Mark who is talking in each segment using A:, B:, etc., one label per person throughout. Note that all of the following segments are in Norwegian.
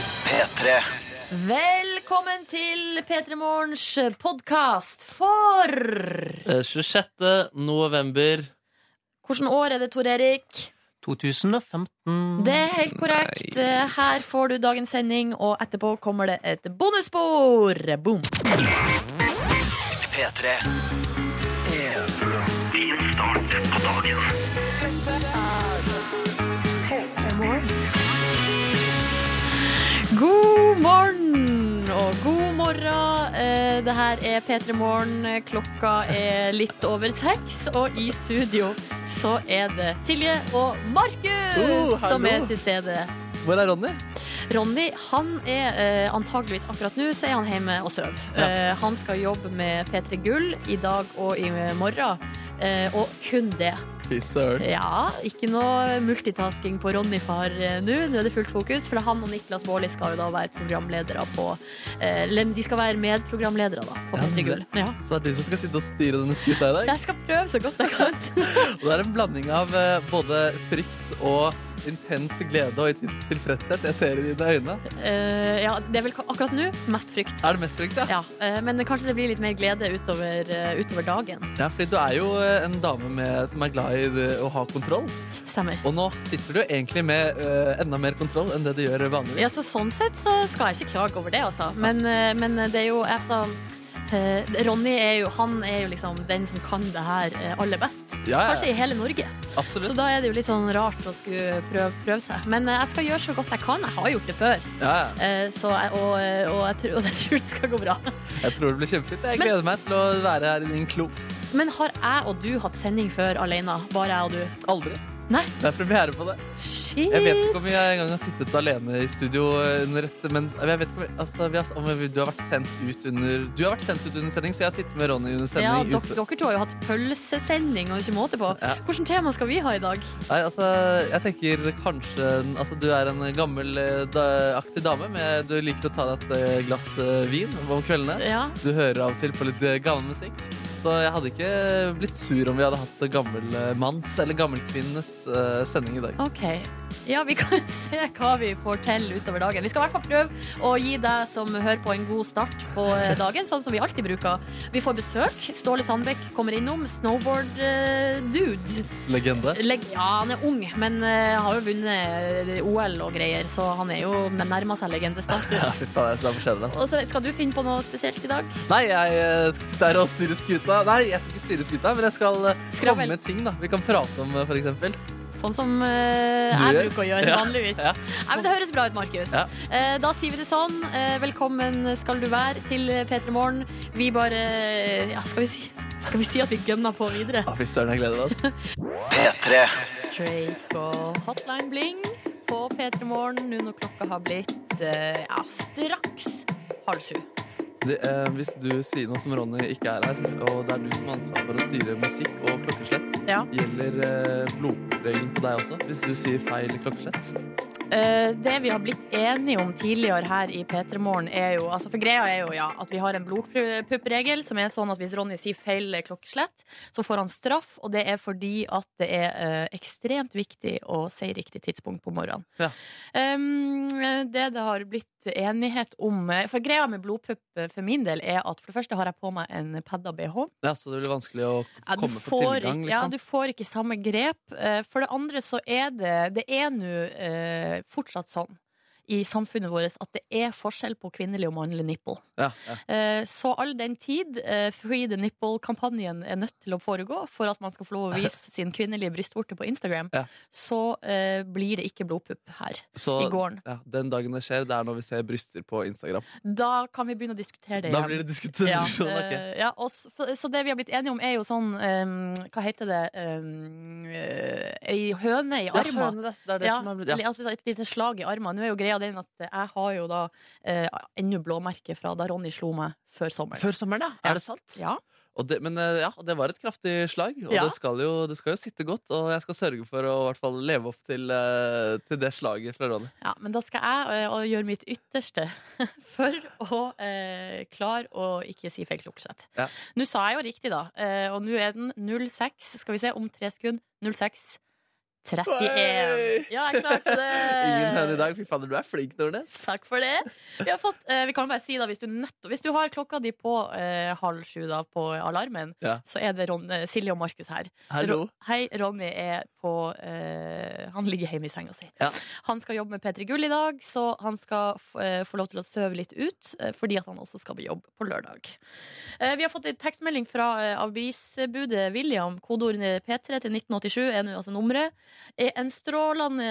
A: P3.
B: Velkommen til P3 Morgens podkast for Hvilket
C: Eh, 26. november
B: år er det, Tor Erik?
C: 2015.
B: Det er helt korrekt. Her får du dagens sending, og etterpå kommer det et bonusspor. Boom.
A: P3.
B: God morgen og god morgen. Eh, Det her er P3 Morgen. Klokka er litt over seks, og i studio så er det Silje og Markus
C: Oh,
B: som
C: hallo.
B: er til stede.
C: Hvor er Ronny?
B: Ronny han er eh, antageligvis akkurat nå så er han hjemme og sover.
C: Ja.
B: Eh, han skal jobbe med P3 Gull i dag og i morgen. eh, og kun det.
C: Fy søren.
B: Ja, ikke noe multitasking på Ronny-far eh, nå. Nå er det fullt fokus, for han og Niklas Baarli skal jo da være programledere på eh, Eller de skal være medprogramledere da, på
C: Ja,
B: P3 Gull.
C: det-
B: Ja.
C: Så det er du som skal sitte og styre denne skuta i dag.
B: Jeg skal prøve så godt jeg kan.
C: Og det er en blanding av eh, både frykt og intens glede og til tilfredshet. Jeg ser det i dine øyne.
B: Eh, ja, det er vel akkurat nå mest frykt.
C: Er det mest frykt, ja?
B: Ja, eh, men kanskje det blir litt mer glede utover, eh, utover dagen.
C: Ja, fordi du er jo eh, en dame med, som er glad i det, å ha kontroll.
B: Stemmer.
C: Og nå sitter du egentlig med eh, enda mer kontroll enn det du gjør vanligvis.
B: Ja, så sånn sett så skal jeg ikke klage over det, altså. Men, eh, men det er jo altså, eh, Ronny er jo, han er jo liksom den som kan det her eh, aller best.
C: Ja, ja,
B: Kanskje i hele Norge. Så
C: absolutt.
B: da er det jo litt sånn rart å skulle prøve, prøve seg. Men eh, jeg skal gjøre så godt jeg kan. Jeg har gjort det før.
C: Ja, ja.
B: Eh, Så jeg, og, og, jeg tror, og jeg tror det skal gå bra.
C: Jeg tror det blir kjempefint. Jeg
B: Men-
C: gleder meg til å være her i din klo.
B: Men har jeg og du hatt sending før alene? Bare jeg og du?
C: Aldri.
B: Nei.
C: Det er premiere på det.
B: Shit!
C: Jeg vet ikke om jeg engang har sittet alene i studio eh, under et Men jeg vet ikke om, altså, vi har, om vi, du har vært sendt ut under Du har vært sendt ut under sending, så jeg har sittet med Ronny under
B: ja,
C: sending.
B: dere,
C: ute.
B: dere to har jo hatt pølsesending og ikke måte på.
C: Ja.
B: Hvilket tema skal vi ha i dag?
C: Nei, altså, jeg tenker kanskje Altså, du er en gammel eh, da- aktig dame. Med, du liker å ta deg et eh, glass eh, vin om kveldene.
B: Ja,
C: Du hører av og til på litt eh, gammel musikk. Så jeg hadde ikke blitt sur om vi hadde hatt gammelmanns- eller gammelkvinnenes eh, sending i dag.
B: Ok. Ja, vi kan se hva vi får til utover dagen. Vi skal i hvert fall prøve å gi deg som hører på, en god start på eh, dagen, sånn som vi alltid bruker. Vi får besøk. Ståle Sandbekk kommer innom. Snowboard-dude.
C: Legende.
B: ja, han er ung, men eh, har jo vunnet eh, OL og greier, så han er jo nærma seg
C: Ja,
B: legendestatus.
C: fy faen, jeg skal være kjedelig, ass.
B: Og så skal du finne på noe spesielt i dag?
C: Nei, jeg eh, skal sitte her og styre skuta. Nei, jeg skal ikke styre skuta, men jeg skal eh,
B: Skravel.
C: komme med ting da. vi kan prate om, eh, for eksempel.
B: Sånn som
C: Du
B: eh, jeg
C: gjør.
B: bruker å gjøre
C: Ja,
B: vanligvis.
C: ja.
B: Nei, men Det høres bra ut, Markus.
C: Ja.
B: Eh, da sier vi det sånn. Eh, velkommen skal du være til P3 Morgen. Vi bare ja, skal, vi si, skal vi si at vi gønner på videre?
C: Å, Fy søren, jeg gleder meg. ass.
A: P3.
B: Drake og Hotline Bling på P3 Morgen nå når klokka har blitt eh, ja, straks halv sju.
C: Du, eh, hvis du sier noe som Ronny ikke er her, og det er du som har ansvar for å styre musikk og klokkeslett,
B: Ja.
C: gjelder eh, blodregelen på deg også? Hvis du sier feil klokkeslett?
B: Eh, det vi har blitt enige om tidligere her i P3 Morgen, er jo altså For greia er jo ja, at vi har en blodpuppregel som er sånn at hvis Ronny sier feil klokkeslett, så får han straff, og det er fordi at det er eh, ekstremt viktig å si riktig tidspunkt på morgenen.
C: Ja.
B: Um, det det har blitt enighet om eh, For greia med blodpupp eh, for min del er at for det første har jeg på meg en padda bh.
C: Ja, så det blir vanskelig å
B: Ja, du,
C: komme på
B: får,
C: tilgang,
B: ikke- ja,
C: liksom?
B: du får ikke samme grep. Eh, For det andre så er det Det er nå eh, fortsatt sånn i samfunnet vårt at det er forskjell på kvinnelig og mannlig nipple.
C: Ja, ja.
B: Eh, Så all den tid eh, Free the Nipple-kampanjen er nødt til å foregå for at man skal få lov å vise sin kvinnelige brystvorte på Instagram,
C: Ja.
B: så eh, blir det ikke blodpupp her
C: Så
B: i gården.
C: ja, den dagen det skjer, det er når vi ser bryster på Instagram.
B: Da kan vi begynne å diskutere det
C: Da
B: igjen.
C: blir det diskusjon.
B: Ja,
C: ok.
B: eh, ja, og s- for- så det vi har blitt enige om, er jo sånn em, Hva heter det? Um, ei høne i
C: Ja,
B: armen.
C: skjønner det, det er det som er blitt, ja.
B: eller, Altså et lite slag i armen. Nå er jo greia den at jeg har jo da eh, ennå blåmerke fra da Ronny slo meg før sommeren.
C: Før sommeren, ja.
B: Ja.
C: Er det sant?
B: Ja.
C: Og det, men eh, ja, det var et kraftig slag, og
B: Ja.
C: det, skal jo, det skal jo sitte godt. Og jeg skal sørge for å i hvert fall leve opp til, eh, til det slaget fra Ronny.
B: ja, men da skal jeg eh, å gjøre mitt ytterste for å eh, klare å ikke si feil klokkeslett.
C: Ja.
B: Nå sa jeg jo riktig, da, eh, og nå er den 06, skal vi se, om tre sekunder. 06. 31. Ja, jeg klarte det.
C: Ingen høne i dag. Fy fader, du er flink, Nordnes.
B: Takk for det. Vi, har fått, eh, vi kan bare si da, hvis du, nettopp- hvis du har klokka di på eh, halv sju da, på alarmen,
C: Ja.
B: så er det Ron, eh, Silje og Markus her.
C: Hallo.
B: Ro- Hei, Ronny er på eh, Han ligger hjemme i senga si.
C: Ja.
B: Han skal jobbe med P3 Gull i dag, så han skal f eh, få lov til å søve litt ut, eh, fordi at han også skal på jobb på lørdag. Eh, vi har fått en tekstmelding fra eh, avisbudet William. Kodeordene P3 til 1987 er nå altså nummeret. Er en strålende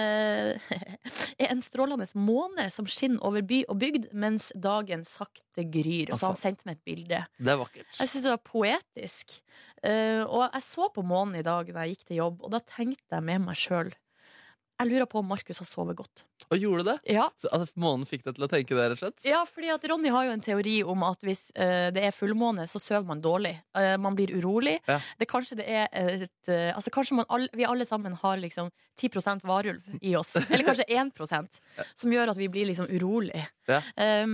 B: er en strålende måne som skinner over by og bygd mens dagen sakte gryr. Og så har han sendt meg et bilde.
C: Det er vakkert.
B: Jeg syns det var poetisk. Eh, og jeg så på månen i dag da jeg gikk til jobb, og da tenkte jeg med meg sjøl Jeg lurer på om Markus har sovet godt.
C: Og gjorde det?
B: Ja.
C: Så altså, Månen fikk deg til å tenke det, rett og slett?
B: ja, fordi at Ronny har jo en teori om at hvis eh, det er fullmåne, så sover man dårlig. Eh, man blir urolig.
C: Ja.
B: Det kanskje det er et eh, Altså kanskje man all, vi alle sammen har liksom 10 varulv i oss. Eller kanskje 1 som gjør at vi blir liksom urolig.
C: Ja.
B: Eh,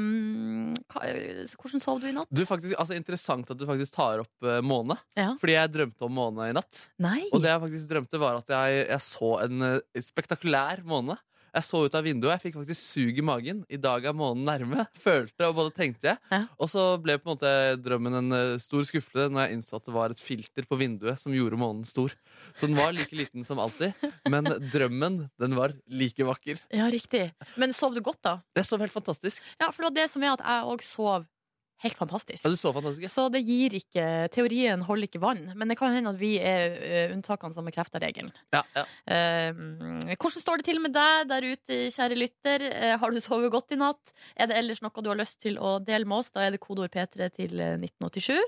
B: hva, så hvordan sov du i natt?
C: Du, faktisk, altså, interessant at du faktisk tar opp eh, måne.
B: Ja.
C: Fordi jeg drømte om måne i natt.
B: Nei!
C: Og det jeg faktisk drømte, var at jeg, jeg så en eh, spektakulær måne. Jeg så ut av vinduet, og jeg fikk faktisk sug i magen. I dag er månen nærme. Følte og både tenkte jeg.
B: Ja.
C: Og så ble på en måte drømmen en eh, stor skuffelse når jeg innså at det var et filter på vinduet som gjorde månen stor. Så den var like liten som alltid, men drømmen den var like vakker.
B: Ja, riktig. Men sov du godt, da?
C: Det sov helt fantastisk.
B: Ja, for det var det som er at jeg òg sov helt fantastisk.
C: Ja, du sov fantastisk. ja.
B: Så det gir ikke Teorien holder ikke vann. Men det kan hende at vi er eh, unntakene som bekrefter regelen.
C: Ja, ja.
B: Eh, hvordan står det til med deg der ute, kjære lytter? Eh, har du sovet godt i natt? Er det ellers noe du har lyst til å dele med oss? Da er det kodeord P3 til eh, 1987.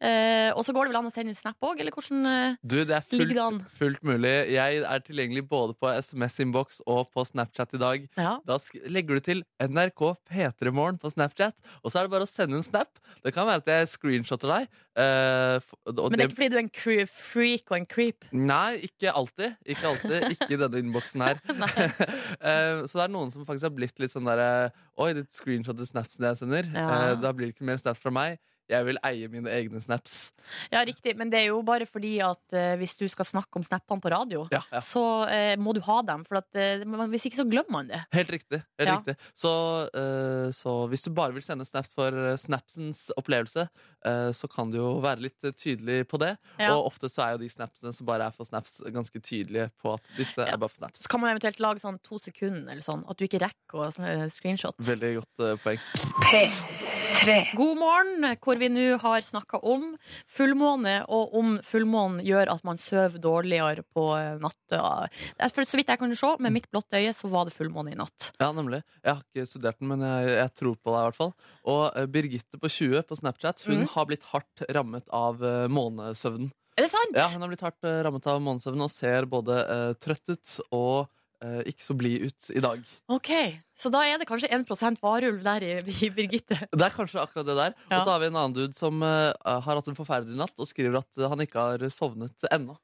B: Eh, og så går det vel an å sende en snap òg, eller hvordan eh,
C: Du, det er
B: ligger det an?
C: fullt, fullt mulig. Jeg er tilgjengelig både på SMS-innboks og på Snapchat i dag.
B: Ja.
C: Da sk- legger du til NRK P3morgen på Snapchat, og så er det bare å sende en snap. Det kan være at jeg screenshotter deg. eh, f- og
B: Men det er
C: det,
B: ikke fordi du er en cre- freak og en creep.
C: nei, ikke alltid. Ikke alltid, ikke i denne innboksen her. Eh, så det er noen som faktisk har blitt litt sånn derre Oi, du screenshotter snapsen jeg sender.
B: Ja.
C: Eh, da blir det ikke mer snaps fra meg. Jeg vil eie mine egne snaps.
B: Ja, riktig, men det er jo bare fordi at eh, hvis du skal snakke om snappene på radio,
C: Ja, ja.
B: så eh, må du ha dem. For at, eh, man- hvis ikke så glemmer man det.
C: Helt riktig. helt
B: Ja.
C: riktig så, eh, så hvis du bare vil sende snaps for eh, snapsens opplevelse, eh, så kan du jo være litt eh, tydelig på det.
B: Ja.
C: Og ofte så er jo de snapsene som bare er for snaps, ganske tydelige på at disse
B: Ja.
C: er bare for snaps.
B: Så kan man eventuelt lage sånn to sekunder eller sånn, at du ikke rekker å sånn, eh, screenshot.
C: Veldig godt eh, poeng.
B: God morgen, hvor vi nå har snakka om fullmåne, og om fullmånen gjør at man sover dårligere på eh, natta. Det er For så vidt jeg kunne se, med mitt blått øye, så var det fullmåne i natt.
C: Ja, nemlig. Jeg har ikke studert den, men jeg, jeg tror på deg i hvert fall. Og eh, Birgitte på 20 på Snapchat Hun
B: Mm.
C: har blitt hardt rammet av eh, månesøvnen.
B: Er det sant?
C: Ja, Hun har blitt hardt eh, rammet av månesøvnen og ser både eh, trøtt ut og eh, ikke så blid ut i dag.
B: Ok, Så da er det kanskje 1 varulv der i, i Birgitte.
C: Det er kanskje akkurat det der.
B: Ja.
C: Og så har vi en annen dude som eh, har hatt en forferdelig natt og skriver at eh, han ikke har sovnet ennå.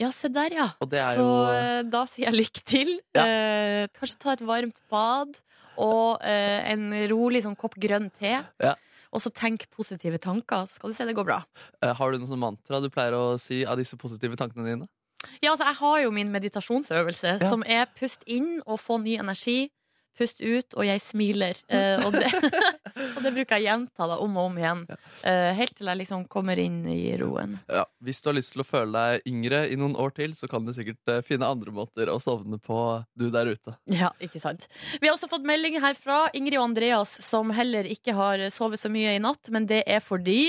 B: Ja, se der, ja.
C: Og det er
B: så
C: jo-
B: eh, da sier jeg lykke til.
C: Ja.
B: Eh, kanskje ta et varmt bad og eh, en rolig sånn kopp grønn te.
C: Ja.
B: Og så tenk positive tanker, så skal du se det går bra.
C: Eh, har du noe sånn mantra du pleier å si av disse positive tankene dine?
B: Ja, altså Jeg har jo min meditasjonsøvelse,
C: Ja.
B: som er pust inn og få ny energi. Pust ut, og jeg smiler. Eh, og, det, og det bruker jeg gjenta da, om og om igjen. Eh, helt til jeg liksom kommer inn i roen.
C: Ja, hvis du har lyst til å føle deg yngre i noen år til, så kan du sikkert eh, finne andre måter å sovne på, du der ute.
B: Ja, ikke sant. Vi har også fått melding her fra Ingrid og Andreas, som heller ikke har sovet så mye i natt, men det er fordi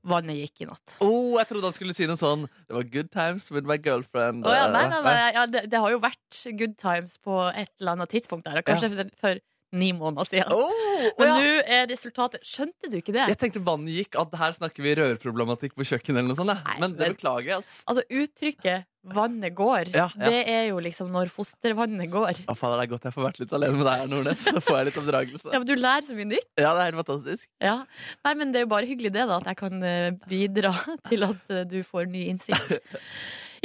B: vannet gikk i natt.
C: Oh, jeg trodde han skulle si noe sånn Det var good times with my girlfriend.
B: Å ja, nei, nei,
C: Eh,
B: nei, ja, det, det har jo vært good times på et eller annet tidspunkt der, og kanskje for, for ni måneder siden.
C: Oh, å
B: Men
C: ja.
B: nå er resultatet Skjønte du ikke det?
C: Jeg tenkte vannet gikk, at her snakker vi rørproblematikk på kjøkkenet eller noe sånt.
B: Nei,
C: jeg. Men det
B: men-
C: beklager jeg, ass.
B: Altså, uttrykket 'vannet går',
C: Ja, ja.
B: det er jo liksom når fostervannet går.
C: Ja, faen, det er godt jeg får vært litt alene med deg her, Nordnes. Så får jeg litt oppdragelse.
B: Ja, men Du lærer så mye nytt.
C: Ja, det er helt fantastisk.
B: Ja. Nei, men det er jo bare hyggelig det, da, at jeg kan eh, bidra til at eh, du får ny innsikt.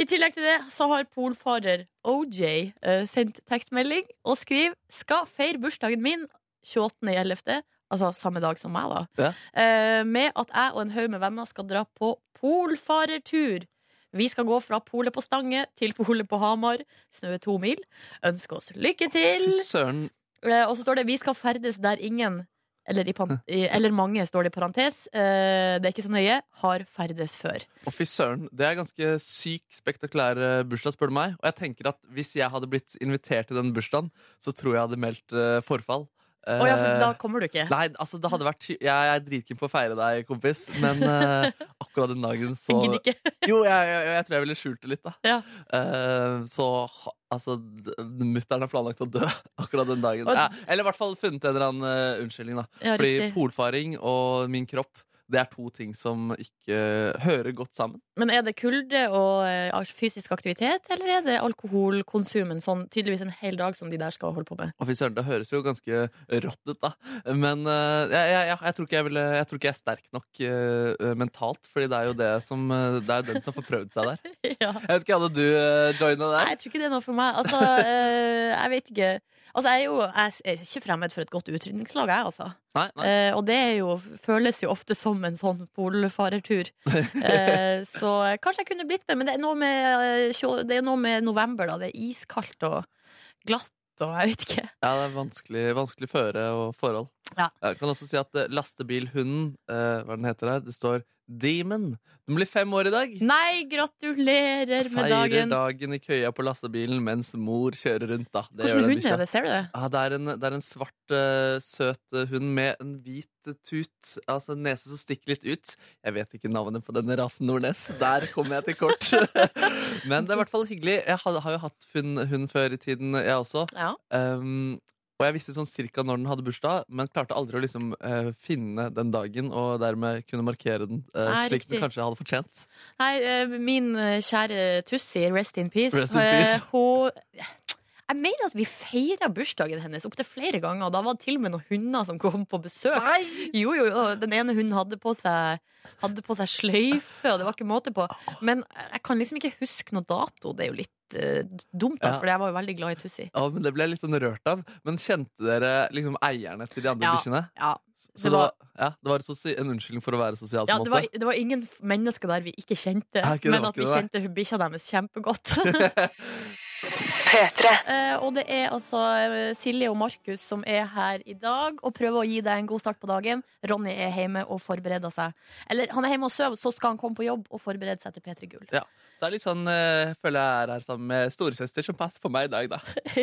B: I tillegg til det så har polfarer OJ eh, sendt tekstmelding og skriver 'Skal feire bursdagen min 28.11.', altså samme dag som meg, da, eh, med at jeg og en haug med venner skal dra på polfarertur. Vi skal gå fra polet på Stange til polet på Hamar. Snaue to mil. Ønsker oss lykke til!
C: Fy søren.
B: Eh, Og så står det 'Vi skal ferdes der ingen' eller, i pan i, eller mange, står det i parentes. Eh, det er ikke så nøye. Har ferdes før.
C: Å, fy søren. Det er ganske syk, spektakulær eh, bursdag, spør du meg. Og jeg tenker at hvis jeg hadde blitt invitert til den bursdagen, så tror jeg hadde meldt eh, forfall. Eh,
B: Å ja, for da kommer du ikke.
C: Nei, altså det hadde vært hy- Jeg er dritkeen på å feire deg, kompis, men eh, akkurat den dagen så
B: Gidder ikke.
C: Jo, jeg, jeg, jeg tror jeg ville skjult det litt, da.
B: Ja.
C: Eh, så ha- altså d- Mutter'n har planlagt å dø akkurat den dagen.
B: Og-
C: Eh, eller i hvert fall funnet en eller annen eh, unnskyldning, da.
B: Ja,
C: Fordi
B: riktig.
C: polfaring og min kropp det er to ting som ikke hører godt sammen.
B: Men er det kulde og eh, fysisk aktivitet, eller er det alkoholkonsum en sånn tydeligvis en hel dag som de der skal holde på med?
C: Og fy søren, det høres jo ganske rått ut, da. Men eh, jeg, jeg, jeg, jeg, tror ikke jeg, ville, jeg tror ikke jeg er sterk nok eh, mentalt, Fordi det er jo det som eh, Det er jo den som får prøvd seg der.
B: ja.
C: Jeg vet ikke, hadde du uh, joina
B: Nei,
C: der?
B: jeg tror ikke det er noe for meg. Altså, eh, jeg vet ikke. Altså, jeg er jo jeg er ikke fremmed for et godt utrydningslag, jeg, altså.
C: Nei, nei.
B: Eh, og det er jo, føles jo ofte som en sånn polfarertur. Eh, så kanskje jeg kunne blitt med, men det er noe med, eh, tjå- det er noe med november, da. Det er iskaldt og glatt. Og jeg vet ikke.
C: Ja, det er vanskelig, vanskelig føre og forhold.
B: Ja.
C: Jeg kan også si at eh, lastebilhunden, eh, hva den heter der, det står Demon. Den blir fem år i dag.
B: Nei, gratulerer med
C: Feirer
B: dagen!
C: dagen i køya på lastebilen mens mor kjører rundt, da. Det
B: Hvordan
C: gjør den
B: hund er
C: bikkja.
B: det? Ser du det?
C: Ja, Ah, det, er en, det er en svart, eh, søt eh, hund med en hvit eh, tut. Altså en nese som stikker litt ut. Jeg vet ikke navnet på denne rasen Nordnes. Der kom jeg til kort. Men det er i hvert fall hyggelig. Jeg har, har jo hatt hund, hund før i tiden, jeg også.
B: Ja.
C: Um, og jeg visste sånn cirka når den hadde bursdag, men klarte aldri å liksom eh, finne den dagen og dermed kunne markere den eh,
B: Nei,
C: slik
B: riktig.
C: den kanskje hadde fortjent.
B: Nei, eh, min eh, kjære Tussi, rest in peace.
C: Rest in
B: eh,
C: peace.
B: Hun jeg mener at vi feira bursdagen hennes opptil flere ganger. Da var det til og med noen hunder som kom på besøk. Jo, jo, jo, Den ene hunden hadde på seg Hadde på seg sløyfe, og det var ikke måte på. Men jeg kan liksom ikke huske noe dato. Det er jo litt eh, dumt, da,
C: Ja.
B: for jeg var jo veldig glad i Tussi.
C: Ja, men Det ble jeg litt sånn rørt av. Men kjente dere liksom eierne til de andre
B: Ja.
C: bikkjene?
B: Ja,
C: Så det var, ja, det var et sosi- en unnskyldning for å være sosial?
B: ja
C: på en
B: det,
C: måte.
B: var, det var ingen f- mennesker der vi ikke kjente,
C: Ja, ikke det,
B: men
C: var
B: at
C: ikke
B: vi
C: det,
B: kjente bikkja deres kjempegodt.
A: P3.
B: Eh, og det er altså eh, Silje og Markus som er her i dag og prøver å gi deg en god start på dagen. Ronny er hjemme og forbereder seg. Eller han er hjemme og sover, så skal han komme på jobb og forberede seg til P3 Gull.
C: Så det er litt sånn, eh, føler jeg er her sammen med storesøster som passer på meg i dag, da.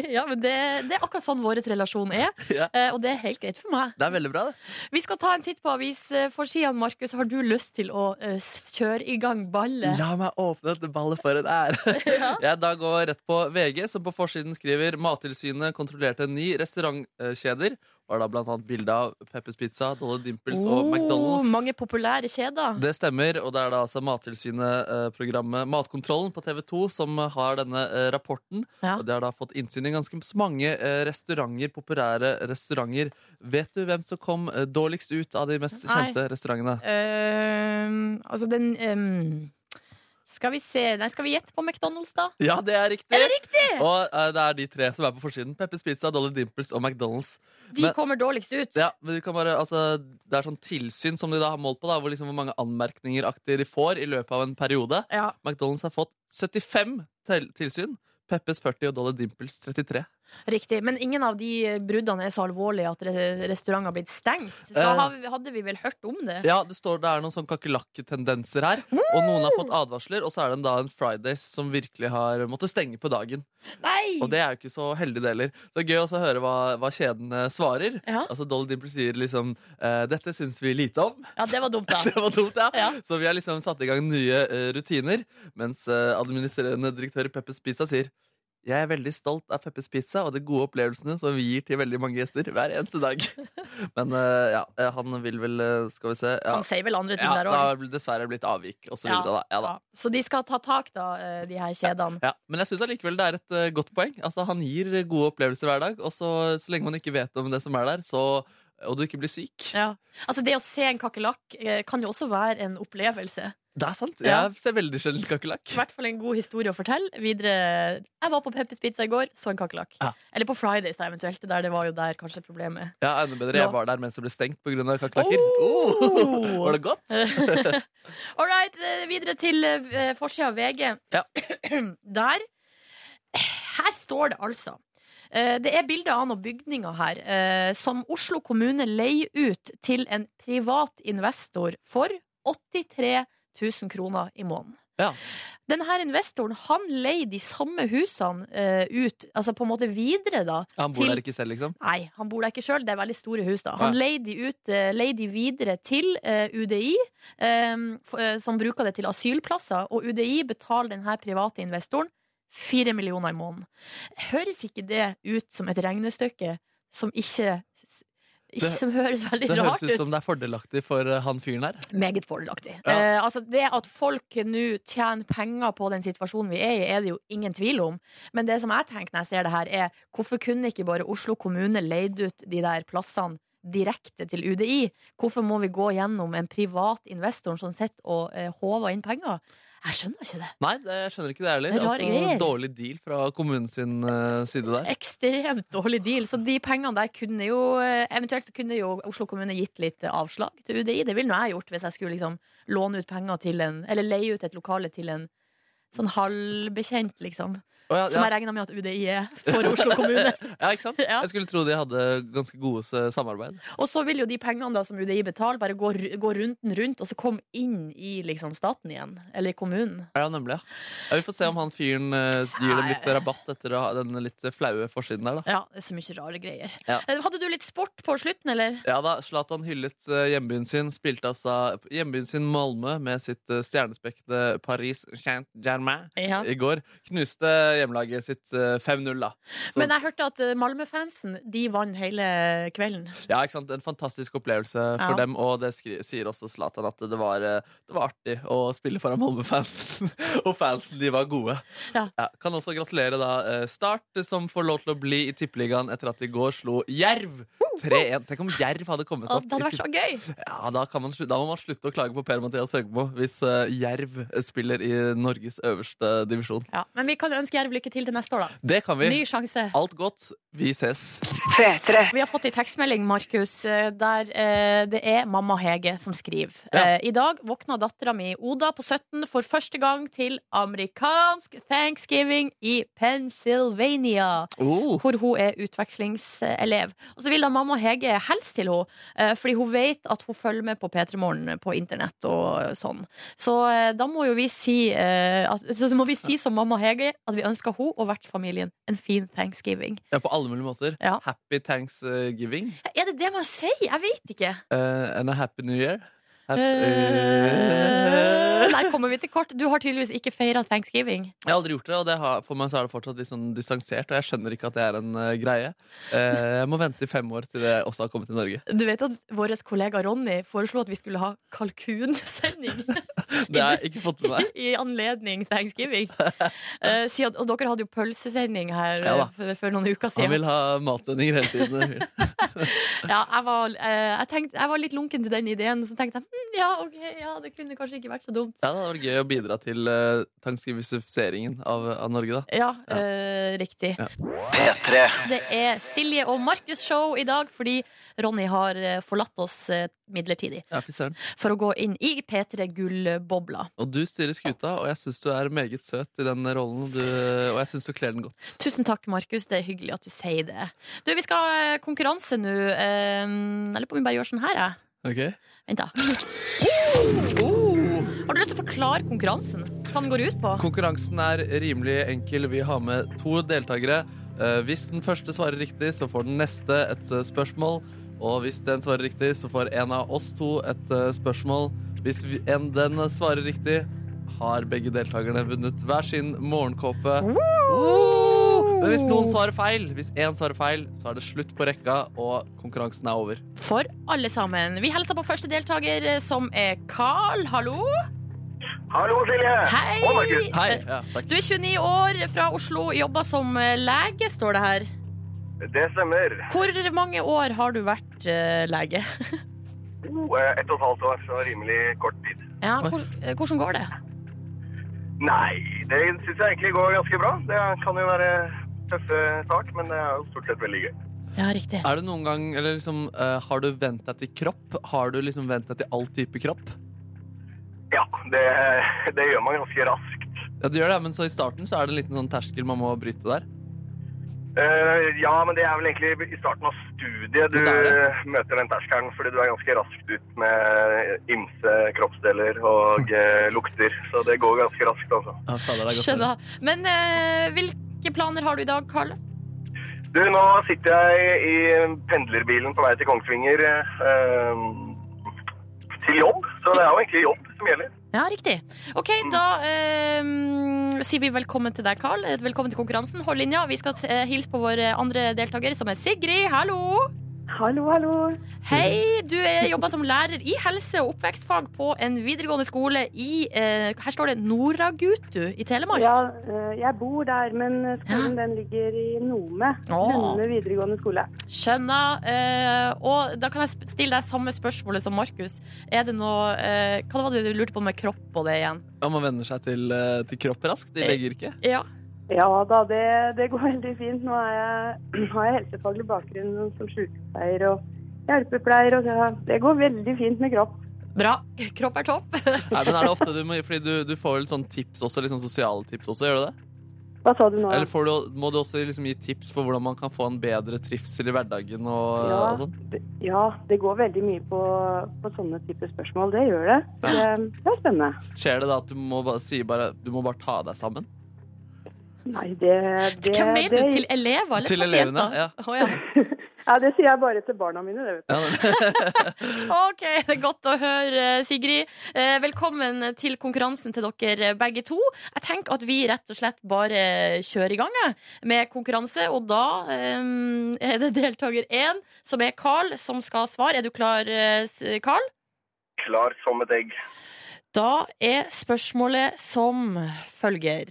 B: ja, men det, det er akkurat sånn vår relasjon er,
C: Ja.
B: eh, og det er helt greit for meg.
C: Det er veldig bra, det.
B: Vi skal ta en titt på avisforsidene, Markus. Har du lyst til å eh, s- kjøre i gang ballet?
C: La meg åpne dette ballet for en ære. Jeg da går rett på VG, som på forsiden skriver Mattilsynet kontrollerte ni restaurantkjeder. Var da blant annet bilde av Peppers Pizza, Dolly Dimples og McDonald's.
B: Oh, mange populære kjeder.
C: Det stemmer, og det er da altså Mattilsynet-programmet Matkontrollen på TV 2 som har denne eh, rapporten.
B: Ja.
C: Og De har da fått innsyn i ganske så mange eh, restauranter, populære restauranter. Vet du hvem som kom eh, dårligst ut av de mest
B: Nei.
C: kjente restaurantene?
B: Ehm, altså den ehm, Skal vi se Nei, skal vi gjette på McDonald's, da?
C: Ja, det er riktig! Og eh, det er de tre som er på forsiden. Peppers Pizza, Dolly Dimples og McDonald's.
B: De
C: Men-
B: kommer dårligst ut.
C: Ja, men du kan bare, altså, Det er sånn tilsyn som de da har målt på, da, hvor, liksom, hvor mange anmerkninger aktig de får i løpet av en periode.
B: Ja.
C: McDonald's har fått 75 til tilsyn. Peppes 40 og Dolly Dimples 33.
B: Riktig. Men ingen av de eh, bruddene er så alvorlige at re- restauranter har blitt stengt. Da
C: Eh.
B: har vi- hadde vi vel hørt om det.
C: Ja, Det står det er noen sånn kakerlakketendenser her. Og noen har fått advarsler, og så er det en da en Fridays som virkelig har måttet stenge på dagen.
B: Nei!
C: Og det er jo ikke så heldig, det heller. Så det er gøy også å høre hva, hva kjedene svarer.
B: Ja.
C: Altså Dolly Dimples sier liksom eh, 'Dette syns vi lite om'.
B: ja, det var dumt, da.
C: Det var dumt, ja.
B: Ja.
C: Så vi har liksom satt i gang nye eh, rutiner, mens eh, administrerende direktør i Peppers Pizza sier jeg er veldig stolt av Peppers Pizza og de gode opplevelsene som vi gir til veldig mange gjester hver eneste dag. Men eh, ja, eh, han vil vel eh, Skal vi se. Ja,
B: Han sier vel andre ting
C: ja
B: der
C: det
B: òg.
C: har vel dessverre blitt avvik og så videre. Da. Ja, da.
B: Så de skal ta tak, da, eh, de her kjedene.
C: Ja, men jeg syns allikevel det er et eh, godt poeng. Altså, Han gir gode opplevelser hver dag, og så, så lenge man ikke vet om det som er der, så, og du ikke blir syk
B: Ja. Altså, det å se en kakerlakk eh, kan jo også være en opplevelse.
C: Det er sant.
B: Ja.
C: Jeg ser veldig sjelden kakerlakk.
B: I hvert fall en god historie å fortelle. Videre, jeg var på Peppers Pizza i går, så en kakerlakk.
C: Ja.
B: Eller på Fridays, da, eventuelt. Det Der det var jo der kanskje problemet.
C: Ja, enda bedre.
B: Nå.
C: Jeg var der mens det ble stengt pga. kakerlakker.
B: Oh!
C: Oh! Var det godt?
B: All right, eh, videre til eh, forsida av VG.
C: Ja.
B: Der Her står det altså. eh, Det er bilder av noen bygninger her eh, som Oslo kommune leier ut til en privat investor for 83 000 kroner i måneden.
C: Ja.
B: Denne investoren han leier de samme husene eh, ut, altså på en måte videre, da,
C: Han bor
B: Til-
C: der ikke selv, liksom?
B: Nei, han bor der ikke sjøl. Det er veldig store hus. da Han
C: Ja.
B: leide de, ut, eh, leide de videre til eh, UDI, eh, f- eh, som bruker det til asylplasser. Og UDI betaler denne private investoren fire millioner i måneden. Høres ikke det ut som et regnestykke som ikke, s- ikke
C: Det-
B: Som høres veldig
C: Det
B: rart
C: høres ut
B: ut?
C: som det er fordelaktig for eh, han fyren her.
B: Meget fordelaktig.
C: Ja.
B: Eh, altså det at folk nå tjener penger på den situasjonen vi er i, er det jo ingen tvil om. Men det som jeg tenker når jeg ser det her, er hvorfor kunne ikke bare Oslo kommune leid ut de der plassene direkte til UDI? Hvorfor må vi gå gjennom en privat investor som sitter og eh, håver inn penger? Jeg skjønner ikke det.
C: Nei, det, jeg skjønner ikke det heller.
B: Det er rare
C: Altså,
B: greier.
C: dårlig deal fra kommunen sin eh, side der.
B: Ekstremt dårlig deal. Så de pengene der kunne jo eh, Eventuelt så kunne jo Oslo kommune gitt litt eh, avslag til UDI. Det ville nå jeg gjort hvis jeg skulle liksom låne ut penger til en Eller leie ut et lokale til en sånn halvbekjent, liksom.
C: Å, ja,
B: Som
C: ja.
B: jeg regna med at UDI er for Oslo kommune.
C: ja, ikke sant?
B: Ja.
C: Jeg skulle tro de hadde ganske gode eh, samarbeid.
B: Og så vil jo de pengene da som UDI betaler, bare gå, ru- gå runden rundt, og så komme inn i liksom staten igjen. Eller i kommunen.
C: Ja, nemlig. Ja. Ja, vi får se om han fyren eh, gir dem litt rabatt etter å ha den litt flaue forsiden der, da.
B: Ja, det er så mye rare greier.
C: Ja.
B: Eh, Hadde du litt sport på slutten, eller?
C: Ja da, Zlatan hyllet eh, hjembyen sin, spilte altså hjembyen sin Malmö med sitt eh, stjernespekte Paris Saint-Germain
B: Ja.
C: i går. Knuste hjemlaget sitt eh, 5-0, da. Så,
B: Men jeg hørte at eh, Malmö-fansen, de vant hele kvelden.
C: ja, ikke sant? En fantastisk opplevelse for
B: Ja.
C: dem, og det skri sier også Zlatan at det var, eh, det var artig å spille foran Malmö-fansen. og fansen, de var gode.
B: Ja.
C: kan også gratulere da eh, Start, som får lov til å bli i Tippeligaen etter at de i går slo Jerv 3-1. Tenk om Jerv hadde kommet
B: Å,
C: opp.
B: det
C: i
B: hadde vært så gøy!
C: Ja, da, kan man, slu- da må man slutte å klage på Per-Mathias Høgmo hvis eh, Jerv spiller i Norges øverste divisjon.
B: Ja, men vi kan ønske Jerv lykke til til neste år, da.
C: Det kan vi.
B: Ny sjanse.
C: Alt godt. Vi ses.
A: P3.
B: Vi har fått en tekstmelding, Markus, eh, der eh, det er mamma Hege som skriver.
C: Ja.
B: Eh, I dag våkna dattera mi Oda på 17 for første gang til amerikansk thanksgiving i Pennsylvania.
C: Oh.
B: Hvor hun er utvekslingselev. Og så vil da mamma Hege hilse til henne, eh, fordi hun vet at hun følger med på P3 Morgen på internett og sånn. Så eh, da må jo vi si, eh, at, så må vi si som mamma Hege at vi ønsker hun og vertsfamilien en fin thanksgiving.
C: Ja, på alle mulige måter.
B: Ja.
C: Happy thanksgiving
B: Er det det man sier? Jeg vet ikke.
C: eh, and a happy new year. Happy
B: Eh, Der kommer vi til kort. Du har tydeligvis ikke feira thanksgiving.
C: Jeg har aldri gjort det, og det har, for meg så er det fortsatt litt sånn distansert. Og jeg skjønner ikke at det er en eh, greie. Eh, jeg må vente i fem år til det også har kommet til Norge.
B: Du vet at vår kollega Ronny foreslo at vi skulle ha kalkunsending
C: Det har jeg ikke fått med meg.
B: i anledning thanksgiving. Eh, siden- og dere hadde jo pølsesending her
C: Ja da.
B: eh, for, for noen uker
C: Han
B: siden.
C: vil ha matvendinger hele tiden.
B: Ja, jeg, var, eh, jeg, tenkte, jeg var litt lunken til den ideen, så tenkte jeg hm, ja, ok, ja, det kunne kanskje ikke vært så dumt.
C: Ja, det hadde vært gøy å bidra til uh, tangskrivisifiseringen av, av Norge, da.
B: Ja, eh, riktig. Det er Silje og Markus' show i dag fordi Ronny har eh, forlatt oss eh, midlertidig.
C: Ja, fy søren.
B: for å gå inn i P3 Gull-bobla.
C: Og du styrer skuta, og jeg syns du er meget søt i den rollen. Du, og jeg syns du kler den godt.
B: Tusen takk, Markus. Det er hyggelig at du sier det. Du, vi skal ha eh, konkurranse nå. Eh, Jeg lurer på om vi bare gjør sånn her, jeg.
C: Ok
B: Vent, da. Har du lyst til å forklare konkurransen? Hva den går ut på?
C: Konkurransen er rimelig enkel. Vi har med to deltakere. Eh, hvis den første svarer riktig, så får den neste et eh, spørsmål. Og hvis den svarer riktig, så får en av oss to et eh, spørsmål. Hvis vi, en den svarer riktig, har begge deltakerne vunnet hver sin morgenkåpe. Woo! Men hvis noen svarer feil, hvis én svarer feil, så er det slutt på rekka, og konkurransen er over.
B: For alle sammen. Vi hilser på første deltaker, eh, som er Carl. Hallo.
D: Hallo, Silje.
B: Hei.
D: Og Markus.
C: Hei! Ja, takk.
B: Du er 29 år, fra Oslo, jobber som eh, lege, står det her.
D: Det stemmer.
B: Hvor mange år har du vært eh, lege?
D: Oh, eh, Ett og et halvt år, så rimelig kort tid.
B: Ja,
C: Oi.
B: hvor, eh, hvordan går det?
D: Nei, det syns jeg egentlig går ganske bra. Det kan jo være tøffe start, men det er jo stort sett veldig gøy.
B: Ja, riktig.
C: Er det noen gang, eller liksom, eh, Har du vent deg til kropp? Har du liksom vent deg til all type kropp?
D: Ja, det, det gjør man ganske raskt.
C: Ja, du gjør det, men så I starten så er det en liten sånn terskel man må bryte der.
D: Eh, ja, men det er vel egentlig i starten av studiet du
C: Det er
D: møter den terskelen, fordi du er ganske raskt ut med ymse kroppsdeler og eh, lukter. Så det går ganske raskt, altså.
C: Ja, fader, det er godt å høre.
B: Skjønner. Men eh, hvilke planer har du i dag, Karl?
D: Du, nå sitter jeg i pendlerbilen på vei til Kongsvinger eh, til jobb. Så det er jo egentlig jobb som gjelder.
B: Ja, riktig. OK, da eh, sier vi velkommen til deg, Karl. Eh, Velkommen til konkurransen. Hold linja. Vi skal eh, hilse på vår andre deltaker, som er Sigrid. Hallo!
A: Hallo, hallo.
B: Hei, du er- jobber som lærer i helse- og oppvekstfag på en videregående skole i eh, Her står det Noragutu i Telemark.
A: Ja, eh, jeg bor der, men skolen den ligger i Nome.
B: Åh.
A: Denne videregående skole.
B: Skjønner. Eh, og da kan jeg sp- stille deg samme spørsmålet som Markus. Er det noe eh, Hva var det du lurte på med kropp og det igjen?
C: Ja, man venner seg til, eh, til kropp raskt. De legger ikke.
B: Ja.
A: Ja da, det, det går veldig fint. Nå er jeg, har jeg helsefaglig bakgrunn som sykepleier og hjelpepleier, og det, det går veldig fint med kropp.
B: Bra. Kropp er topp.
C: Nei, men er det ofte du må, fordi du, du får vel sånn tips også, litt sånn sosiale tips også, gjør du det?
A: Hva sa du nå?
C: Eller får du, må du også liksom gi tips for hvordan man kan få en bedre trivsel i hverdagen og,
A: Ja.
C: og sånn?
A: Det- Ja, det går veldig mye på, på sånne typer spørsmål. Det gjør det. Det, det er spennende.
C: Skjer det da at du må bare si bare, du må bare ta deg sammen?
A: Nei, det, det,
B: Hvem mener
A: det
B: du? Til elever eller
C: Til elevene,
B: pasienter?
C: ja.
B: Å, ja.
A: Ja, det sier jeg bare til barna mine, det vet du.
C: Ja, men-
B: OK, det er godt å høre, Sigrid. Eh, Velkommen til konkurransen til dere begge to. Jeg tenker at vi rett og slett bare kjører i gang jeg, med konkurranse, og da eh, er det deltaker én, som er Carl, som skal svare. Er du klar, eh, s- Carl?
D: Klar som et egg.
B: Da er spørsmålet som følger.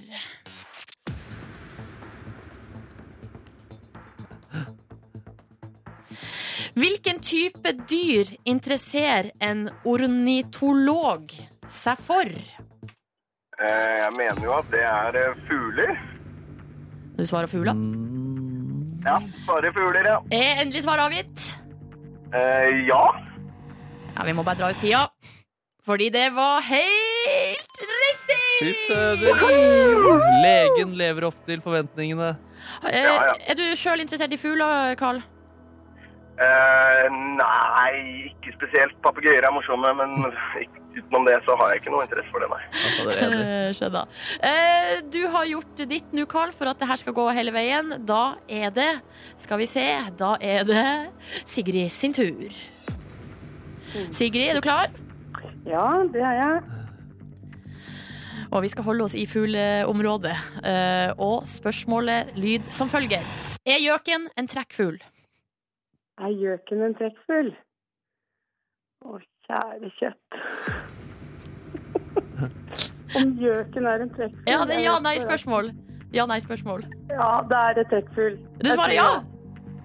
B: Hvilken type dyr interesserer en ornitolog seg for?
D: Eh, jeg mener jo at det er eh, fugler.
B: Du svarer fugla.
C: Mm.
D: Ja, bare fugler, ja.
B: Er endelig svar avgitt?
D: Eh, ja.
B: Ja, vi må bare dra ut tida. Fordi det var helt riktig!
C: Fy søder! Legen lever opp til forventningene.
B: Eh,
D: Ja, ja.
B: Er du sjøl interessert i fugler, Karl?
D: Eh, nei, ikke spesielt. Papegøyer er morsomme, men ikke- utenom det så har jeg ikke noe interesse for det, nei.
C: Altså, det er enig.
B: Eh, Skjønner. Eh, Du har gjort ditt nå, Carl, for at det her skal gå hele veien. Da er det Skal vi se. Da er det Sigrid sin tur. Sigrid, er du klar?
A: Ja, det er jeg.
B: Og vi skal holde oss i fugleområdet. Eh, Og spørsmålet lyd som følger. Er gjøken en trekkfugl?
A: Er gjøken en trekkfugl? Å, kjære kjøtt. Om gjøken er en trekkfugl?
B: Ja, det er
A: jeg vet ikke.
B: ja-nei-spørsmål. Ja-nei-spørsmål.
A: Ja, det er en trekkfugl.
B: Du
A: Jeg
B: svarer
A: sier
B: ja!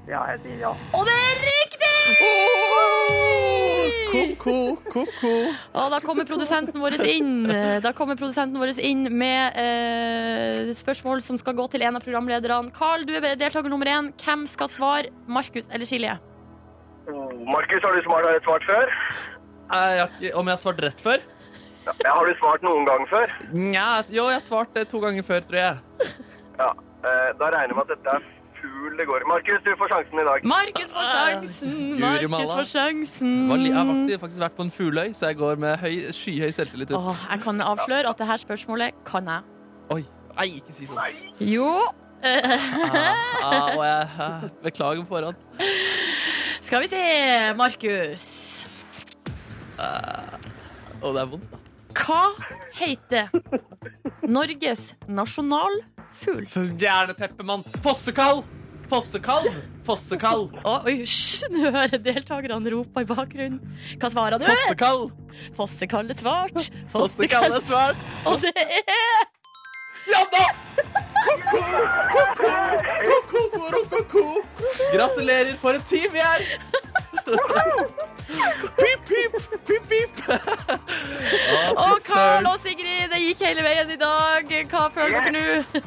A: Ja, jeg sier ja.
B: Og det er riktig!
C: Ko-ko, ko-ko.
B: Og da kommer produsenten vår inn Da kommer produsenten vår inn med eh, spørsmål som skal gå til en av programlederne. Carl, du er deltaker nummer én. Hvem skal svare? Markus eller Silje?
D: Oh, Markus, har du smart, svart før?
C: Nei, jeg har ikke- Om jeg har svart rett før?
D: Ja, har du svart noen gang før?
C: Nja, jo, jeg har svart det to ganger før, tror jeg.
D: Ja. Eh, da regner jeg med at dette er fugl det går i. Markus, du får sjansen i dag.
B: Markus får
C: Ah,
B: sjansen! Markus får sjansen.
C: Var li- Jeg
B: Mm.
C: har faktisk- faktisk vært på en fugleøy, så jeg går med høy, skyhøy selvtillit ut.
B: Åh, jeg kan avsløre at det her spørsmålet kan jeg.
C: Oi. Nei, ikke si sånn.
D: Nei.
B: Jo. Eh,
C: Ah, ah, og jeg ah, beklager på forhånd.
B: Skal vi se, Markus.
C: Og det er vondt, da.
B: Hva heter Norges nasjonalfugl?
C: Stjerneteppemann. Fossekalv! Fossekalv! Fossekalv!
B: Å, oi, hysj, nå hører deltakerne rope i bakgrunnen. Hva svarer du?
C: Fossekalv!
B: Fossekalle svart.
C: Fossekall
B: Fossekalle
C: er svært.
B: Og det er
C: Ja da! Ko-ko, ko-ko, ko-ko, ko-ko. Gratulerer for et team vi er! Pip, pip, pip, pip. Å,
B: Og
C: fy
B: Karl
C: søren.
B: og Sigrid, det gikk hele veien i dag. Hva føler dere nå?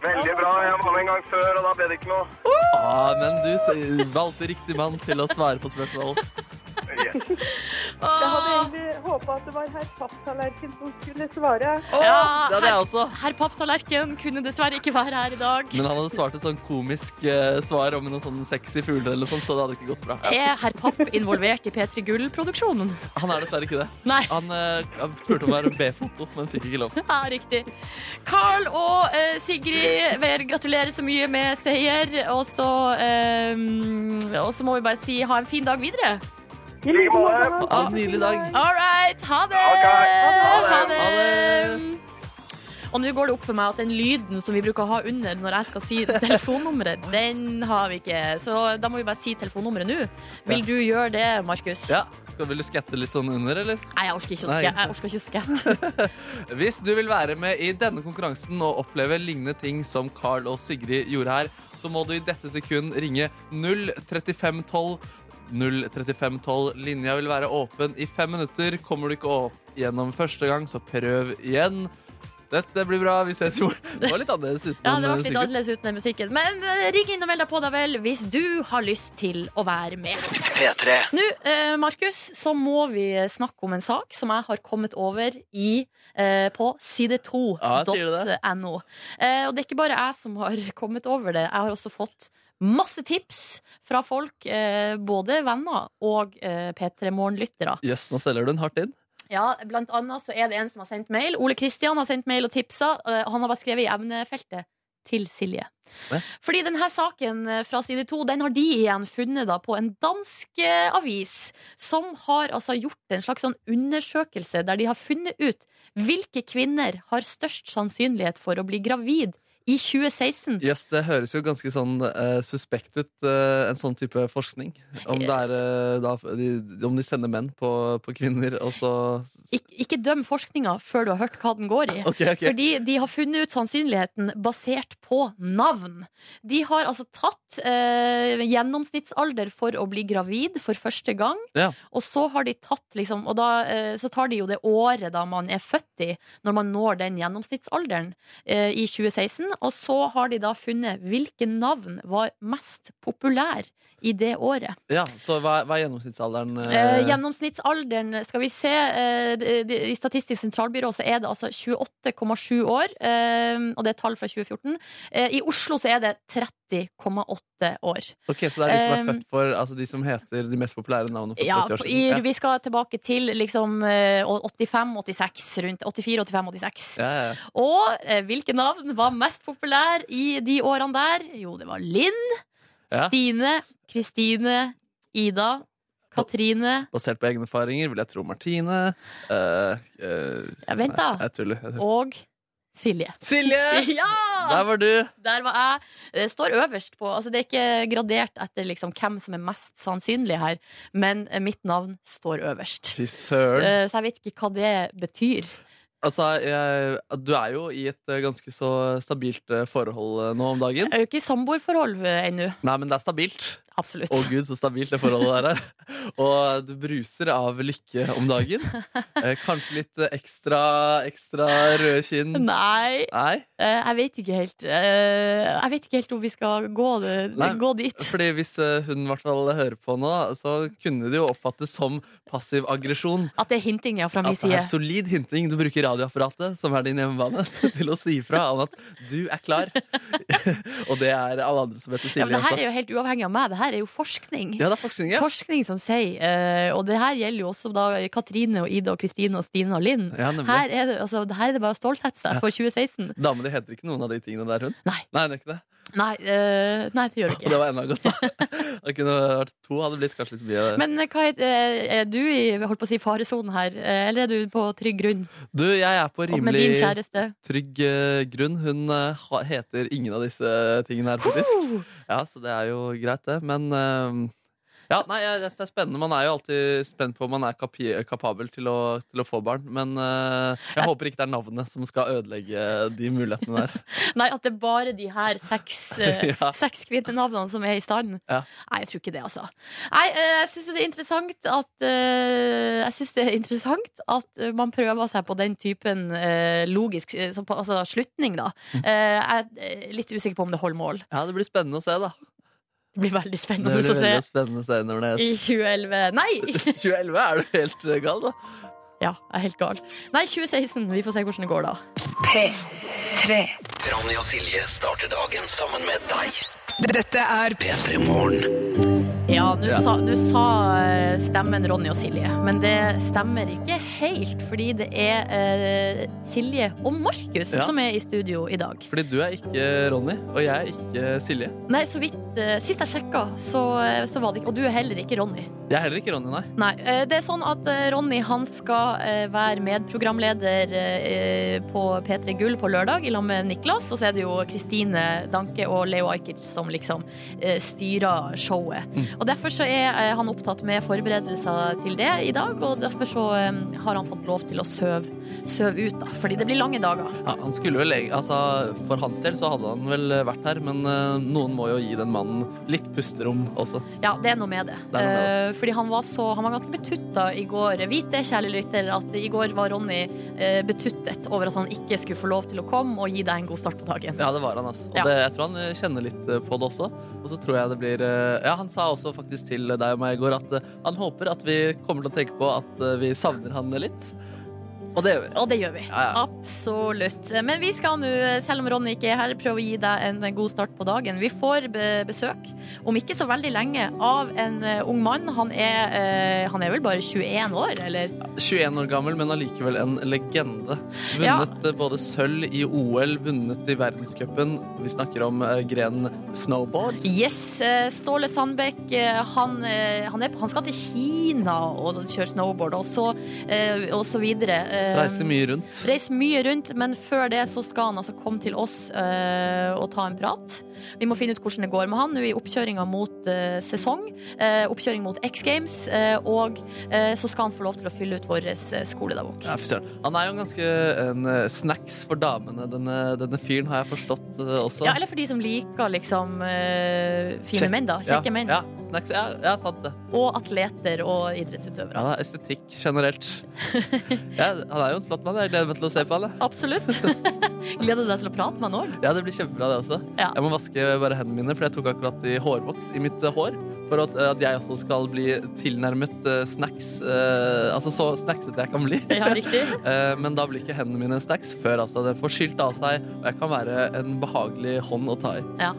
D: Veldig bra. Jeg var med en gang før, og da ble det ikke noe.
C: Ah, men du s- valgte riktig mann til å svare på spørsmål.
D: Yes.
A: Jeg hadde
B: Åh,
A: egentlig håpa at det var herr Papptallerken som skulle svare.
C: Å,
B: Ja,
C: det hadde jeg også.
B: herr Papptallerken kunne dessverre ikke være her i dag.
C: Men han hadde svart et sånn komisk eh, svar om noen sånne sexy fugler eller sånn, så det hadde ikke gått bra.
B: Er herr Papp involvert i P3 Gull-produksjonen?
C: Han er dessverre ikke det.
B: Nei.
C: Han, eh, han spurte om å være B-foto, men fikk ikke lov.
B: Ja, riktig. Carl og eh, Sigrid, vel, gratulerer så mye med seier. Og så eh, og så må vi bare si ha en fin dag videre.
A: I like måte.
C: Ha
B: Ah,
C: en nydelig dag.
B: All right, ha det!
D: Ok, ha det.
B: Ha det.
C: Ha
B: Og nå går det opp for meg at den lyden som vi bruker å ha under når jeg skal si telefonnummeret, den har vi ikke. Så da må vi bare si telefonnummeret nå. Vil
C: Ja.
B: du gjøre det, Markus?
C: Ja, skal Vil du skette litt sånn under, eller?
B: Nei, jeg orker ikke å
C: Nei.
B: skæ- jeg orker ikke å skette.
C: Hvis du vil være med i denne konkurransen og oppleve lignende ting som Carl og Sigrid gjorde her, så må du i dette sekund ringe 03512. 03512. Linja vil være åpen i fem minutter. Kommer du ikke opp gjennom første gang, så prøv igjen. Dette blir bra. Vi ses i morgen. Det var litt annerledes uten eh,
B: Ja, det ble litt
C: musikken.
B: annerledes uten den musikken. Men eh, ring inn og meld deg på, da vel, hvis du har lyst til å være med. Nå, eh, Markus, så må vi snakke om en sak som jeg har kommet over i, eh, på
C: Ja, sier du
B: side2.no. Eh, og det er ikke bare jeg som har kommet over det. Jeg har også fått masse tips fra folk, eh, både venner og eh, P3 Morgen-lyttere.
C: Jøss, nå selger du den hardt inn.
B: Ja, blant annet så er det en som har sendt mail. Ole Kristian har sendt mail og tipsa. eh, Han har bare skrevet i emnefeltet til Silje.
C: Hæ?
B: Fordi denne saken eh, fra side to, den har de igjen funnet da på en dansk eh, avis, som har altså gjort en slags sånn undersøkelse der de har funnet ut hvilke kvinner har størst sannsynlighet for å bli gravid i 2016.
C: Jøss, det høres jo ganske sånn eh, suspekt ut, eh, en sånn type forskning. Om, det er, eh, da, de, om de sender menn på, på kvinner, og så
B: Ik ikke døm forskninga før du har hørt hva den går i.
C: OK, OK.
B: Fordi de har funnet ut sannsynligheten basert på navn. De har altså tatt eh, gjennomsnittsalder for å bli gravid for første gang.
C: Ja.
B: Og så har de tatt liksom Og da eh, så tar de jo det året da man er født i, når man når den gjennomsnittsalderen eh, i 2016. Og så har de da funnet hvilke navn var mest populær i det året.
C: Ja, så hva, hva er gjennomsnittsalderen?
B: Eh, gjennomsnittsalderen, skal vi se eh, de- de- I Statistisk sentralbyrå så er det altså 28,7 år, eh, og det er tall fra 2014. Eh, I Oslo så er det 30,8 år.
C: ok, Så det er de som er
B: eh,
C: født for Altså de som heter de mest populære navnene for
B: Ja,
C: 30 år
B: på- i,
C: siden?
B: Vi skal tilbake til liksom eh, 85-86, rundt 84-85-86.
C: Ja, ja, ja.
B: Og eh, hvilke navn var mest populær i de årene der? Jo, det var Linn,
C: Ja.
B: Stine, Kristine, Ida, Katrine
C: Basert på egne erfaringer vil jeg tro Martine. eh, eh,
B: Ja, vent da.
C: Nei, jeg tuller. jeg tuller.
B: og Silje.
C: Silje!
B: Ja!
C: Der var du!
B: Der var jeg. Det står øverst på altså Det er ikke gradert etter liksom hvem som er mest sannsynlig her, men eh, mitt navn står øverst.
C: Fy søren.
B: Eh, Så jeg vet ikke hva det betyr.
C: Altså, jeg, du er jo i et eh, ganske så stabilt eh, forhold eh, nå om dagen.
B: Jeg er jo ikke i samboerforhold eh, ennå.
C: Nei, men det er stabilt.
B: Absolutt.
C: Å gud, så stabilt det forholdet der er. Og du bruser av lykke om dagen. Eh, Kanskje litt eh, ekstra, ekstra røde kinn.
B: Nei,
C: Nei.
B: eh, jeg vet ikke helt eh, Jeg vet ikke helt om vi skal gå, det,
C: Nei.
B: gå dit.
C: Fordi Hvis eh, hun i hvert fall hører på nå, så kunne det jo oppfattes som passiv aggresjon.
B: At det er hinting ja, fra min
C: At det
B: side.
C: er solid hinting du bruker radioapparatet, som er din hjemmebane, til å si fra om at du er klar. Og det er alle andre som heter
B: Ja,
C: Silje
B: men det her er
C: også.
B: jo helt uavhengig av meg. Det her er jo forskning.
C: altså. Ja, det er forskning, ja.
B: Forskning som sier, eh, og det her gjelder jo også da Katrine og Ida og Kristine og Stine og Linn.
C: ja nemlig.
B: Her er det, altså, det her er det bare å stålsette seg for 2016.
C: Damene de heter ikke noen av de tingene der, hun.
B: Nei.
C: Nei, det er ikke det.
B: Nei, eh, nei det gjør det
C: Og det
B: ikke.
C: var enda godt, da. Det kunne vært to, hadde blitt kanskje litt mye.
B: Men eh, hva er, eh, er du i holdt på å si, faresonen her, eh, eller er du på trygg grunn
C: Du, jeg er på
B: og med din
C: rimelig
B: kjæreste?
C: trygg eh, grunn. Hun eh, ha- heter ingen av disse tingene her, faktisk.
B: Uh,
C: Ja, så det er jo greit, det. Men eh, Ja, nei, jeg- det er spennende. Man er jo alltid spent på om man er kapi kapabel til å, til å få barn. Men eh, jeg håper ikke det er navnet som skal ødelegge de mulighetene der.
B: Nei, at det er bare de her seks, eh,
C: Ja.
B: seks kvinnenavnene som er i stand.
C: Ja.
B: Nei, jeg tror ikke det, altså. Nei, eh, jeg syns det er interessant at eh, Jeg synes det er interessant at eh, man prøver seg på den typen eh, logisk eh, som på- altså, slutning, da. Eh, Jeg er litt usikker på om det holder mål.
C: Ja, det blir spennende å se, da.
B: Det blir veldig
C: Det
B: spennende
C: blir
B: å se
C: veldig spennende å se
B: i
C: Nordnes.
B: 2011 Nei!
C: 2011 er du helt eh, gal, da.
B: Ja, jeg er helt gal. Nei, 2016. Vi får se hvordan det går, da.
E: P3.
F: Ronny og Silje starter dagen sammen med deg.
E: Dette er
F: P3 Morgen.
B: Ja, nå sa, nå sa eh, stemmen Ronny og Silje, men det stemmer ikke helt, fordi det er eh, Silje og Markus
C: Ja.
B: som er i studio i dag.
C: Fordi du er ikke Ronny, og jeg er ikke Silje.
B: Nei, så vidt eh, Sist jeg sjekka, så, eh, så var det ikke Og du er heller ikke Ronny.
C: Jeg er heller ikke Ronny, nei.
B: Nei. eh, det er sånn at eh, Ronny han skal eh, være medprogramleder eh, på P3 Gull på lørdag i lag med Niklas, og så er det jo Kristine Danke og Leo Ajkic som liksom eh, styrer showet. Og derfor så er eh, han opptatt med forberedelser til det i dag, og derfor så eh, har han fått lov til å søve søv ut, da. Fordi det blir lange dager.
C: Ja, han skulle vel, eg- altså, for hans del så hadde han vel eh, vært her, men eh, noen må jo gi den mannen litt pusterom også.
B: Ja, det er noe med det.
C: Det er noe med
B: Eh, fordi han var, så, han var ganske betutta i går. Vit det, kjære lytter, at i går var Ronny eh, betuttet over at han ikke skulle få lov til å komme og gi deg en god start på dagen.
C: Ja, det var han, altså. Og
B: Ja.
C: det, jeg tror han eh, kjenner litt eh, på det også. Og så tror jeg det blir eh, Ja, han sa også faktisk til deg og meg i går at eh, han håper at vi kommer til å tenke på at eh, vi savner han litt. Og det gjør vi.
B: Og det gjør vi.
C: Ja, ja.
B: Absolutt. Men vi skal nå, selv om Ronny ikke er her, prøve å gi deg en god start på dagen. Vi får be besøk, om ikke så veldig lenge, av en eh, ung mann. Han er, eh, han er vel bare 21 år, eller?
C: 21 år gammel, men allikevel en legende.
B: Ja.
C: Vunnet eh, både sølv i OL, vunnet i verdenscupen. Vi snakker om eh, grenen snowboard.
B: Yes, eh, Ståle Sandbekk eh, han, eh, han, er, han skal til Kina og kjøre snowboard og så, eh, og så videre. Eh,
C: Reiser mye rundt.
B: Reiser mye rundt, men før det så skal han altså komme til oss eh, og ta en prat. Vi må finne ut hvordan det går med han nå i oppkjøringa mot eh, sesong. eh, oppkjøring mot X Games. eh, og eh, så skal han få lov til å fylle ut vår eh, skoledagbok.
C: Ja, fy søren. Han er jo en ganske en eh, snacks for damene, denne, denne fyren, har jeg forstått eh, også.
B: Ja, eller for de som liker liksom eh, fine
C: Kjekk-
B: menn, da. Kjekke
C: ja,
B: menn.
C: Ja, snacks, ja, ja, sant det.
B: Og atleter og idrettsutøvere.
C: Ja, estetikk generelt. Ja, han er jo en flott mann. Jeg gleder meg til å se på han. jeg.
B: Absolutt. Gleder du deg til å prate med han òg?
C: Ja, det blir kjempebra, det også.
B: Ja.
C: Jeg må vaske bare hendene mine, for jeg tok akkurat i hårvoks i mitt eh, hår. For at, at jeg også skal bli tilnærmet eh, snacks. eh, altså så snacksete jeg kan bli.
B: Ja, riktig.
C: Eh, Men da blir ikke hendene mine snacks før altså, den får skylt av seg, og jeg kan være en behagelig hånd å ta i.
B: Ja.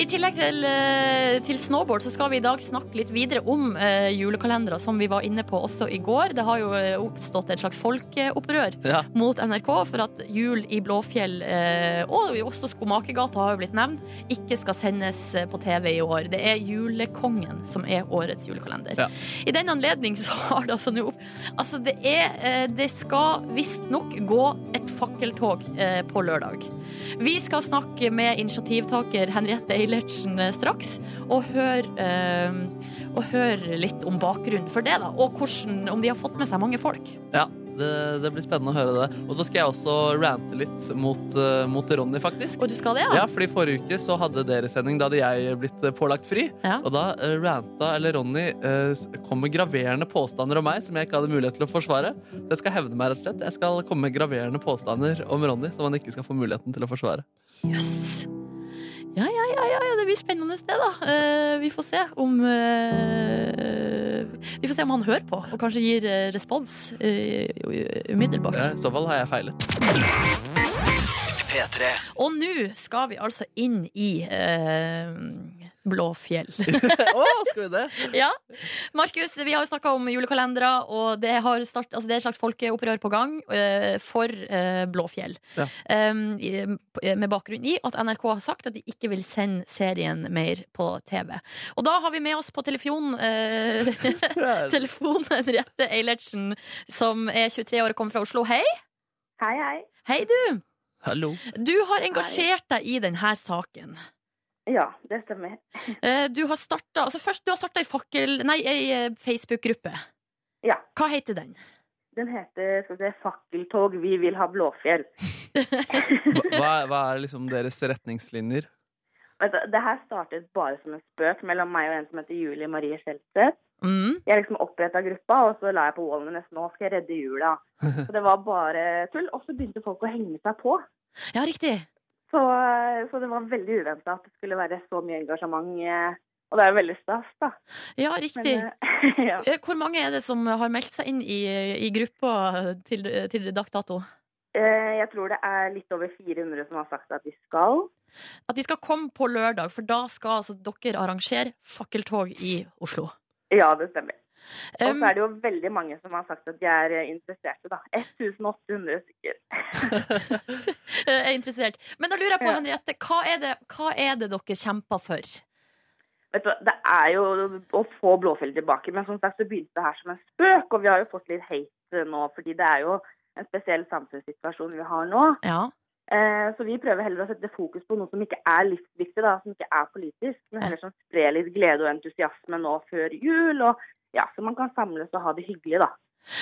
B: I tillegg til, eh, til snowboard så skal vi i dag snakke litt videre om eh, julekalendere, som vi var inne på også i går. Det har jo eh, oppstått et slags folkeopprør
C: Ja.
B: mot NRK for at jul i Blåfjell, eh, og også Skomakergata har jo blitt nevnt, ikke skal sendes eh, på TV i år. Det er Julekongen som er årets julekalender.
C: Ja.
B: I den anledning så har det altså nå opp Altså, det er eh, Det skal visstnok gå et fakkeltog eh, på lørdag. Vi skal snakke med initiativtaker Henriette Eilertsen eh, straks, og høre eh, og høre litt om bakgrunnen for det, da. Og hvordan, om de har fått med seg mange folk.
C: Ja, det, det blir spennende å høre det. Og så skal jeg også rante litt mot, eh, mot Ronny, faktisk.
B: Og du skal det,
C: Ja, fordi forrige uke så hadde dere sending, da hadde jeg blitt eh, pålagt fri.
B: Ja.
C: Og da eh, ranta, eller Ronny, eh, s- kom med graverende påstander om meg som jeg ikke hadde mulighet til å forsvare. Så jeg skal hevde meg, rett og slett. Jeg skal komme med graverende påstander om Ronny som han ikke skal få muligheten til å forsvare.
B: Jøss. Ja, ja, ja, ja, ja, det blir spennende det, da. Eh, vi får se om eh, Vi får se om han hører på, og kanskje gir eh, respons eh, umiddelbart.
C: Ja, I så fall har jeg feilet.
F: P3.
B: Og nå skal vi altså inn i eh, Blåfjell.
C: Å, skal vi det?
B: ja. Markus, vi har jo snakka om julekalendere, og det, har start, altså det er et slags folkeopprør på gang eh, for eh, Blåfjell.
C: Ja.
B: Em, i- eh, med bakgrunn i at NRK har sagt at de ikke vil sende serien mer på TV. Og da har vi med oss på telefon eh, telefon Henriette Eilertsen, som er 23 år og kommer fra Oslo. Hei!
A: Hei, hei.
B: Hei, du!
C: Hallo.
B: Du har engasjert deg i denne saken.
A: Ja, det stemmer.
B: Eh, Du har starta altså først, du har starta ei fakkel... Nei, ei eh, Facebook-gruppe.
A: Ja.
B: Hva heter den?
A: Den heter skal vi se, 'Fakkeltog vi vil ha Blåfjell'.
C: Hva, hva er- hva er liksom deres retningslinjer?
A: Altså, det her startet bare som en spøk mellom meg og en som heter Julie Marie Skjelseth.
B: Mm.
A: Jeg liksom oppretta gruppa, og så la jeg på wallen min nå skal jeg redde jula. Så det var bare tull. Og så begynte folk å henge seg på.
B: Ja, riktig.
A: Så, så det var veldig uventa at det skulle være så mye engasjement. eh, Og det er jo veldig stas, da.
B: Ja,
A: Men,
B: riktig.
A: eh, ja.
B: Eh, Hvor mange er det som har meldt seg inn i, i gruppa til, til dags dato?
A: Eh, Jeg tror det er litt over 400 som har sagt at de skal.
B: At de skal komme på lørdag, for da skal altså dere arrangere fakkeltog i Oslo.
A: Ja, det stemmer. Og
B: Um,
A: så er det jo veldig mange som har sagt at de er eh, interesserte, da. 1800 stykker.
B: er interessert. Men da lurer jeg på,
A: Ja.
B: Henriette, hva er, det, hva er det dere kjemper for?
A: Vet du, hva, det er jo å få Blåfjell tilbake, men som sagt så begynte det her som en spøk, og vi har jo fått litt hate eh, nå, fordi det er jo en spesiell samfunnssituasjon vi har nå.
B: Ja.
A: Eh, Så vi prøver heller å sette fokus på noe som ikke er livsviktig, da, som ikke er politisk, men heller som sprer litt glede og entusiasme nå før jul, og ja, så man kan samles og ha det hyggelig, da.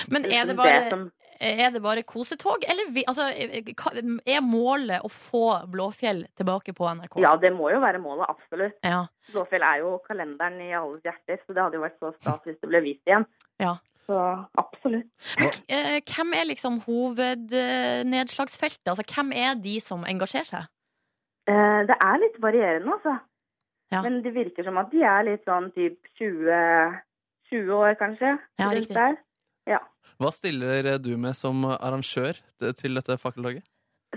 B: Men er det
A: Liksom
B: bare,
A: som,
B: er det bare kosetog, eller vi, altså, hva- er målet å få Blåfjell tilbake på NRK?
A: ja, det må jo være målet, absolutt.
B: Ja.
A: Blåfjell er jo kalenderen i alles hjerter, så det hadde jo vært så stas hvis det ble vist igjen.
B: Ja.
A: Så absolutt.
B: Eh, Hvem er liksom hovednedslagsfeltet? Altså, hvem er de som engasjerer seg?
A: Eh, det er litt varierende, altså.
B: Ja.
A: Men det virker som at de er litt sånn typ 20, 20 år, kanskje.
B: Ja,
A: rundt
B: riktig.
A: der.
C: Hva stiller du med som arrangør til- til dette fakkeltoget?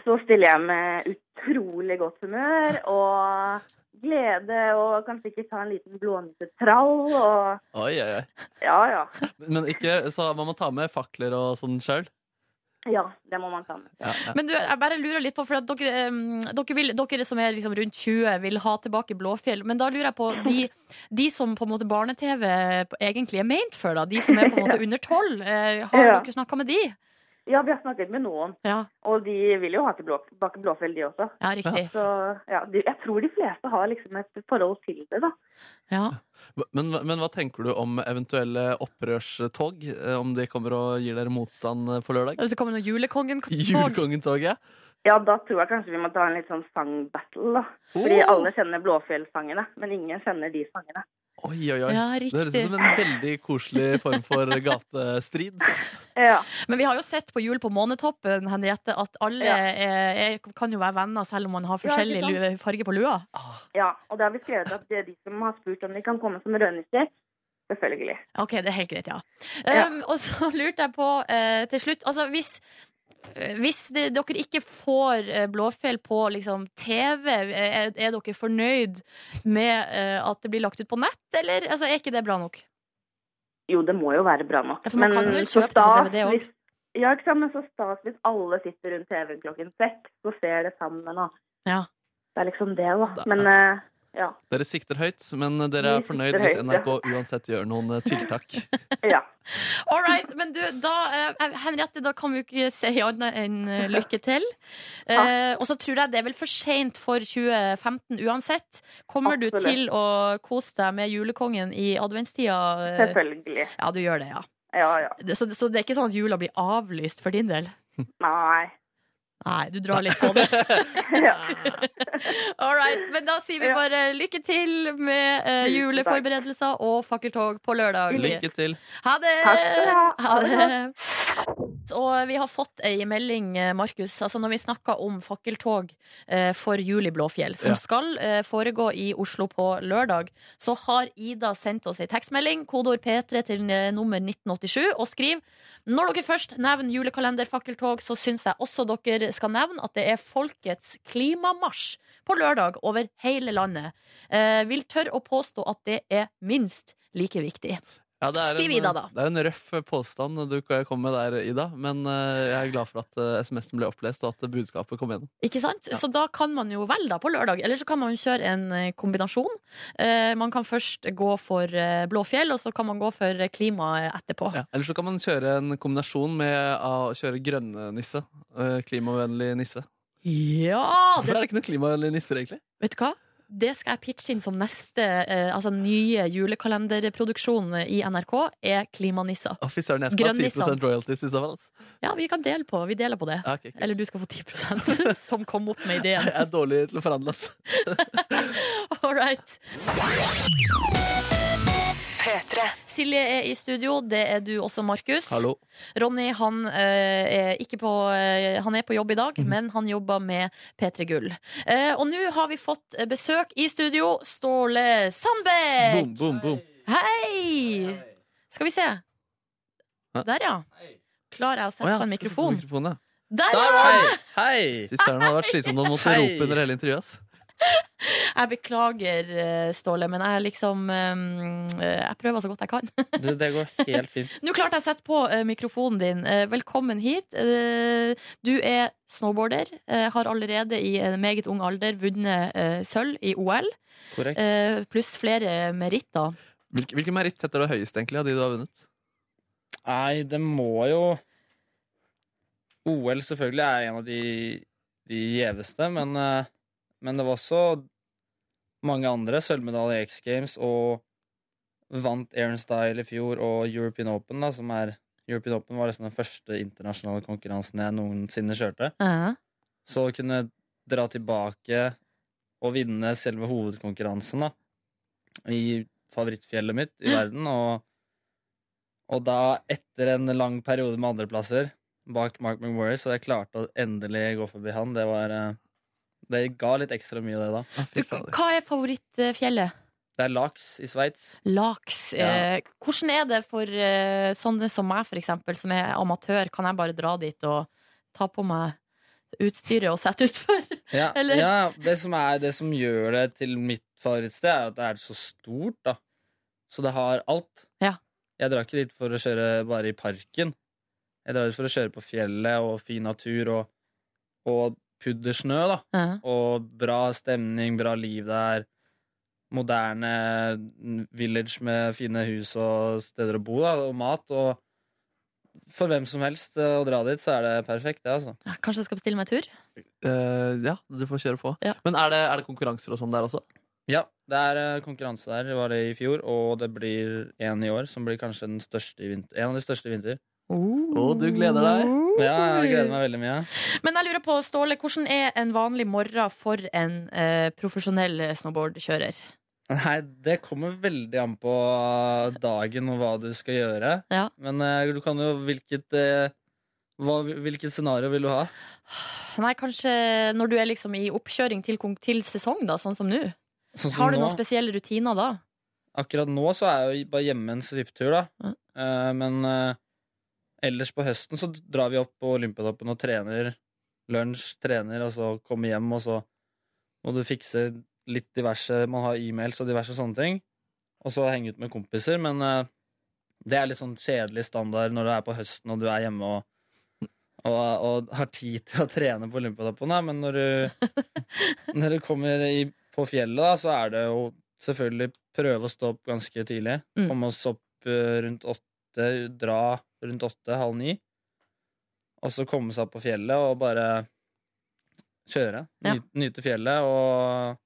A: Så stiller jeg med utrolig godt humør og glede, og kan sikkert ta en liten blånissetrall og
C: Oi, oi, oi.
A: Ja, ja.
C: Men ikke, så man må ta med fakler og sånn sjøl?
A: Ja, det må man ta med.
C: Ja, ja.
B: Men du, jeg bare lurer litt på, for at dere, em, dere, vil, dere som er liksom rundt 20 vil ha tilbake Blåfjell, men da lurer jeg på de, de som på en måte barne-TV egentlig er meint for, da, de som er på en måte under 12, eh, har
A: Ja.
B: dere snakket med de?
A: Ja, vi har snakket med noen,
B: Ja,
A: og de vil jo ha tilbake Blåfjell, de også.
B: ja riktig.
A: Så ja, de, jeg tror de fleste har liksom et forhold til det, da.
B: Ja.
C: Men, men hva tenker du om eventuelle opprørstog? eh, Om de kommer og gir dere motstand eh, på lørdag?
B: Hvis det kommer noen julekongen-tog.
C: Julekongentoget?
A: Ja, da tror jeg kanskje vi må ta en litt sånn sangbattle, da. Fordi
C: Oh!
A: alle kjenner Blåfjell-sangene, men ingen kjenner de sangene.
C: Oi, oi, oi.
B: Ja,
C: Det høres ut
B: riktig.
C: som en veldig koselig form for gatestrid.
A: Ja,
B: Men vi har jo sett på Jul på månetoppen, Henriette, at alle
A: Ja.
B: er, er, kan jo være venner selv om man har
A: Ja,
B: forskjellig
A: ikke sant?
B: lu- farge på lua.
A: ja. Og da har vi skrevet at det er de som har spurt om de kan komme som rødnisser, selvfølgelig.
B: Ok, det er helt greit, ja.
A: Ja.
B: Um, og så lurte jeg på eh, til slutt Altså, hvis eh, hvis det, dere ikke får eh, Blåfjell på liksom, TV, er, er dere fornøyd med eh, at det blir lagt ut på nett, eller altså, er ikke det bra nok?
A: Jo, det må jo være bra nok.
B: Ja, for man kan vel
A: så
B: kjøpe det på
A: stas
B: DVD også.
A: hvis- Ja, ikke sant, men så stas hvis alle sitter rundt TV-en klokken seks og ser det sammen, og
B: Ja.
A: det er liksom det, da.
C: Da-
A: Men eh, ja.
C: Dere sikter høyt, men dere er
A: Vi
C: fornøyd
A: sikter
C: hvis
A: høyt,
C: NRK uansett gjør noen eh, tiltak.
A: ja.
B: All right, men du, da, eh, Henriette, da kan vi jo ikke si annet enn eh, lykke til. Eh, og så tror jeg det er vel for seint for 2015 uansett. Kommer du
A: Absolutt.
B: til å kose deg med Julekongen i adventstida? Eh,
A: Selvfølgelig.
B: Ja, du gjør det, ja.
A: Ja, ja.
B: Det- Så, så det er ikke sånn at jula blir avlyst for din del?
A: Nei.
B: Nei, du drar litt på det.
A: Ja.
B: Ah. All right, men da sier vi
A: Ja.
B: bare lykke til med eh,
A: Tusen
B: juleforberedelser og fakkeltog på lørdag.
C: Lykke til.
B: Ha det!
A: Takk skal du ha.
B: Ha
A: Ha det
B: det. Og vi har fått ei melding, eh, Markus, altså når vi snakka om fakkeltog eh, for jul i Blåfjell, som
C: Ja.
B: skal eh, foregå i Oslo på lørdag, så har Ida sendt oss ei tekstmelding, kodeord P3 til eh, nummer 1987, og skriver når dere først nevner julekalenderfakkeltog, så syns jeg også dere skal nevne at det er Folkets klimamarsj på lørdag over hele landet. Eh, vil tørre å påstå at det er minst like viktig.
C: Ja, det er
B: Skriv
C: en,
B: Ida, da.
C: Det er en røff påstand eh, du kom med der, Ida, men eh, jeg er glad for at eh, SMS-en ble opplest, og at budskapet kom gjennom.
B: Ikke sant? Så da kan man jo velge da på lørdag, eller så kan man jo kjøre en eh, kombinasjon. Eh, man kan først gå for eh, Blåfjell, og så kan man gå for eh, klima etterpå.
C: Ja. Eller så kan man kjøre en kombinasjon med å kjøre grønne nisse. eh, Klimavennlig nisse.
B: Ja!
C: Hvorfor
B: det,
C: er det ikke noen klimavennlige nisser, egentlig?
B: vet du hva? det skal jeg pitche inn som neste eh, altså nye julekalenderproduksjon i NRK, er Klimanisser.
C: Å, fy søren, jeg skal
B: Grønnissan.
C: ha 10 royalties i så fall. altså.
B: Ja, vi kan dele på, vi deler på det.
C: Ja, ok, kult.
B: Eller du skal få 10 som kom opp med ideen.
C: Jeg er dårlig til å forhandle, altså.
B: All right. Silje er i studio, det er du også, Markus.
C: Hallo.
B: Ronny han, eh, er ikke på, eh, han er på jobb i
C: Mhm.
B: dag, men han jobber med P3 Gull. Eh, og nå har vi fått eh, besøk i studio. Ståle Sandbekk!
C: Boom, boom, boom.
B: Hei! Skal vi se.
C: Hæ?
B: Der, ja. Klarer jeg å
C: Å,
B: sette
C: ja,
B: på
C: skal
B: en
C: du sette
B: mikrofon?
C: mikrofonen, ja.
B: Der, ja!
G: Hei! Hei!
C: Fy søren, det hadde vært slitsomt å måtte
G: Hei.
C: rope under hele intervjuet. ass.
B: Jeg beklager, eh, Ståle, men jeg liksom eh, Jeg prøver så godt jeg kan.
G: Du, det går helt fint.
B: Nå klarte jeg å sette på eh, mikrofonen din. Eh, Velkommen hit. Eh, Du er snowboarder. eh, Har allerede i en meget ung alder vunnet eh, sølv i OL,
G: Korrekt.
B: eh, pluss flere meritter.
C: Hvilke, hvilke meritt setter du høyest, egentlig, av de du har vunnet?
G: Nei, det må jo OL selvfølgelig er en av de, de gjeveste, men, eh, men det var også mange andre. Sølvmedalje i X Games og vant Aaron Style i fjor og European Open, da, som er European Open var liksom den første internasjonale konkurransen jeg noensinne kjørte.
B: Eh,
G: Så å kunne dra tilbake og vinne selve hovedkonkurransen da, i favorittfjellet mitt i verden, og, og da etter en lang periode med andreplasser bak Mark McMurray, så jeg klarte å endelig gå forbi han. Det var eh, Det ga litt ekstra mye, det, da.
B: Du, hva er favorittfjellet?
G: Det er laks i Sveits.
B: Laks.
G: Ja.
B: Eh, Hvordan er det for eh, sånne som meg, for eksempel, som er amatør? Kan jeg bare dra dit og ta på meg utstyret og sette utfor?
G: Ja,
B: Eller-
G: ja det, som er, det som gjør det til mitt favorittsted, er jo at det er så stort, da. Så det har alt.
B: Ja.
G: Jeg drar ikke dit for å kjøre bare i parken. Jeg drar dit for å kjøre på fjellet og fin natur og, og puddersnø, da.
B: Eh,
G: Og bra stemning, bra liv der. Moderne village med fine hus og steder å bo, da, og mat. Og for hvem som helst eh, å dra dit, så er det perfekt, det, altså.
B: ja, Kanskje jeg skal bestille meg en tur?
C: Eh, ja, du får kjøre på.
B: Ja.
C: Men er det, er det konkurranser og sånn der også?
G: Ja, det er eh, konkurranse der. Det var det i fjor, og det blir en i år, som blir kanskje den største i vinter. En av de største i vinter.
C: Å, du gleder deg.
G: Ja, jeg gleder meg veldig mye.
B: Men jeg lurer på, Ståle, hvordan er en vanlig morgen for en eh, profesjonell snowboardkjører?
G: Nei, det kommer veldig an på eh, dagen og hva du skal gjøre.
B: Ja.
G: Men eh, du kan jo hvilket eh, hva, Hvilket scenario vil du ha?
B: Nei, kanskje når du er liksom i oppkjøring til, kon- til sesong, da, sånn som nå.
G: Sånn som
B: Har du
G: nå.
B: noen spesielle rutiner da?
G: Akkurat nå så er jeg jo bare hjemme en svipptur, da.
B: Mm.
G: Eh, men eh, ellers på høsten så drar vi opp på Olympiatoppen og trener. Lunsj, trener, og så komme hjem, og så må du fikse litt diverse Man har e-mails og diverse sånne ting. Og så henge ut med kompiser, men eh, det er litt sånn kjedelig standard når du er på høsten og du er hjemme og og, og har tid til å trene på Olympiatoppen, da. men når du, når du kommer i, på fjellet, da, så er det jo selvfølgelig prøve å stå opp ganske tidlig.
B: Mm.
G: Komme oss opp eh, rundt åtte, dra rundt åtte, halv ni. Og så komme seg opp på fjellet og bare kjøre.
B: Ja.
G: Nyte, nyte fjellet og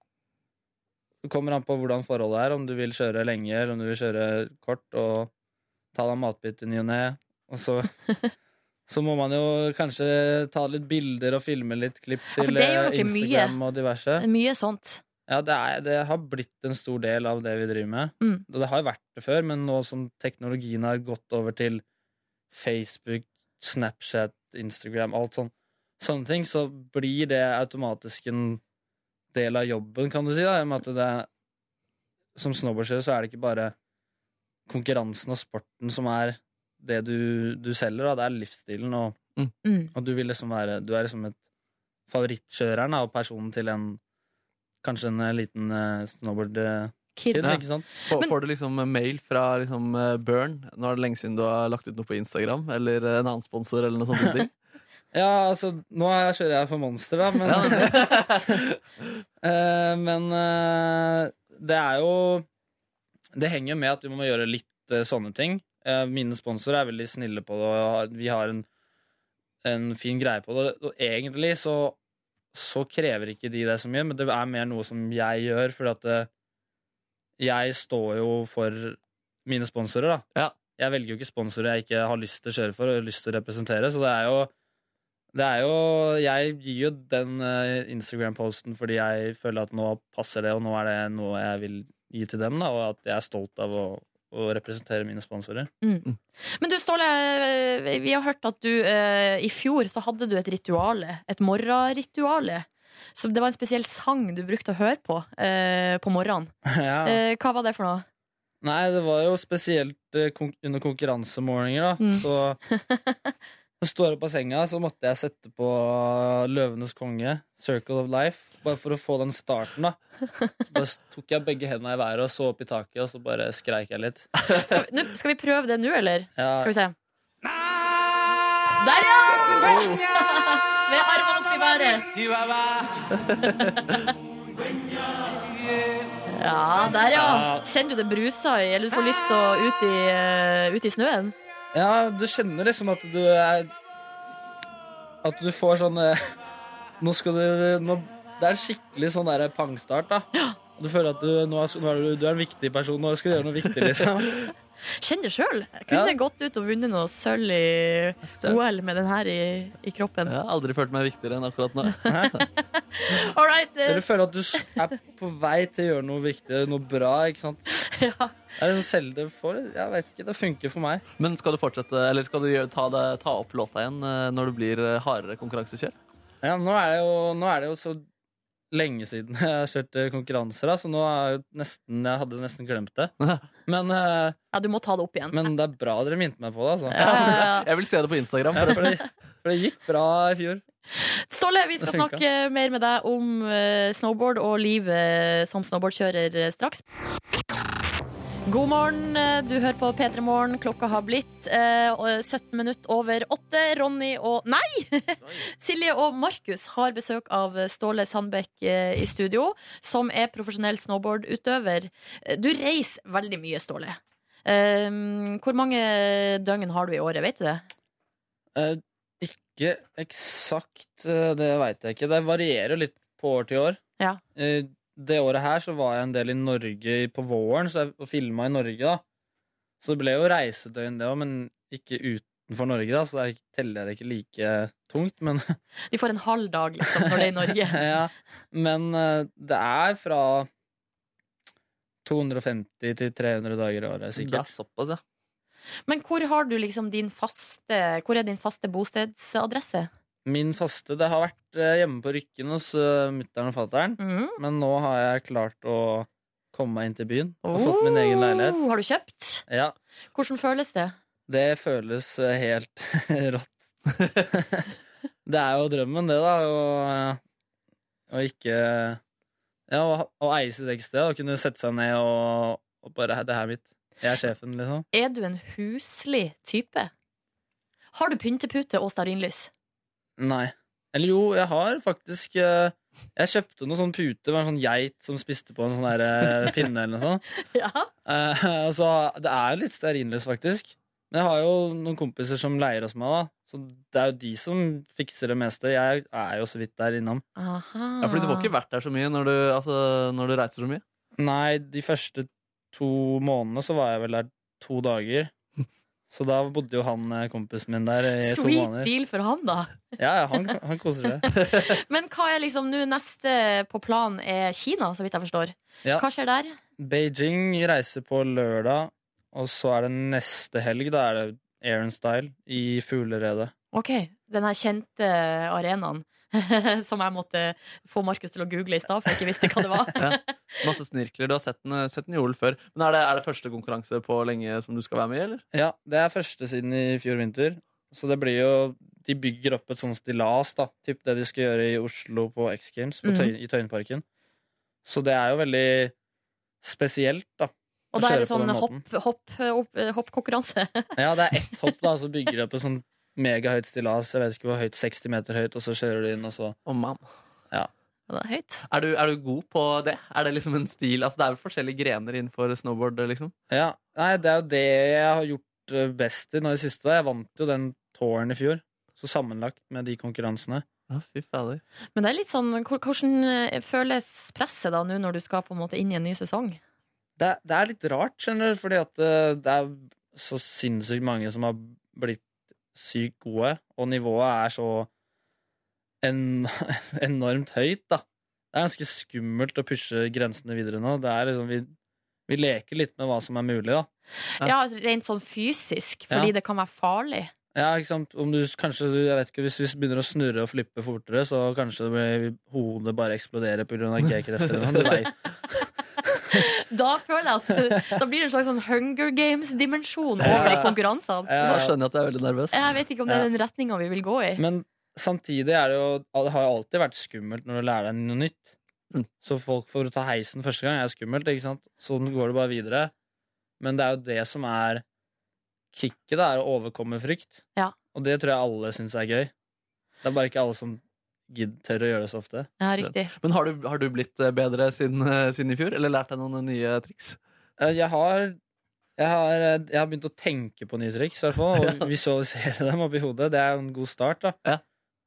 G: Det kommer an på hvordan forholdet er, om du vil kjøre lenge eller om du vil kjøre kort, og ta deg en matbit i ny og ne. Og så Så må man jo kanskje ta litt bilder og filme litt klipp
B: Ja, for
G: til
B: det gjør
G: eh,
B: dere mye.
G: Instagram og diverse.
B: Det er Mye sånt.
G: Ja, det, er, det har blitt en stor del av det vi driver med.
B: Mm.
G: Og det har jo vært det før, men nå som teknologien har gått over til Facebook, Snapchat, Instagram, alt sånn, sånne ting, så blir det automatisk en del av jobben, kan du si. Da, i og med at det er, som snowboardkjører så er det ikke bare konkurransen og sporten som er det du, du selger, da. det er livsstilen og
B: Mm.
G: og du vil liksom være Du er liksom et favorittkjøreren da, og personen til en Kanskje en eh, liten eh, snowboard eh,
B: Kid.
G: kid,
C: Ja.
G: ikke sant?
C: Får,
B: Men-
C: får du liksom mail fra liksom, eh, Burn? Nå er det lenge siden du har lagt ut noe på Instagram, eller eh, en annen sponsor, eller noe sånt. ting.
G: Ja, altså, nå er- kjører jeg for Monster, da, men Eh, Men eh, det er jo Det henger jo med at vi må gjøre litt eh, sånne ting. Eh, mine sponsorer er veldig snille på det, og vi har en, en fin greie på det. Og egentlig så, så krever ikke de det så mye, men det er mer noe som jeg gjør, fordi at eh, jeg står jo for mine sponsorer, da.
C: Ja.
G: Jeg velger jo ikke sponsorer jeg ikke har lyst til å kjøre for og lyst til å representere, så det er jo det er jo, Jeg gir jo den eh, Instagram-posten fordi jeg føler at nå passer det, og nå er det noe jeg vil gi til dem, da, og at jeg er stolt av å, å representere mine sponsorer.
B: mm. Men du, Ståle, eh, vi har hørt at du eh, i fjor så hadde du et rituale. Et morgenrituale. Så det var en spesiell sang du brukte å høre på eh, på morgenen.
G: ja.
B: Eh, hva var det for noe?
G: Nei, det var jo spesielt eh, kon under konkurransemorgener, da.
B: Mm.
G: Så så står jeg på senga, så måtte jeg sette på eh, Løvenes konge, Circle of Life, bare for å få den starten, da. Så bare s- tok jeg begge hendene i været og så opp i taket, og så bare skreik jeg litt.
B: Skal vi, nå- skal vi prøve det nå, eller?
G: Ja,
B: Skal vi se. Der, ja! Med armene opp i været. Ja, der, ja. Kjenner du det brusa i, eller du får lyst til å ut i, eh, ut i snøen?
G: ja du kjenner liksom at du er At du får sånn eh, Nå skal du nå, Det er skikkelig sånn der pangstart, da. Du føler at du, nå er, nå er du, du er en viktig person, nå skal du gjøre noe viktig, liksom.
B: Kjenn det sjøl.
G: Ja.
B: Kunne jeg gått ut og vunnet noe sølv i OL med den her i, i kroppen.
C: Jeg har aldri følt meg viktigere enn akkurat nå.
B: All right. eh,
G: Eller føler at du s- er på vei til å gjøre noe viktig, noe bra. ikke sant?
B: ja.
G: Det er sånn Selge for Jeg vet ikke, det funker for meg.
C: Men skal du fortsette, eller skal du gjøre, ta, det, ta opp låta igjen eh, når det blir eh, hardere konkurransekjør?
G: Ja, nå er det jo, nå er det jo så lenge siden jeg har kjørt eh, konkurranser, da, så nå er jo nesten, jeg hadde nesten glemt det. Men, eh,
B: ja, du må ta det opp igjen.
G: men det er bra dere minte meg på det, altså.
B: Ja, ja, ja.
C: Jeg vil se det på Instagram.
G: Ja, for, det, for det gikk bra i fjor.
B: Ståle, vi skal
G: Det funka.
B: snakke mer med deg om eh, snowboard og livet som snowboardkjører eh, straks. God morgen, eh, du hører på P3 Morgen. Klokka har blitt eh, og- 17 minutter over åtte. Ronny og Nei! Silje og Markus har besøk av Ståle Sandbekk eh, i studio, som er profesjonell snowboardutøver. Eh, Du reiser veldig mye, Ståle. Eh, hvor mange døgn har du i året, vet du det?
G: Eh, ikke eksakt, eh, det veit jeg ikke. Det varierer jo litt på år til år.
B: Ja.
G: Eh, det året her så var jeg en del i Norge på våren, så jeg filma i Norge, da. Så det ble jo reisedøgn, det òg, men ikke utenfor Norge, da, så der teller jeg det ikke like tungt. Men,
B: De får en halv dag, liksom, når det er i Norge.
G: ja. men eh, det er fra 250 til 300 dager i året,
C: Det er
G: sikkert.
C: såpass, ja.
B: Men hvor har du liksom din faste Hvor er din faste bostedsadresse?
G: Min faste Det har vært eh, hjemme på Rykken hos uh, mutter'n og fatter'n.
B: Mm.
G: Men nå har jeg klart å komme meg inn til byen og fått min egen leilighet.
B: Oh, Har du kjøpt?
G: Ja,
B: Hvordan føles det?
G: det føles eh, helt rått. det er jo drømmen, det, da. Å, eh, å ikke Ja, å, å eie sitt eget sted. Å kunne sette seg ned og, og bare Det her er mitt. Jeg er sjefen, liksom.
B: Er du en huslig type? Har du pyntepute og stearinlys?
G: Nei. Eller jo, jeg har faktisk eh, Jeg kjøpte noen sånne puter med en sånn geit som spiste på en sånn der, eh, pinne eller noe sånt.
B: Ja.
G: Eh, og så, det er jo litt stearinløst, faktisk. Men jeg har jo noen kompiser som leier hos meg, da. Så det er jo de som fikser det meste. Jeg er jo så vidt der innom.
B: Aha.
C: ja fordi du får ikke vært der så mye når du, altså, når du reiser så mye.
G: Nei, de første to månedene så var jeg vel der to dager. Så da bodde jo han eh, kompisen min der i to
B: Sweet
G: måneder.
B: deal for han, da.
G: Ja, ja, han, han koser seg.
B: Men hva er liksom nå neste på planen er Kina, så vidt jeg forstår.
G: Ja.
B: Hva skjer der?
G: Beijing reiser på lørdag, og så er det neste helg. Da er det Aaron Style i Fugleredet.
B: Ok, den her kjente arenaen som jeg måtte få Markus til å google i stad, for jeg ikke visste hva det var.
C: Masse snirkler. Du har sett den, eh, sett den i OL før. Men er det, er det første konkurranse på lenge som du skal være med i, eller?
G: Ja, det er første siden i fjor vinter. Så det blir jo De bygger opp et sånt stillas, da. Typ det de skal gjøre i Oslo på X Games, på
B: Mhm.
G: Tøyen, i Tøyenparken. Så det er jo veldig spesielt, da.
B: Og
G: å
B: da er det
G: kjøre på
B: sånn
G: den måten.
B: hopp- hopp- opp- hoppkonkurranse.
G: Ja, det er ett hopp, da, så bygger de opp et sånn megahøyt stillas. Jeg vet ikke hvor høyt, 60 meter høyt, og så kjører du inn, og så
C: Å, man.
B: Ja, det er høyt.
C: Er du, er du god på det? Er det liksom en stil Altså, det er vel forskjellige grener innenfor snowboard, liksom?
G: Ja. Nei, det er jo det jeg har gjort eh, best i nå i det siste. da. Jeg vant jo den touren i fjor. Så sammenlagt med de konkurransene.
C: Ja, fy fader.
B: Men det er litt sånn, hvor- hvordan eh, føles presset da nå når du skal på en måte inn i en ny sesong?
G: det, det er litt rart, skjønner du, fordi at eh, det er så sinnssykt mange som har blitt sykt gode, og nivået er så en, enormt høyt, da. Det er ganske skummelt å pushe grensene videre nå. Det er liksom, vi, vi leker litt med hva som er mulig, da. Ja.
B: Ja, altså, rent sånn fysisk, fordi
G: Ja.
B: det kan være farlig.
G: Ja, ikke sant? Om du s- kanskje, du- jeg vet ikke, Hvis vi begynner å snurre og flippe fortere, så kanskje det blir, hodet bare eksploderer pga. G-krefter. eller noe. Du vet.
B: Da føler jeg at da blir det en slags sånn Hunger Games-dimensjon over de konkurransene.
C: Da
G: Eh,
C: skjønner jeg at jeg er veldig nervøs.
B: Jeg vet ikke om det er den retninga vi vil gå i.
G: Men samtidig er det jo Det har jo alltid vært skummelt når du lærer deg noe nytt.
C: Mm.
G: Så folk får ta heisen første gang, er skummelt, ikke sant? Sånn går det bare videre. Men det er jo det som er kicket, det er å overkomme frykt.
B: Ja.
G: Og det tror jeg alle syns er gøy. Det er bare ikke alle som gidd tør å gjøre det så ofte.
B: Ja, riktig.
C: Men har du, har du blitt eh, bedre siden, eh, siden i fjor? Eller lært deg noen nye triks?
G: Eh, Jeg har jeg har, eh, jeg har begynt å tenke på nye triks, i hvert fall, og visualisere dem oppi hodet. Det er jo en god start. da
C: Ja.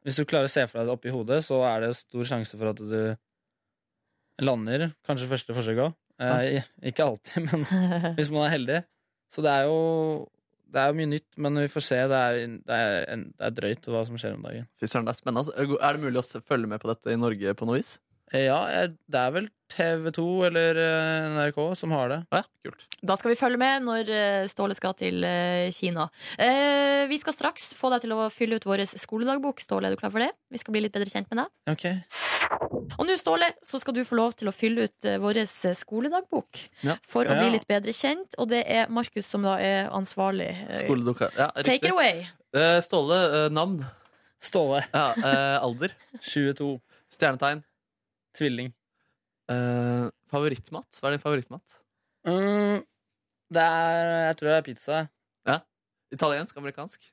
G: Hvis du klarer å se for deg det oppi hodet, så er det stor sjanse for at du lander. Kanskje første forsøk òg. Eh, ikke alltid, men hvis man er heldig. Så det er jo Det er jo mye nytt, men vi får se. Det er, det er, en, det er drøyt hva som skjer om dagen.
C: Fy søren, det er spennende. altså. Er det mulig å s- følge med på dette i Norge på noe vis?
G: Eh, ja, jeg, det er vel TV2 eller eh, NRK som har det.
C: Å ja, kult.
B: Da skal vi følge med når eh, Ståle skal til eh, Kina. Eh, Vi skal straks få deg til å fylle ut vår skoledagbok. Ståle, er du klar for det? Vi skal bli litt bedre kjent med deg.
G: Ok
B: Og nå, Ståle, så skal du få lov til å fylle ut eh, vår skoledagbok
C: Ja.
B: for å bli
G: Ja.
B: litt bedre kjent, og det er Markus som da er ansvarlig. Eh,
C: Skoledukka. Ja,
B: Take it
C: riktig.
B: away.
C: Eh, Ståle, eh, navn?
G: Ståle.
C: Ja, eh, alder?
G: 22.
C: Stjernetegn?
G: Tvilling.
C: Eh, favorittmat? Hva er din favorittmat?
G: Mm, det er Jeg tror det er pizza.
C: Italiensk? Amerikansk?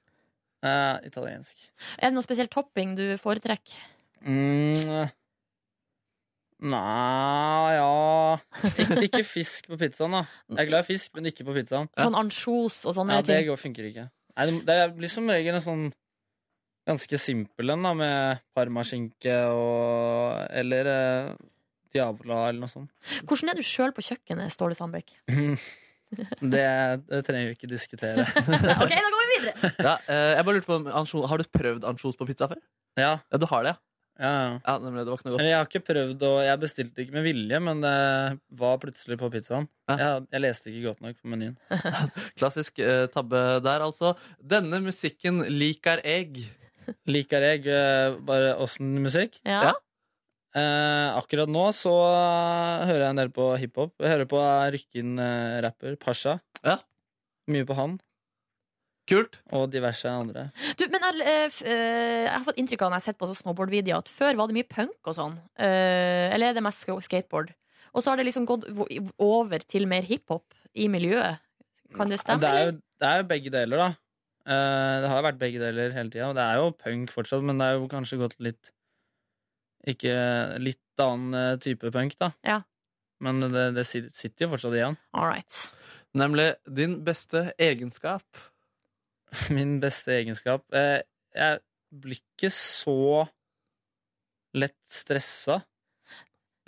G: Eh, italiensk.
B: Er det noe spesiell topping du foretrekker?
G: Mm. Nei ja Ik Ikke fisk på pizzaen, da. Jeg er glad i fisk, men ikke på pizzaen.
B: Sånn ansjos og sånne
G: Ja, Det
B: ting?
G: går, funker ikke. Nei, det- det blir som regel en sånn ganske simpel en, da, med parmaskinke og Eller eh, diavola eller noe sånt.
B: Hvordan er du sjøl på kjøkkenet, Ståle Sandbekk?
G: Det, det trenger vi ikke diskutere.
B: Ok, da går vi videre!
C: Ja, eh, jeg bare lurte på om ansjo- Har du prøvd ansjos på pizza før?
G: Ja,
C: Ja, du har det, ja?
G: ja, ja.
C: ja nemlig, det var ikke noe godt.
G: Men Jeg har ikke prøvd, og jeg bestilte ikke med vilje, men det var plutselig på pizzaen.
C: Ja.
G: Jeg, jeg leste ikke godt nok på menyen.
C: Klassisk eh, tabbe der, altså. Denne musikken liker jeg.
G: Liker jeg eh, bare åssen musikk?
B: Ja.
C: Ja.
G: Eh, akkurat nå så hører jeg en del på hiphop. Jeg hører på Rykken-rapper Pasha.
C: Ja.
G: Mye på han,
C: Kult.
G: og diverse andre.
B: Du, men jeg, eh, f- eh, jeg har fått inntrykk av når jeg har sett på sånne snowboardvideoer, at før var det mye punk og sånn. Eh, Eller er det mest sk- skateboard? Og så har det liksom gått vo- over til mer hiphop i miljøet. Kan det stemme,
G: det, er jo,
B: eller?
G: det er jo begge deler, da. Eh, det har jo vært begge deler hele tida. Det er jo punk fortsatt, men det er jo kanskje gått litt Ikke litt annen eh, type punk, da.
B: Ja.
G: Men det, det sit- sitter jo fortsatt igjen.
B: All right.
C: Nemlig din beste egenskap.
G: Min beste egenskap eh, Jeg blir ikke så lett stressa,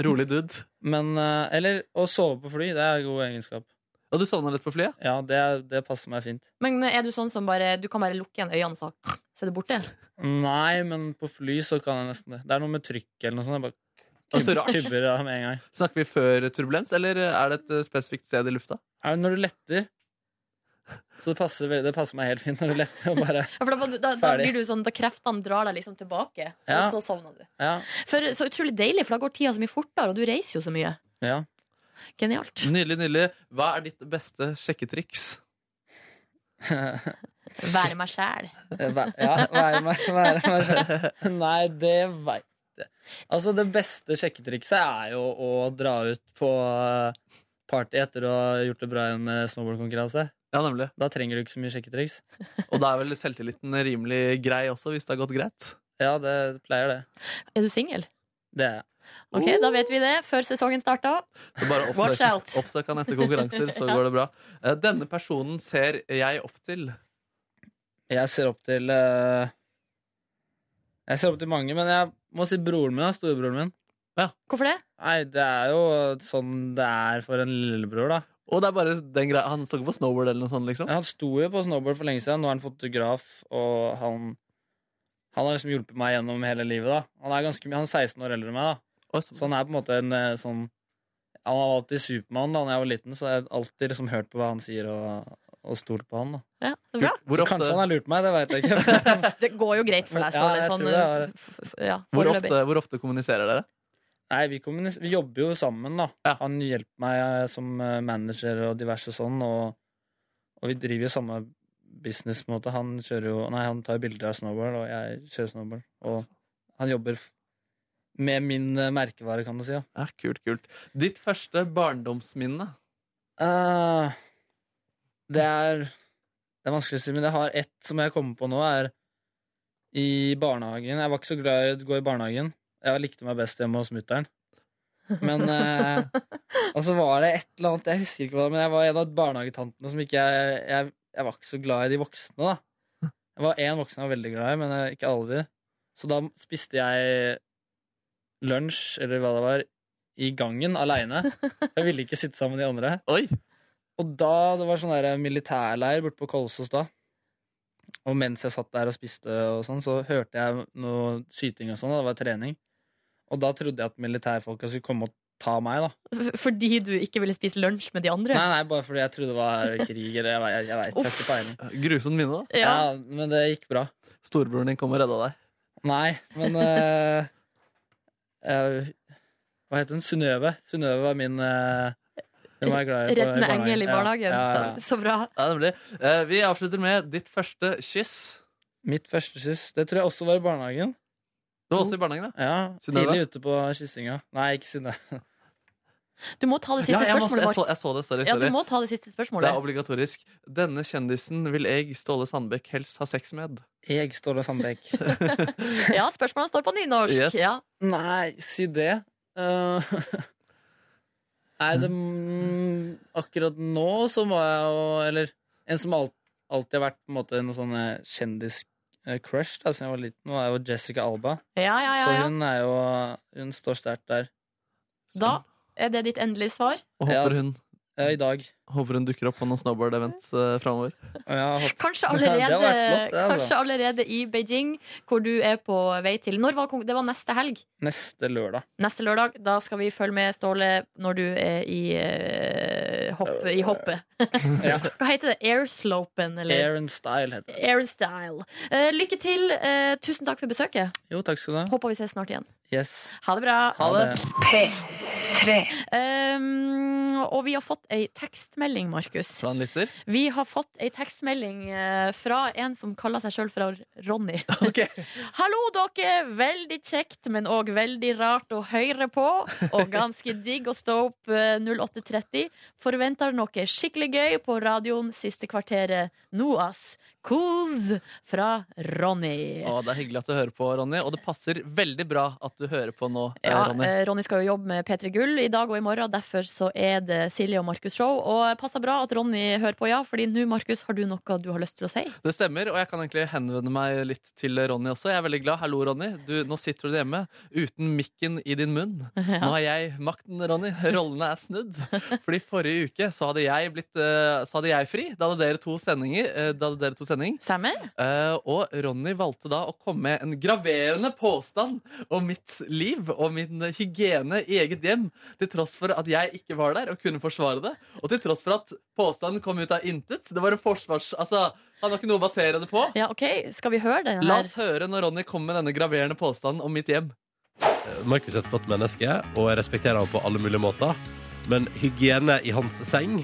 C: Rolig dude.
G: men eh, Eller å sove på fly, det er en god egenskap.
C: Og du sovna litt på flyet?
G: Ja, det, er- det passer meg fint.
B: Men er du sånn som bare Du kan bare lukke igjen øynene, så så er du borte?
G: Nei, men på fly så kan jeg nesten det. Det er noe med trykk eller noe sånt. Jeg bare
C: Å, så rart.
G: kubber av med en gang.
C: Snakker vi før turbulens, eller er det et eh, spesifikt sted i lufta?
G: er det når du letter. Så det passer, vel- det passer meg helt fint når du letter. Og bare,
B: Ja, for da, da, da
G: Ferdig.
B: blir du sånn Da kreftene drar deg liksom tilbake,
G: Ja.
B: og så sovner du.
G: ja,
B: For Så utrolig deilig, for da går tida så mye fortere, og du reiser jo så mye.
G: ja.
B: Genialt.
C: Nydelig, nydelig. Hva er ditt beste sjekketriks?
B: Være meg sjæl.
G: Væ- ja være meg, være meg selv. Nei, det veit jeg. Altså, det beste sjekketrikset er jo å dra ut på eh, party etter å ha gjort det bra i en eh, snowboardkonkurranse.
C: Ja, nemlig.
G: Da trenger du ikke så mye sjekketriks.
C: Og da er vel selvtilliten rimelig grei også, hvis det har gått greit?
G: Ja, det pleier det.
B: Er du singel?
G: Det er jeg.
B: Ok, da vet vi det før sesongen starta.
C: Så bare
B: Watch
C: oppsøk,
B: out.
C: oppsøk han etter konkurranser, så går det bra. Eh, Denne personen ser jeg opp til.
G: Jeg ser opp til eh, Jeg ser opp til mange, men jeg må si broren min. da, Storebroren min.
B: Hvorfor det?
G: Nei, det er jo sånn det er for en lillebror, da.
C: Og det er bare den greia Han så ikke på snowboard eller noe sånt, liksom?
G: Han sto jo på snowboard for lenge siden. Nå er han fotograf, og han Han har liksom hjulpet meg gjennom hele livet. da Han er, ganske, mye- han er 16 år eldre enn meg, da.
C: Oi, så-
G: Så han er på en måte en eh, sånn Han var alltid Supermann da jeg var liten, så jeg har alltid liksom hørt på hva han sier, og, og stolt på han. da
B: Ja, det er bra.
C: Hvor
G: Så
C: ofte-
G: kanskje han har lurt meg, det veit jeg ikke.
B: Det går jo greit for deg, Ståle.
G: Ja, jeg
B: sånn,
G: tror det er-
B: f- f- ja,
C: Hvor
B: foreløpig.
C: ofte, hvor ofte kommuniserer dere?
G: Nei, vi, kommunis- vi jobber jo sammen, da.
C: Ja.
G: Han hjelper meg eh, som eh, manager og diverse sånn, og, og vi driver jo samme business, på en måte. Han kjører jo Nei, han tar bilder av snowboard, og jeg kjører snowboard. Og han jobber f med min eh, merkevare, kan du si. da
C: Ja, kult, kult. Ditt første barndomsminne?
G: Eh, det er Det er vanskelig å si, men jeg har ett som jeg kommer på nå, er i barnehagen. Jeg var ikke så glad i å gå i barnehagen. Jeg likte meg best hjemme hos mutter'n. Men eh, Og så var det et eller annet Jeg husker ikke hva det var, men jeg var en av barnehagetantene som ikke jeg, jeg, jeg var ikke så glad i de voksne, da. Jeg var én voksen jeg var veldig glad i, men eh, ikke alle de. Så da spiste jeg lunsj, eller hva det var, i gangen aleine. Jeg ville ikke sitte sammen med de andre.
C: Oi!
G: Og da, det var sånn der militærleir borte på Kolsås da Og mens jeg satt der og spiste og sånn Så hørte jeg noe skyting og sånn og Det var trening Og da trodde jeg at militærfolka skulle komme og ta meg da
B: F- Fordi du ikke ville spise lunsj med de andre?
G: Nei, nei, bare fordi jeg trodde det var krig Eller jeg, jeg, jeg vet jeg har ikke peiling
C: Grusomt minne, da.
G: ja.
B: Ja.
G: men det gikk bra
C: Storebroren din kom og redda deg.
G: Nei, men eh, eh, Hva heter hun? Synnøve Synnøve var min eh, Hun var jeg glad i på- i
B: Reddende engel i barnehagen.
G: ja, ja, ja.
B: Så bra.
C: Ja, nemlig. Eh, vi avslutter med ditt første kyss.
G: Mitt første kyss, det tror jeg også var i barnehagen
C: Det var
B: Mm.
C: også i barnehagen, da.
G: Ja,
C: Synnøve?
G: tidlig ute på kyssinga. Nei, ikke Synnøve.
B: Du må ta det siste
C: Ja, jeg, må,
B: spørsmålet,
C: jeg,
B: Mark.
C: så, jeg så det. Sorry.
B: Ja, du
C: sorry.
B: må ta det siste
C: Det er
B: spørsmålet.
C: obligatorisk. Denne kjendisen vil jeg, Ståle Sandbekk, helst ha sex med.
G: Jeg, Ståle Sandbekk.
B: Ja, spørsmålene står på nynorsk.
C: Yes.
B: Ja.
G: Nei, si det. Eh, Nei, det mm, Akkurat nå så må jeg jo Eller en som alt, alltid har vært på en måte en sånn eh, kjendis-crush da siden jeg var liten, var jo Jessica Alba.
B: Ja, ja, ja,
G: Så
B: ja.
G: hun er jo Hun står sterkt der.
B: Da er det ditt endelige svar.
C: Og
G: Ja.
C: håper hun,
G: Ja, Eh, I dag.
C: håper hun dukker opp på noen snowboard-event uh, framover.
G: Og jeg har hoppet
B: Kanskje
G: Det hadde
B: allerede,
G: vært flott, det, altså.
B: kanskje allerede i Beijing, hvor du er på vei til. Når var, kon- det var neste helg.
G: neste lørdag.
B: Neste lørdag. Da skal vi følge med Ståle når du er i, eh, hopp, i hoppet.
G: Ja.
B: Hva heter det? Airslopen, eller?
G: Air and style heter det.
B: Airstyle. Eh, lykke til. Eh, tusen takk for besøket.
G: Jo, takk skal du ha.
B: Håper vi ses snart igjen.
G: Yes.
B: Ha det bra.
E: P3.
B: Um, og vi har fått ei tekstmelding, Markus.
C: Fra en lytter.
B: Vi har fått ei tekstmelding eh, fra en som kaller seg sjøl for Ronny. Hallo, dere! Veldig kjekt, men òg veldig rart å høre på. Og ganske digg å stå opp eh, 08.30. Forventer noe skikkelig gøy på radioen siste kvarteret. Noas kos fra Ronny.
C: Å, det er hyggelig at du hører på, Ronny. Og det passer veldig bra at du hører på nå, eh,
B: Ja,
C: Ronny.
B: eh, Ronny skal jo jobbe med P3 Gull i dag og i morgen. Derfor så er det Silje og Markus show. Og eh, passer bra at Ronny hører på, ja. Fordi nå, Markus, har du noe du har lyst til å si?
C: Det stemmer, og jeg kan egentlig henvende meg litt til Ronny også. Jeg er veldig glad. Hallo, Ronny. Du, nå sitter du hjemme uten mikken i din munn. Nå har jeg makten, Ronny. Rollene er snudd. Fordi forrige uke så hadde jeg, blitt, eh, så hadde jeg fri. Da hadde dere to sendinger. eh, Da hadde dere to sending.
B: Sammer?
C: Eh, og Ronny valgte da å komme med en graverende påstand om mitt liv og min hygiene i eget hjem, til tross for at jeg ikke var der og kunne forsvare det. Og til tross for at påstanden kom ut av intet. Det var en forsvars... Altså, han har ikke noe å basere det på.
B: Ja, OK. Skal vi høre den
C: La
B: her?
C: oss høre når Ronny kommer med denne graverende påstanden om mitt hjem.
H: Eh, Markus er et flott menneske, og jeg respekterer han på alle mulige måter. Men hygiene i hans seng,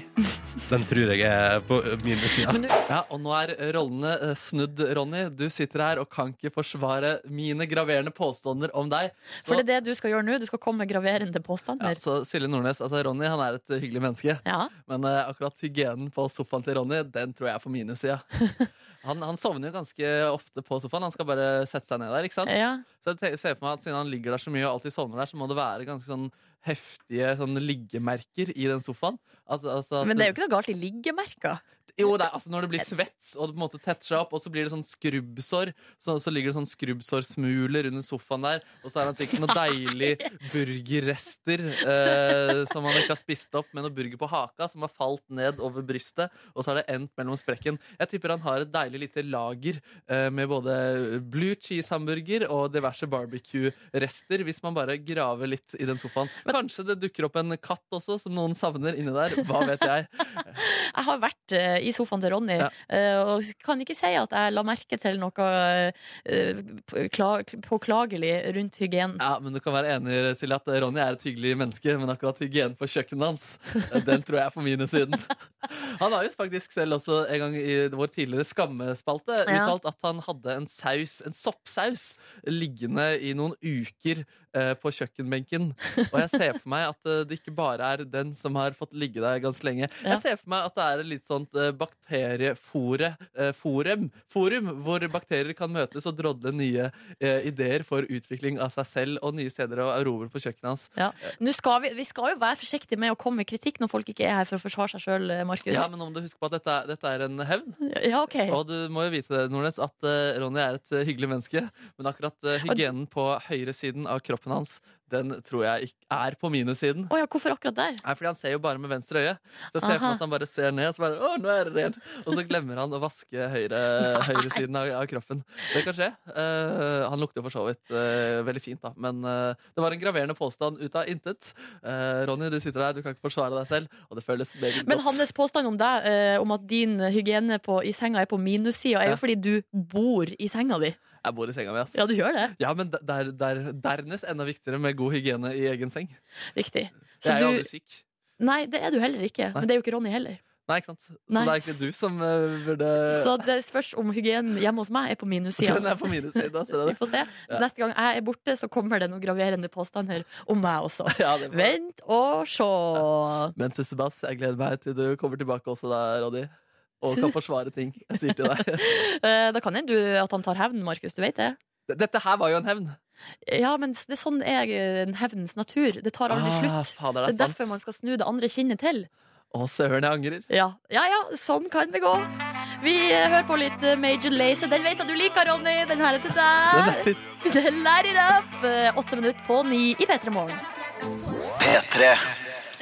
H: den tror jeg er på mine sider.
B: Men du,
C: Ja, Og nå er rollene eh, snudd, Ronny. Du sitter her og kan ikke forsvare mine graverende påstander om deg. Så,
B: for det er det du skal gjøre nå. Du skal komme med graverende
C: ja,
B: påstander.
C: så Silje Nordnes, altså Ronny han er et hyggelig menneske,
B: Ja.
C: men eh, akkurat hygienen på sofaen til Ronny, den tror jeg er på mine sida. Han, han sovner jo ganske ofte på sofaen. Han skal bare sette seg ned der. ikke sant?
B: ja.
C: Så jeg te- ser for meg at Siden han ligger der så mye og alltid sovner der, så må det være ganske sånn heftige sånn liggemerker i den sofaen. Altså, altså at-
B: Men det er jo ikke noe galt i liggemerker.
C: Jo, det er, altså Når det blir svett, og det på en måte tetter seg opp, og så blir det sånn skrubbsår, så, så ligger det sånn skrubbsårsmuler under sofaen der, og så er det sikkert noen deilige burgerrester eh, som han ikke har spist opp, med noe burger på haka som har falt ned over brystet, og så er det endt mellom sprekken. Jeg tipper han har et deilig lite lager eh, med både blue cheese-hamburger og diverse barbecue-rester, hvis man bare graver litt i den sofaen. Kanskje det dukker opp en katt også, som noen savner inni der. Hva vet jeg.
B: Jeg har vært eh, i sofaen til Ronny
C: Ja.
B: eh, og kan ikke si at jeg la merke til noe eh, kla- påklagelig rundt hygienen.
C: Ja, men du kan være enig Silje, at Ronny er et hyggelig menneske, men akkurat hygienen på kjøkkenet hans, den tror jeg er på minussiden. Han har jo faktisk selv også en gang i vår tidligere skammespalte
B: Ja.
C: uttalt at han hadde en saus, en soppsaus, liggende i noen uker eh, på kjøkkenbenken. Og jeg ser for meg at eh, det ikke bare er den som har fått ligge der ganske lenge.
B: Ja.
C: Jeg ser for meg at det er et litt sånt eh, bakteriefore, eh, forum, forum, hvor bakterier kan møtes og drodle nye eh, ideer for utvikling av seg selv og nye steder å erobre på kjøkkenet hans.
B: Nå skal vi, vi skal jo være forsiktige med å komme med kritikk når folk ikke er her for å forsvare seg sjøl, Markus.
C: Ja, men om du husker på at dette, er- dette er en hevn,
B: Ja, ok.
C: og du må jo vite det, Nordnes, at eh, Ronny er et eh, hyggelig menneske, men akkurat eh, hygienen på høyresiden av kroppen hans, den tror jeg ikke er på minussiden.
B: Å ja, hvorfor akkurat der?
C: Nei, fordi Han ser jo bare med venstre øye. Så jeg ser for
B: Aha.
C: meg at han bare ser ned, og så bare, å, nå er det rent. Og så glemmer han å vaske høyre, høyresiden av, av kroppen. Det kan skje. Eh, han lukter jo for så vidt eh, veldig fint, da. Men eh, det var en graverende påstand ut av intet. Eh, Ronny, du sitter der, du kan ikke forsvare deg selv, og det føles meget
B: Men
C: godt.
B: hans påstand om deg, eh, om at din hygiene på, i senga er på minussida, er
C: Ja.
B: jo fordi du bor i senga di.
C: Jeg bor i senga mi, ass.
B: Ja, du gjør det.
C: Ja, men der, der, dernest enda viktigere med god hygiene i egen seng.
B: Riktig. Så
C: Jeg er jo
B: du,
C: aldri syk.
B: nei, det er du heller ikke. Men det er jo ikke Ronny heller.
C: Nei, ikke sant? Så det er
B: Nice.
C: egentlig du som eh, burde
B: Så det spørs om hygienen hjemme hos meg er på minussida.
C: Den er på minussiden. ser du
B: Vi
C: det?
B: får se.
C: Ja.
B: Neste gang jeg er borte, så kommer det noen graverende påstander om meg også.
C: Ja, det får-
B: Vent og se.
C: Men Sussebass, jeg gleder meg til du kommer tilbake også da, Roddy. Og kan forsvare ting jeg sier til deg.
B: Eh, Da kan hende du- at han tar hevn, Markus. Du vet det?
C: Dette her var jo en hevn.
B: Ja, men det er sånn er eh, hevnens natur. Det tar aldri
C: Ah,
B: slutt.
C: fader,
B: Det er
C: det er
B: derfor man
C: sant.
B: skal snu det andre kinnet til.
C: Å, søren, jeg angrer.
B: Ja, ja, ja sånn kan det gå. Vi eh, hører på litt eh, Major Lazer. Den vet jeg du liker, Ronny. Den her er til
C: Den
B: deg.
C: er litt...
B: Den lærer it up. Eh, Åtte minutter på ni i P3 Morgen.
F: P3.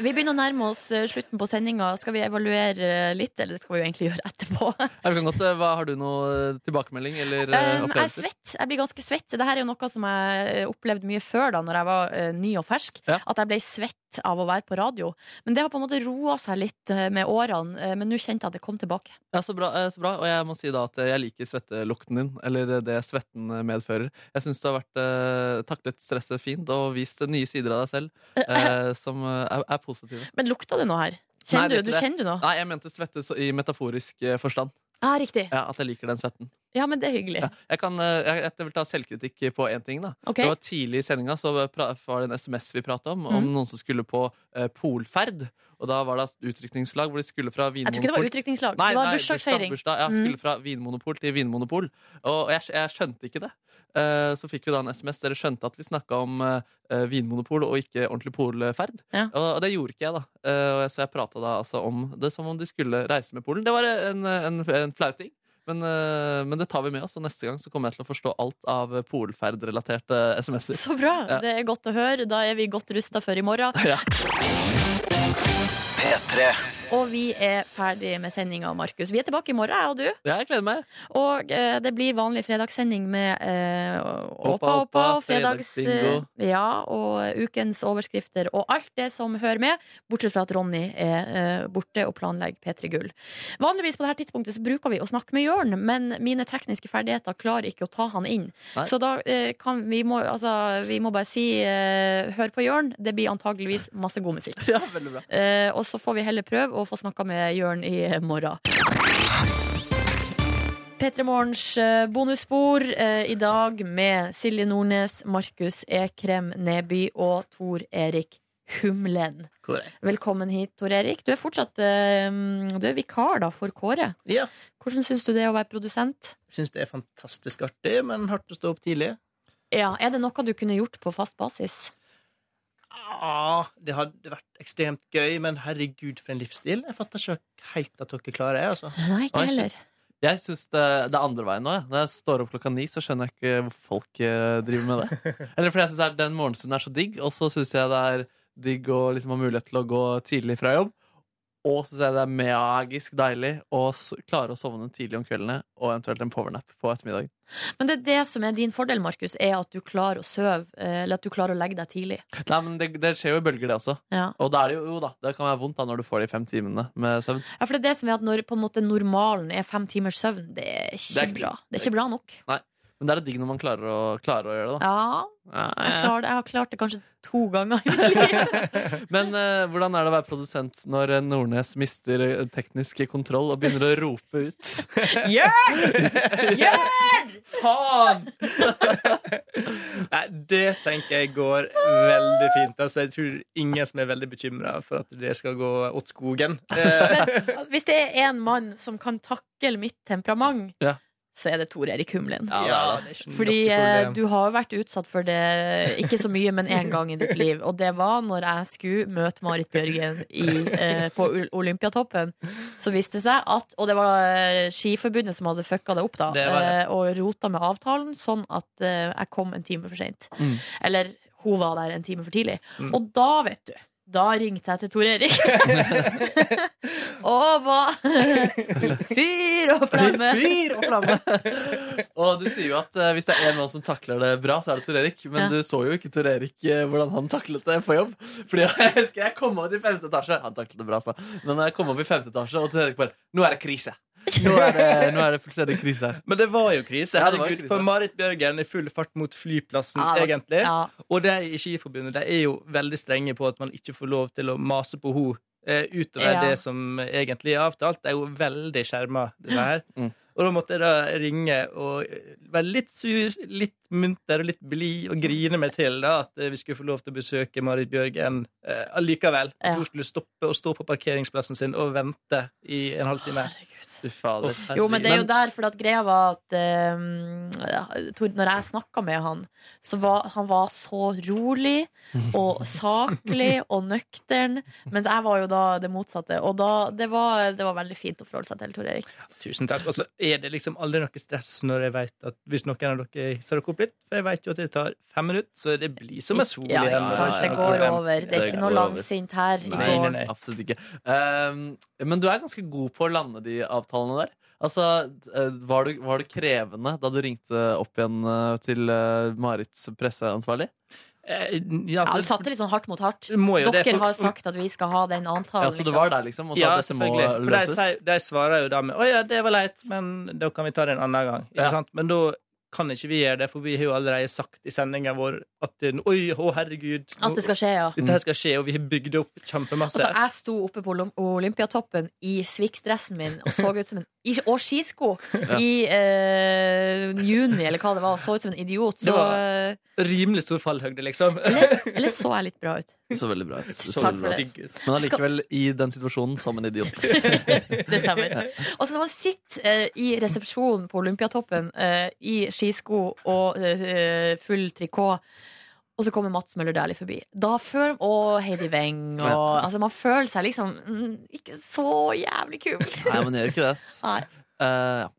B: Vi begynner å nærme oss eh, slutten på sendinga. Skal vi evaluere eh, litt, eller det skal vi jo egentlig gjøre etterpå?
C: Ja, vi kan godt, eh, hva, har du noe eh, tilbakemelding eller eh,
B: Um, jeg er
C: opplevelser?
B: svett. Jeg blir ganske svett. Dette er jo noe som jeg eh, opplevde mye før, da når jeg var eh, ny og fersk.
C: Ja.
B: At jeg ble svett av å være på radio. Men det har på en måte roa seg litt eh, med årene. eh, Men nå kjente jeg at det kom tilbake.
C: Ja, så bra, eh, så bra. Og jeg må si da at eh, jeg liker svettelukten din, eller eh, det svetten eh, medfører. Jeg syns du har vært, eh, taklet stresset fint og vist eh, nye sider av deg selv eh, som eh, er, er positive.
B: Men lukta det noe her?
C: Nei,
B: Kjenner
C: det er
B: du, du
C: ikke det.
B: kjenner du noe?
C: Nei, jeg mente svette så, i metaforisk eh, forstand.
B: Ja, riktig.
C: Ja, At jeg liker den svetten.
B: Ja, men det er hyggelig.
C: Ja, jeg, kan, eh, jeg, jeg vil ta selvkritikk på én ting. da
B: Ok.
C: Det var Tidlig i sendinga så pra- var det en SMS vi prata om,
B: Mm.
C: om noen som skulle på eh, polferd. Og Da var det utrykningslag hvor de skulle fra
B: Jeg tror ikke det var
C: Vinmonopol
B: utdrikningslag.
C: Nei,
B: Det var
C: nei,
B: bursdagsfeiring.
C: bursdag, bursdag, ja,
B: Mm.
C: skulle fra vinmonopol til vinmonopol. Og jeg, jeg skjønte ikke det. Eh, Så fikk vi da en SMS. Dere skjønte at vi snakka om eh, vinmonopol og ikke ordentlig polferd.
B: Ja.
C: Og, og det gjorde ikke jeg, da. Eh, Og jeg- så jeg prata da altså om det som om de skulle reise med Polen. Det var en, en, en flauting. Men, eh, men det tar vi med oss, og neste gang så kommer jeg til å forstå alt av polferdrelaterte SMS-er.
B: Så bra.
C: Ja.
B: Det er godt å høre. Da er vi godt rusta for i morgen.
C: Ja.
F: P3.
B: Og vi er ferdig med sendinga, Markus. Vi er tilbake i morgen, jeg og du.
C: Jeg gleder meg.
B: Og eh, det blir vanlig fredagssending med eh, Åpa,
C: Åpa,
B: åpa,
C: åpa,
B: fredags...
C: fredagsbingo.
B: eh, Ja, og ukens overskrifter og alt det som hører med, bortsett fra at Ronny er eh, borte og planlegger P3 Gull. Vanligvis på dette tidspunktet så bruker vi å snakke med Jørn, men mine tekniske ferdigheter klarer ikke å ta han inn.
C: Nei.
B: Så da eh, kan vi må, altså, vi må bare si eh, hør på Jørn, det blir antageligvis masse god musikk.
C: Ja, veldig bra.
B: Eh, og så får vi heller prøve å få snakka med Jørn i morgen. P3 Morgens eh, bonusspor eh, i dag med Silje Nordnes, Markus Ekrem Neby og Tor Erik Humlen.
I: Korrekt.
B: Velkommen hit, Tor Erik. Du er fortsatt eh, du er vikar da for Kåre.
I: Ja.
B: Hvordan syns du det er å være produsent?
I: Syns det er fantastisk artig, men hardt å stå opp tidlig.
B: Ja, Er det noe du kunne gjort på fast basis?
G: ah, det hadde vært ekstremt gøy, men herregud, for en livsstil. Jeg fatter ikke helt at dere klarer det. altså.
B: Nei, ikke
G: Nei,
B: heller.
C: Jeg syns det, det er andre veien nå. Jeg. Når jeg står opp klokka ni, så skjønner jeg ikke hvorfor folk eh, driver med det. Eller fordi jeg syns den morgenstunden er så digg, og så syns jeg det er digg å liksom ha mulighet til å gå tidlig fra jobb. Og så syns jeg det er magisk deilig å s klare å sovne tidlig om kveldene og eventuelt en powernap på ettermiddagen.
B: Men det er det som er din fordel, Markus, er at du klarer å sove, eh, eller at du klarer å legge deg tidlig.
C: Nei, men det, det skjer jo i bølger, det også.
B: Ja.
C: Og da er det jo, jo da, det kan være vondt da når du får de fem timene med søvn.
B: ja, for det er det som er at når på en måte normalen er fem timers søvn, det er ikke,
C: Det er ikke-
B: bra. Det er ikke bra nok.
C: Men det er det digg når man klarer å, klarer å gjøre det, da.
B: Ja,
C: Ja,
B: jeg,
C: ja.
B: klarer det. jeg har klart det kanskje to ganger i mitt liv.
C: Men eh, hvordan er det å være produsent når eh, Nordnes mister eh, teknisk kontroll og begynner å rope ut?
B: Gjør! Gjør!
G: Faen! Nei, det tenker jeg går veldig fint. Altså, jeg tror ingen som er veldig bekymra for at det skal gå åt skogen. Eh,
B: Altså, hvis det er en mann som kan takle mitt temperament,
C: Ja.
B: så er det Tor Erik Humlen.
G: Ja, det er ikke noe
B: Fordi eh,
G: problem.
B: du har jo vært utsatt for det eh, ikke så mye, men én gang i ditt liv. Og det var når jeg skulle møte Marit Bjørgen i, eh, på Ol- Olympiatoppen. Så viste det seg at Og det var eh, Skiforbundet som hadde fucka det opp, da.
G: Det var det.
B: eh, Og rota med avtalen, sånn at eh, jeg kom en time for seint.
C: Mm.
B: Eller hun var der en time for tidlig.
G: Mm.
B: Og da, vet du da ringte jeg til Tor Erik og var fyr og flamme.
G: Fyr og flamme!
C: Og du sier jo at eh, hvis det er en mann som takler det bra, så er det Tor Erik. Men
B: Ja.
C: du så jo ikke Tor Erik eh, hvordan han taklet det på jobb. Fordi jeg husker jeg kom opp i femte etasje. Han taklet det bra, sa Men jeg kom opp i femte etasje, og Tor Erik bare Nå er det krise! Nå er det, nå er det fullstendig krise her.
G: Men det var jo krise.
C: Ja, det var jo
G: Herregud,
C: krise.
G: for Marit Bjørgen er full fart mot flyplassen,
B: Ja, det var-
G: egentlig.
B: Ja.
G: Og de i Skiforbundet de er jo veldig strenge på at man ikke får lov til å mase på henne eh, utover
B: Ja.
G: det som egentlig er avtalt. Det er jo veldig skjerma, det her.
C: Mm.
G: Og da måtte jeg da ringe og eh, være litt sur, litt munter og litt blid og grine meg til da, at eh, vi skulle få lov til å besøke Marit Bjørgen eh, allikevel. At
B: Ja.
G: hun skulle stoppe og stå på parkeringsplassen sin og vente i en halvtime.
B: Herregud.
C: Fy fader.
G: Å,
B: Jo, men det er jo
G: herregud.
B: der, for at greia var at eh, Tor, Når jeg snakka med han, så var han var så rolig og saklig og nøktern. Mens jeg var jo da det motsatte. Og da, det, var, det var veldig fint å forholde seg til, Tor Erik.
G: Tusen takk. Og så er det liksom aldri noe stress når jeg vet at hvis noen av dere ser dere opp litt, for jeg vet jo at det tar fem minutter, så det blir som en sol
B: Ja,
G: igjen.
B: ikke sant? Det
G: Noe
B: går
G: problem.
B: over. Det er
C: Det
B: ikke
C: går
B: noe
C: over.
B: langsint her. i
G: Nei, nei,
B: går.
G: nei.
C: Absolutt ikke. Ehm, men du er ganske god på å lande de avtalene der. Altså, eh, var du, var du krevende da du ringte opp igjen eh, til eh, Marits presseansvarlig?
G: Eh,
B: Ja,
G: Ja, altså,
B: du satte litt sånn hardt mot hardt.
G: det må jo det,
B: Dere
G: for-
B: har sagt at vi skal ha den avtalen.
C: Ja, så du
B: liksom.
C: var der, liksom? Og sa
G: ja,
C: at dette må
G: selvfølgelig. For de,
C: løses?
G: sier- de svarer jo da med 'Å ja, det var leit, men da kan vi ta det en annen gang'. Ikke
C: Ja.
G: sant? Men da kan ikke vi gjøre det, for vi har jo allerede sagt i sendinga vår at det- 'Oi, å herregud',
B: At det skal skje, ja.
G: dette her skal skje, og vi har bygd opp kjempemasse.
B: Altså, jeg sto oppe på Olymp- Olympiatoppen i Swix-dressen min og så ut som en i- Og skisko! I eh, juni, eller hva det var, og så ut som en idiot. Så, eh,
G: Det var- Rimelig stor fallhøgde, liksom.
B: eller så jeg litt bra ut.
C: Det så veldig bra ut. Det så
B: Takk
C: veldig
B: for
C: bra ut.
B: det.
G: Digg ut.
C: Men allikevel i den situasjonen som en idiot.
B: Det stemmer. Og så når man sitter eh, i resepsjonen på Olympiatoppen eh, i skisko og eh, full trikot, og så kommer Mats Møller Dæhlie forbi. Da føler Og Heidi Weng og Altså, man føler seg liksom mm, ikke så jævlig kul.
C: Nei, men jeg gjør ikke det. ass.
B: Nei.
C: Eh, ja.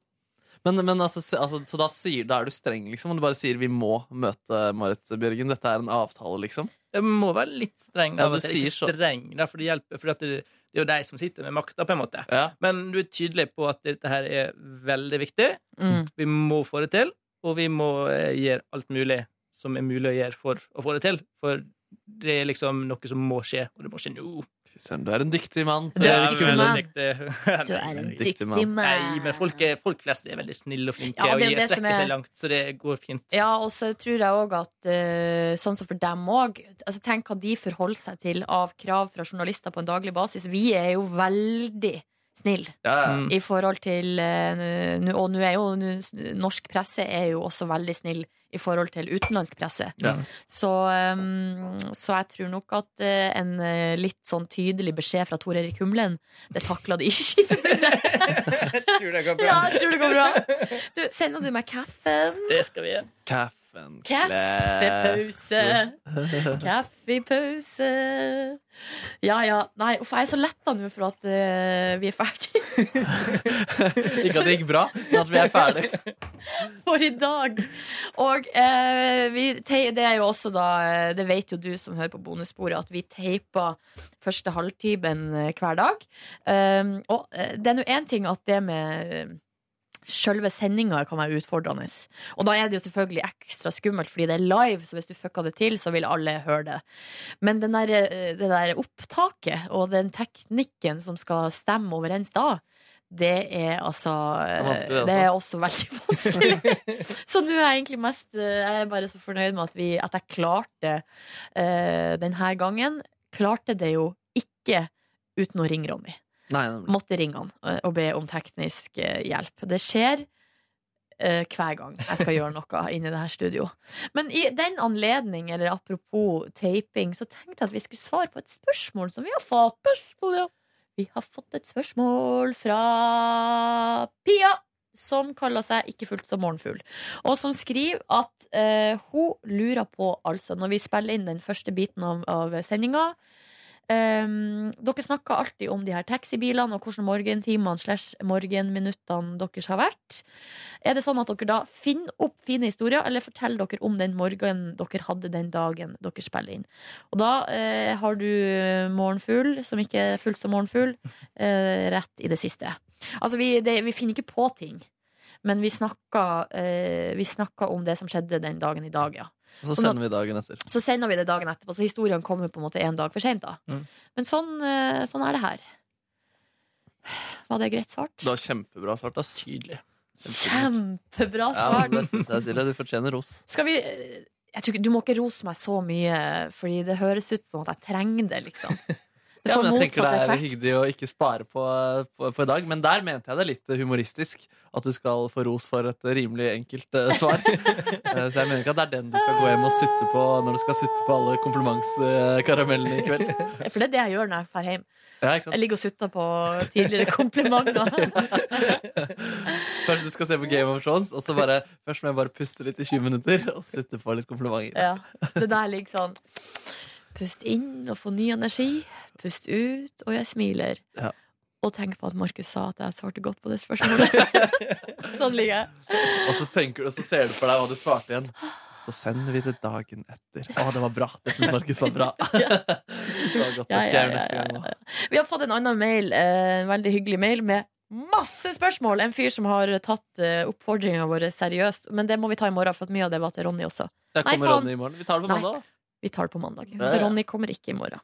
C: Men, men altså, se- altså, så da, sier, da er du streng, liksom? Og du bare sier 'vi må møte Marit Bjørgen'? Dette er en avtale, liksom?
G: Jeg må være litt streng.
C: Ja,
G: av
C: du
G: og til. Ikke
C: sier så.
G: streng, da, for det hjelper. For at det, det er jo de som sitter med makta, på en måte.
C: Ja.
G: Men du er tydelig på at dette her er veldig viktig.
B: Mm.
G: Vi må få det til, og vi må eh, gjøre alt mulig som er mulig å gjøre for å få det til. For det er liksom noe som må skje, og det må skje nå.
C: Fy søren, Du er en dyktig mann.
B: Du er en
C: Erik.
B: dyktig
G: veldig
B: mann.
G: dyktig.
B: Du er en
G: Nei,
B: dyktig
C: Dyktig
B: mann.
C: mann.
G: Nei, men folk, er, folk flest er veldig snille og flinke
B: Ja,
G: og
B: det er jo
G: gir-
B: det som er-
G: strekker seg langt, så det går fint.
B: Ja, og så tror jeg òg at eh, sånn som for dem òg altså, Tenk hva de forholder seg til av krav fra journalister på en daglig basis. Vi er jo veldig snille.
C: Ja, ja.
G: Mm.
B: i forhold til eh, nå- Og nå er jo nå- norsk presse er jo også veldig snill i forhold til utenlandsk presse.
C: Ja.
B: Så, um, så jeg tror nok at eh, en eh, litt sånn tydelig beskjed fra Tor Erik Humlen Det takla de ikke skiforbundet.
G: Jeg tror det går
B: ja, jeg tror det går bra. Du, sender du meg kaffen?
G: Det skal vi gjøre.
C: Kaff.
I: kaffen
B: Kaffepause. Kaffepause. Ja, ja. Nei, uff, jeg er så letta nå for at eh, vi er ferdig
C: Ikke at det gikk bra, men at vi er ferdig.
B: for i dag. Og eh, vi, te- det er jo også da eh, Det vet jo du som hører på bonussporet, at vi teiper første halvtimen eh, hver dag. Um, og eh, det er nå én ting at det med eh, Sjølve sendinga kan være utfordrende. Og da er det jo selvfølgelig ekstra skummelt, fordi det er live, så hvis du fucka det til, så vil alle høre det. Men den der, eh, det der opptaket og den teknikken som skal stemme overens da, det er altså eh,
C: Det er vanskelig, det
B: Det er også veldig vanskelig. så nå er jeg egentlig mest eh, Jeg er bare så fornøyd med at, vi, at jeg klarte eh, denne gangen. Klarte det jo ikke uten å ringe Ronny
C: Nei, nemlig.
B: måtte ringe han eh, og be om teknisk eh, hjelp. Det skjer eh, hver gang jeg skal gjøre noe inni det her studio. Men i den anledning, eller apropos taping, så tenkte jeg at vi skulle svare på et spørsmål som vi har fått. Vi har fått et spørsmål fra Pia. Som kaller seg Ikke fullt som morgenfugl. Og som skriver at eh, hun lurer på, altså, når vi spiller inn den første biten av, av sendinga, Um, dere snakker alltid om de her taxibilene og hvordan morgentimene slash morgenminuttene deres har vært. Er det sånn at dere da finner opp fine historier, eller forteller dere om den morgenen dere hadde den dagen dere spiller inn? Og da eh, har du morgenfugl, som ikke er fullt som morgenfugl, eh, rett i det siste. Altså, vi, det, vi finner ikke på ting, men vi snakker, eh, vi snakker om det som skjedde den dagen i dag, ja.
C: Og så sender vi dagen etter.
B: Så sender vi det dagen etterpå, så historien kommer på en måte en dag for sent. Da.
I: Mm.
B: Men sånn, eh, sånn er det her. Var det greit svart?
C: Det var kjempebra svart, ass. Tydelig.
B: Kjempebra
C: Ja,
B: svart!
C: det synes jeg, Silje. Du fortjener ros.
B: Skal vi eh, jeg tror ikke, Du må ikke rose meg så mye, Fordi det høres ut som at jeg trenger det, liksom. Det
C: Ja,
B: får
C: men jeg tenker
B: motsatt
C: Det er
B: effekt.
C: hyggelig å ikke spare på, på, på i dag, men der mente jeg det litt humoristisk. At du skal få ros for et rimelig enkelt eh, svar. Eh, Så jeg mener ikke at det er den du skal gå hjem og sutte på når du skal sutte på alle komplimentskaramellene i kveld.
B: For det er det jeg gjør når jeg drar hjem.
C: Ja, ikke
B: Jeg
C: sant?
B: ligger og sutter på tidligere komplimenter.
C: Først du skal se på Game of Thrones, og så bare, først må jeg bare puste litt i 20 minutter og sutte på litt komplimenter.
B: Ja, det der ligger sånn Pust inn og få ny energi Pust ut, og jeg smiler
C: Ja.
B: Og tenk på at Markus sa at jeg svarte godt på det spørsmålet Sånn ligger jeg
C: Og så tenker du, og så ser du for deg hva du svarte igjen. Så sender vi det dagen etter. Å, det var bra. Det syns Markus var bra. Det var godt. Det skal jeg gjøre neste gang òg.
B: Vi har fått en annen mail, eh, en veldig hyggelig mail Med masse spørsmål En fyr som har tatt eh, oppfordringen vår seriøst Men det må vi ta i morgen, for at mye av det var til Ronny også
C: Der
B: Nei,
C: kommer
B: faen.
C: Ronny i morgen. Vi tar det på
B: Nei.
C: mandag. da.
B: Vi tar det på mandag
C: Ja, ja.
B: Ronny kommer ikke i morgen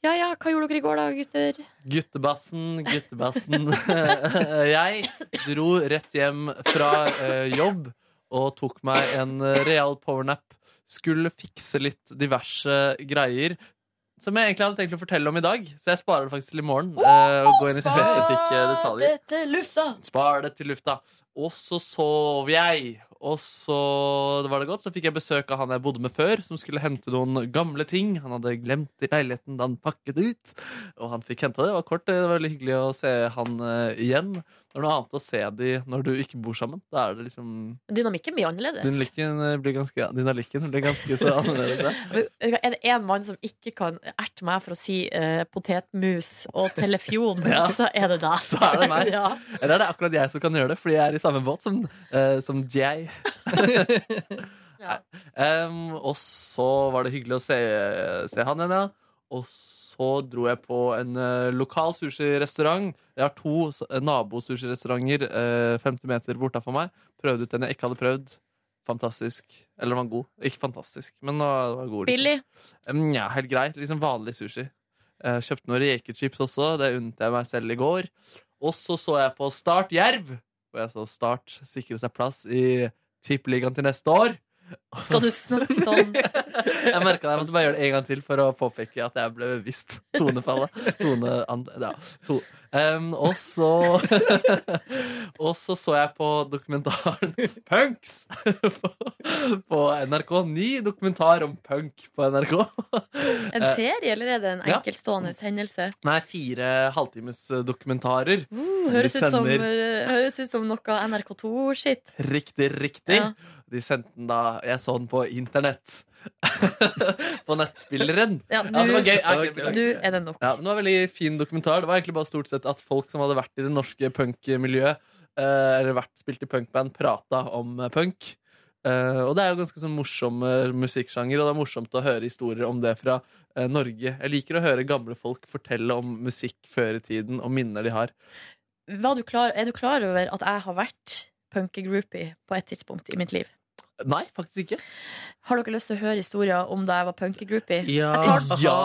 B: Ja, ja, hva gjorde dere i går da, gutter?
C: Guttebassen, guttebassen. jeg dro rett hjem fra eh, jobb og tok meg en eh, real powernap. Skulle fikse litt diverse greier som jeg egentlig hadde tenkt å fortelle om i dag. Så jeg sparer det faktisk til i morgen. eh, og går inn i spesifikke detaljer.
B: Spar det til lufta
C: Spar det til lufta. Og så sov jeg. Og så det var det godt, så fikk jeg besøk av han jeg bodde med før, som skulle hente noen gamle ting. Han hadde glemt i leiligheten da han pakket ut, og han fikk henta det. Det var kort, det var veldig hyggelig å se han eh, igjen. Det er noe annet å se de når du ikke bor sammen. Da er det liksom
B: Dynamikken blir annerledes.
C: Dynamikken eh, blir ganske, dynamikken blir ganske så annerledes. ja.
B: Er det én mann som ikke kan erte meg for å si eh, potetmus og telefon,
C: Ja.
B: så er det deg.
C: Så er det meg.
B: ja.
C: Eller er det akkurat jeg som kan gjøre det, fordi jeg er i samme båt som, eh, som jeg.
B: Ja.
C: Em, og så var det hyggelig å se, se han igjen, ja. Og så dro jeg på en eh, lokal sushirestaurant. Jeg har to s- eh, nabosushirestauranter uh, 50 meter bortafor meg. Prøvde ut den jeg ikke hadde prøvd. Fantastisk. Eller den var god. Ikke fantastisk, men den var den var god. liksom.
B: Billy.
C: Mm, Ja, helt greit. Liksom vanlig sushi. Eh, kjøpte noen rekechips også. Det unnte jeg meg selv i går. Og så så jeg på Start Jerv, hvor jeg så Start sikre seg plass i Tippeligaen til neste år.
B: Skal du snakke sånn?
C: Jeg merka det. Jeg måtte bare gjøre det en gang til for å påpeke at jeg ble bevisst tonefallet. Tone, an, ja, to. Em, og så Og så så jeg på dokumentaren Punks på, på NRK. Ny dokumentar om punk på NRK.
B: En
C: Eh,
B: serie, eller er det en
C: ja.
B: enkeltstående hendelse?
C: Nei, fire halvtimes eh, dokumentarer.
B: Uh, høres, ut som,
C: sender.
B: eh, høres høres ut som noe NRK2-skitt.
C: Riktig, riktig.
B: Ja.
C: De sendte den da Jeg så den på internett. på nettspilleren.
B: Ja,
C: Ja, det var
B: nå
C: gøy. Ja, ok, beklager.
B: nå er det nok.
C: Ja, men det var en veldig fin dokumentar. Det var egentlig bare stort sett at folk som hadde vært i det norske punkmiljøet, eh, eller vært spilt i punkband, prata om eh, punk. Eh, og det er jo ganske sånn morsom eh, musikksjanger, og det er morsomt å høre historier om det fra eh, Norge. Jeg liker å høre gamle folk fortelle om musikk før i tiden, og minner de har.
B: Var du klar, er du klar over at jeg har vært punkegroupie på et tidspunkt i mitt liv?
C: Nei, faktisk ikke.
B: Har dere lyst til å høre historier om da jeg var punkegroupie?
C: Ja,
B: Jeg
C: ja,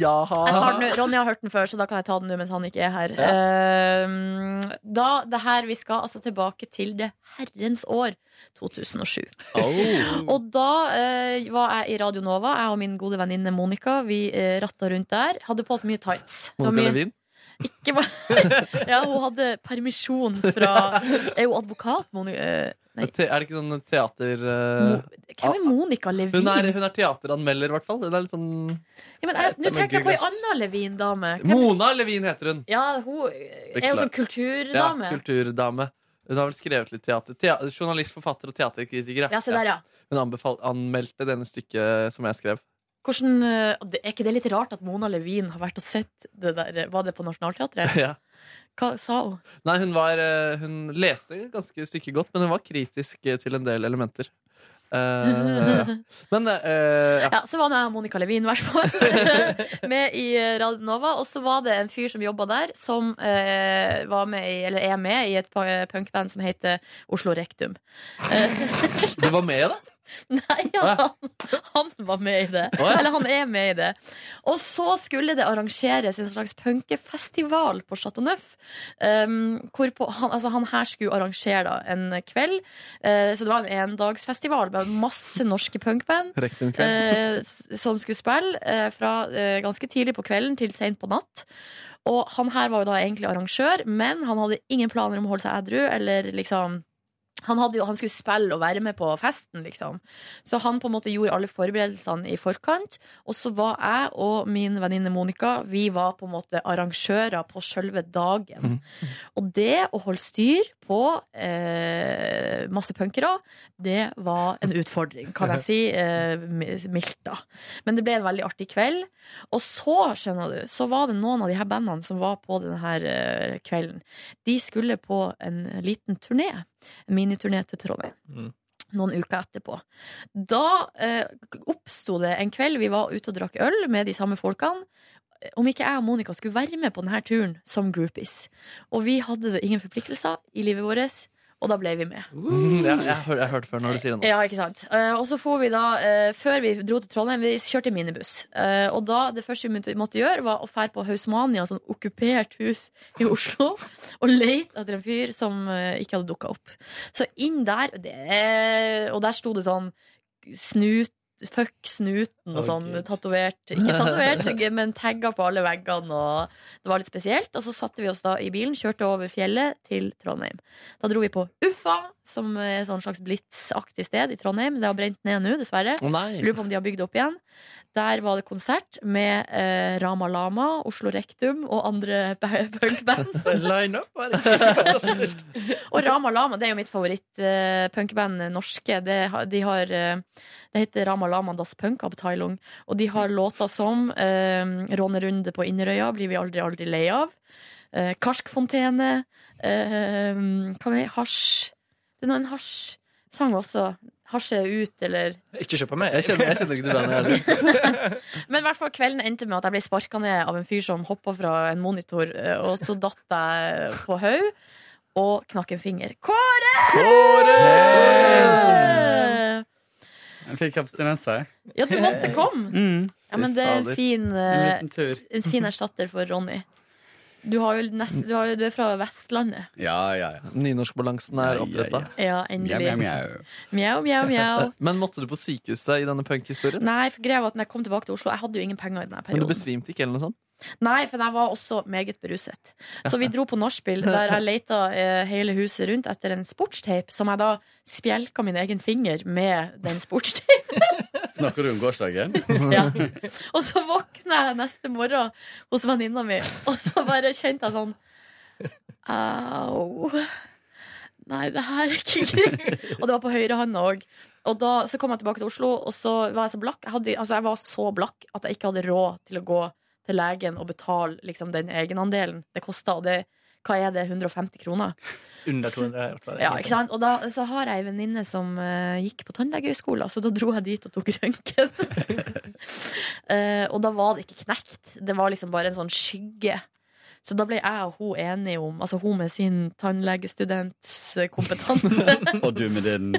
C: ja.
B: Ah. Jeg tar den nå. Ronny har hørt den før, så da kan jeg ta den nå mens han ikke er her. Eh, da, det her, Vi skal altså tilbake til det herrens år 2007. Og da eh, var jeg i Radio Nova, jeg og min gode venninne Monica. Vi eh, ratta rundt der. Hadde på oss mye tights. Det var
C: Monica
B: mye-
C: Levin.
B: ikke bare- ja, hun hadde permisjon fra Er hun advokat, Monica? eh, Nei.
C: Te- Er det ikke sånn teater... eh,
B: Mo- Hvem er Monica Levin?
C: hun, er, hun er teateranmelder, i hvert fall. Hun er litt sånn...
B: ja, men jeg, nå
I: Dette må
B: tenker jeg på ei
I: googles.
B: anna Levin-dame. Hvem-
C: Mona Levin heter hun.
B: Ja, hun er jo sånn kulturdame.
C: Ja, kulturdame. Hun har vel skrevet litt teater. Tea- journalist, forfatter og teaterkritiker.
B: Ja, se der, ja.
C: Hun anbefal- anmeldte denne stykket eh, som jeg skrev.
B: Hvordan, eh, det- er ikke det litt rart at Mona Levin har vært og sett det der eh, Var det på Nationaltheatret?
C: ja.
B: Hva sa hun?
C: Nei, hun, var, eh, hun leste ganske stykket godt, men hun var kritisk eh, til en del elementer. Eh, men eh, ja.
B: Ja, så var nå jeg og Monica Levin, i hvert fall, med i eh, Radio Nova. Og så var det en fyr som jobba der, som eh, var med i, eller er med i et pa- punkband som heter Oslo Rektum.
C: Du var med, da?
B: Nei, han, han var med i det.
C: Å, ja.
B: Eller han er med i det. Og så skulle det arrangeres en slags punkefestival på Chateau Neuf. Um, hvorpå han, altså han her skulle arrangere da, en kveld. Eh, så det var en endagsfestival med masse norske punkband.
C: Rektumkveld.
B: eh, s- som skulle spille eh, fra eh, ganske tidlig på kvelden til seint på natt. Og han her var jo da egentlig arrangør, men han hadde ingen planer om å holde seg edru. Eller liksom han, hadde jo, han skulle spille og være med på festen, liksom. Så han på en måte gjorde alle forberedelsene i forkant. Og så var jeg og min venninne Monica Vi var på en måte arrangører på sjølve dagen. Og det å holde styr på eh, masse punkere, det var en utfordring, kan jeg si. Eh, mildt, da. Men det ble en veldig artig kveld. Og så, skjønner du, så var det noen av de her bandene som var på denne her eh, kvelden. De skulle på en liten turné. En miniturné til Trondheim.
I: Mm.
B: Noen uker etterpå. Da eh, oppsto det en kveld vi var ute og drakk øl med de samme folkene. Om ikke jeg og Monica skulle være med på denne turen som groupies. Og vi hadde det ingen forpliktelser i livet vårt, og da ble vi med.
C: Ja, jeg, hør, jeg hørte før når du sier det nå.
B: Ja, ikke sant. Eh, og så for vi da, eh, før vi dro til Trondheim, vi kjørte minibuss. Eh, og da, det første vi måtte- måtte gjøre, var å fære på Hausmania, sånn okkupert hus i Oslo, og leite etter en fyr som eh, ikke hadde dukka opp. Så inn der, og det, og der sto det sånn snut. Fuck snuten og sånn.
I: Å, Gud.
B: Tatovert. Ikke tatovert, men tagga på alle veggene. Og det var litt spesielt. Og så satte vi oss da i bilen, kjørte over fjellet til Trondheim. Da dro vi på Uffa, som er et sånn slags Blitz-aktig sted i Trondheim. Det har brent ned nå, dessverre.
C: Å nei.
B: Lurer på om de har bygd det opp igjen. Der var det konsert med eh, Rama Lama, Oslo Rektum og andre ba- punkband.
I: Line up var fantastisk.
B: Og Rama Lama det er jo mitt favoritt-punkband eh, norske. Det, har- de har, eh, det heter Rama Lama Das Punkabteilung. Og de har låter som eh, Rånerunde på Inderøya blir vi aldri, aldri lei av. Eh, Karskfontene. Eh, hva mer? Hasj. Det er nå en hasj-sang også. Hasj er ut, eller
I: Ikke kjøp av meg.
C: Jeg kjenner, jeg kjenner ikke til bandet heller.
B: Men i hvert fall kvelden endte med at jeg ble sparka ned av en fyr som hoppa fra en monitor, eh, og så datt jeg på haug og knakk en finger. Kåre!
J: Jeg fikk abstinens her.
B: Ja, du måtte komme!
J: Mm.
B: Ja, men det er en
C: Fader.
B: fin,
J: En
G: Mm.
B: eh,
J: liten tur.
B: en fin erstatter for Ronny. Du, har jo nest, du, har, jo- du er fra Vestlandet.
J: Ja, ja, ja.
C: Nynorskbalansen er oppretta.
B: Ja,
J: Mjau,
B: endelig.
J: mjau, mjau.
B: Mjau, mjau, mjau.
C: Men måtte du på sykehuset i denne punkhistorien?
B: Nei, for greia var at når jeg kom tilbake til Oslo, jeg hadde jo ingen penger i denne
C: Men du
B: perioden.
C: besvimte ikke, eller noe sånt?
B: Nei, for jeg var også meget beruset. Så vi dro på nachspiel, der jeg leita eh, hele huset rundt etter en sportstape, som jeg da spjelka min egen finger med den sportstapen.
J: Snakker du om gårsdagen?
B: Ja. Og så våkna jeg neste morgen hos venninna mi, og så bare kjente jeg sånn Au. Nei, det her er ikke greit. Og det var på høyrehånda òg. Og da så kom jeg tilbake til Oslo, og så var jeg så blakk. Jeg, hadde, altså, jeg var så blakk at jeg ikke hadde råd til å gå til legen og betale liksom, den egenandelen det kosta. Og det, hva er det? 150 kroner?
G: Under 200 i hvert fall.
B: Ja, ikke sant? Og da så har jeg ei venninne som eh, gikk på tannlegehøyskolen, så da dro jeg dit og tok røntgen. Eh, og da var det ikke knekt, det var liksom bare en sånn skygge. Så da ble jeg og hun enige om, altså hun med sin tannlegestudents eh, kompetanse
J: Og du med din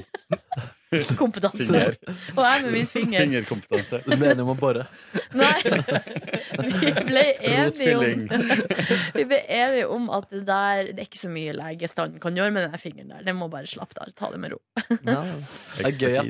B: Kompetanse.
J: Finger.
B: Og jeg med min finger.
J: Fingerkompetanse.
C: Du mener om å bore?
B: Vi ble enige om
J: Rotfylling.
B: Vi ble enige om at det der Det er ikke så mye legestanden kan gjøre med den der fingeren der. Den må bare slappe av. Ta det med ro.
C: Ja. Det, er gøy at, ja, det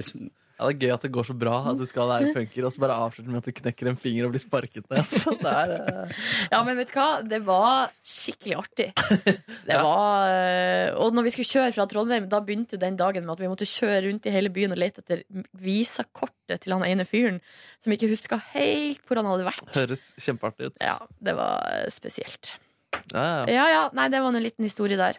C: er gøy at det går så bra at du skal være punker, og så bare avslutter med at du knekker en finger og blir sparket ned. Så det er, eh,
B: Ja, men vet du hva? Det var skikkelig artig. Det var øh, Og når vi skulle kjøre fra Trondheim, da begynte jo den dagen med at vi måtte kjøre rundt i hele byen og lete etter visakortet til han ene fyren som ikke huska helt hvor han hadde vært.
C: høres kjempeartig ut.
B: Ja, det var øh, spesielt.
C: Ja, ja.
B: Ja ja, nei, det var nå en liten historie der.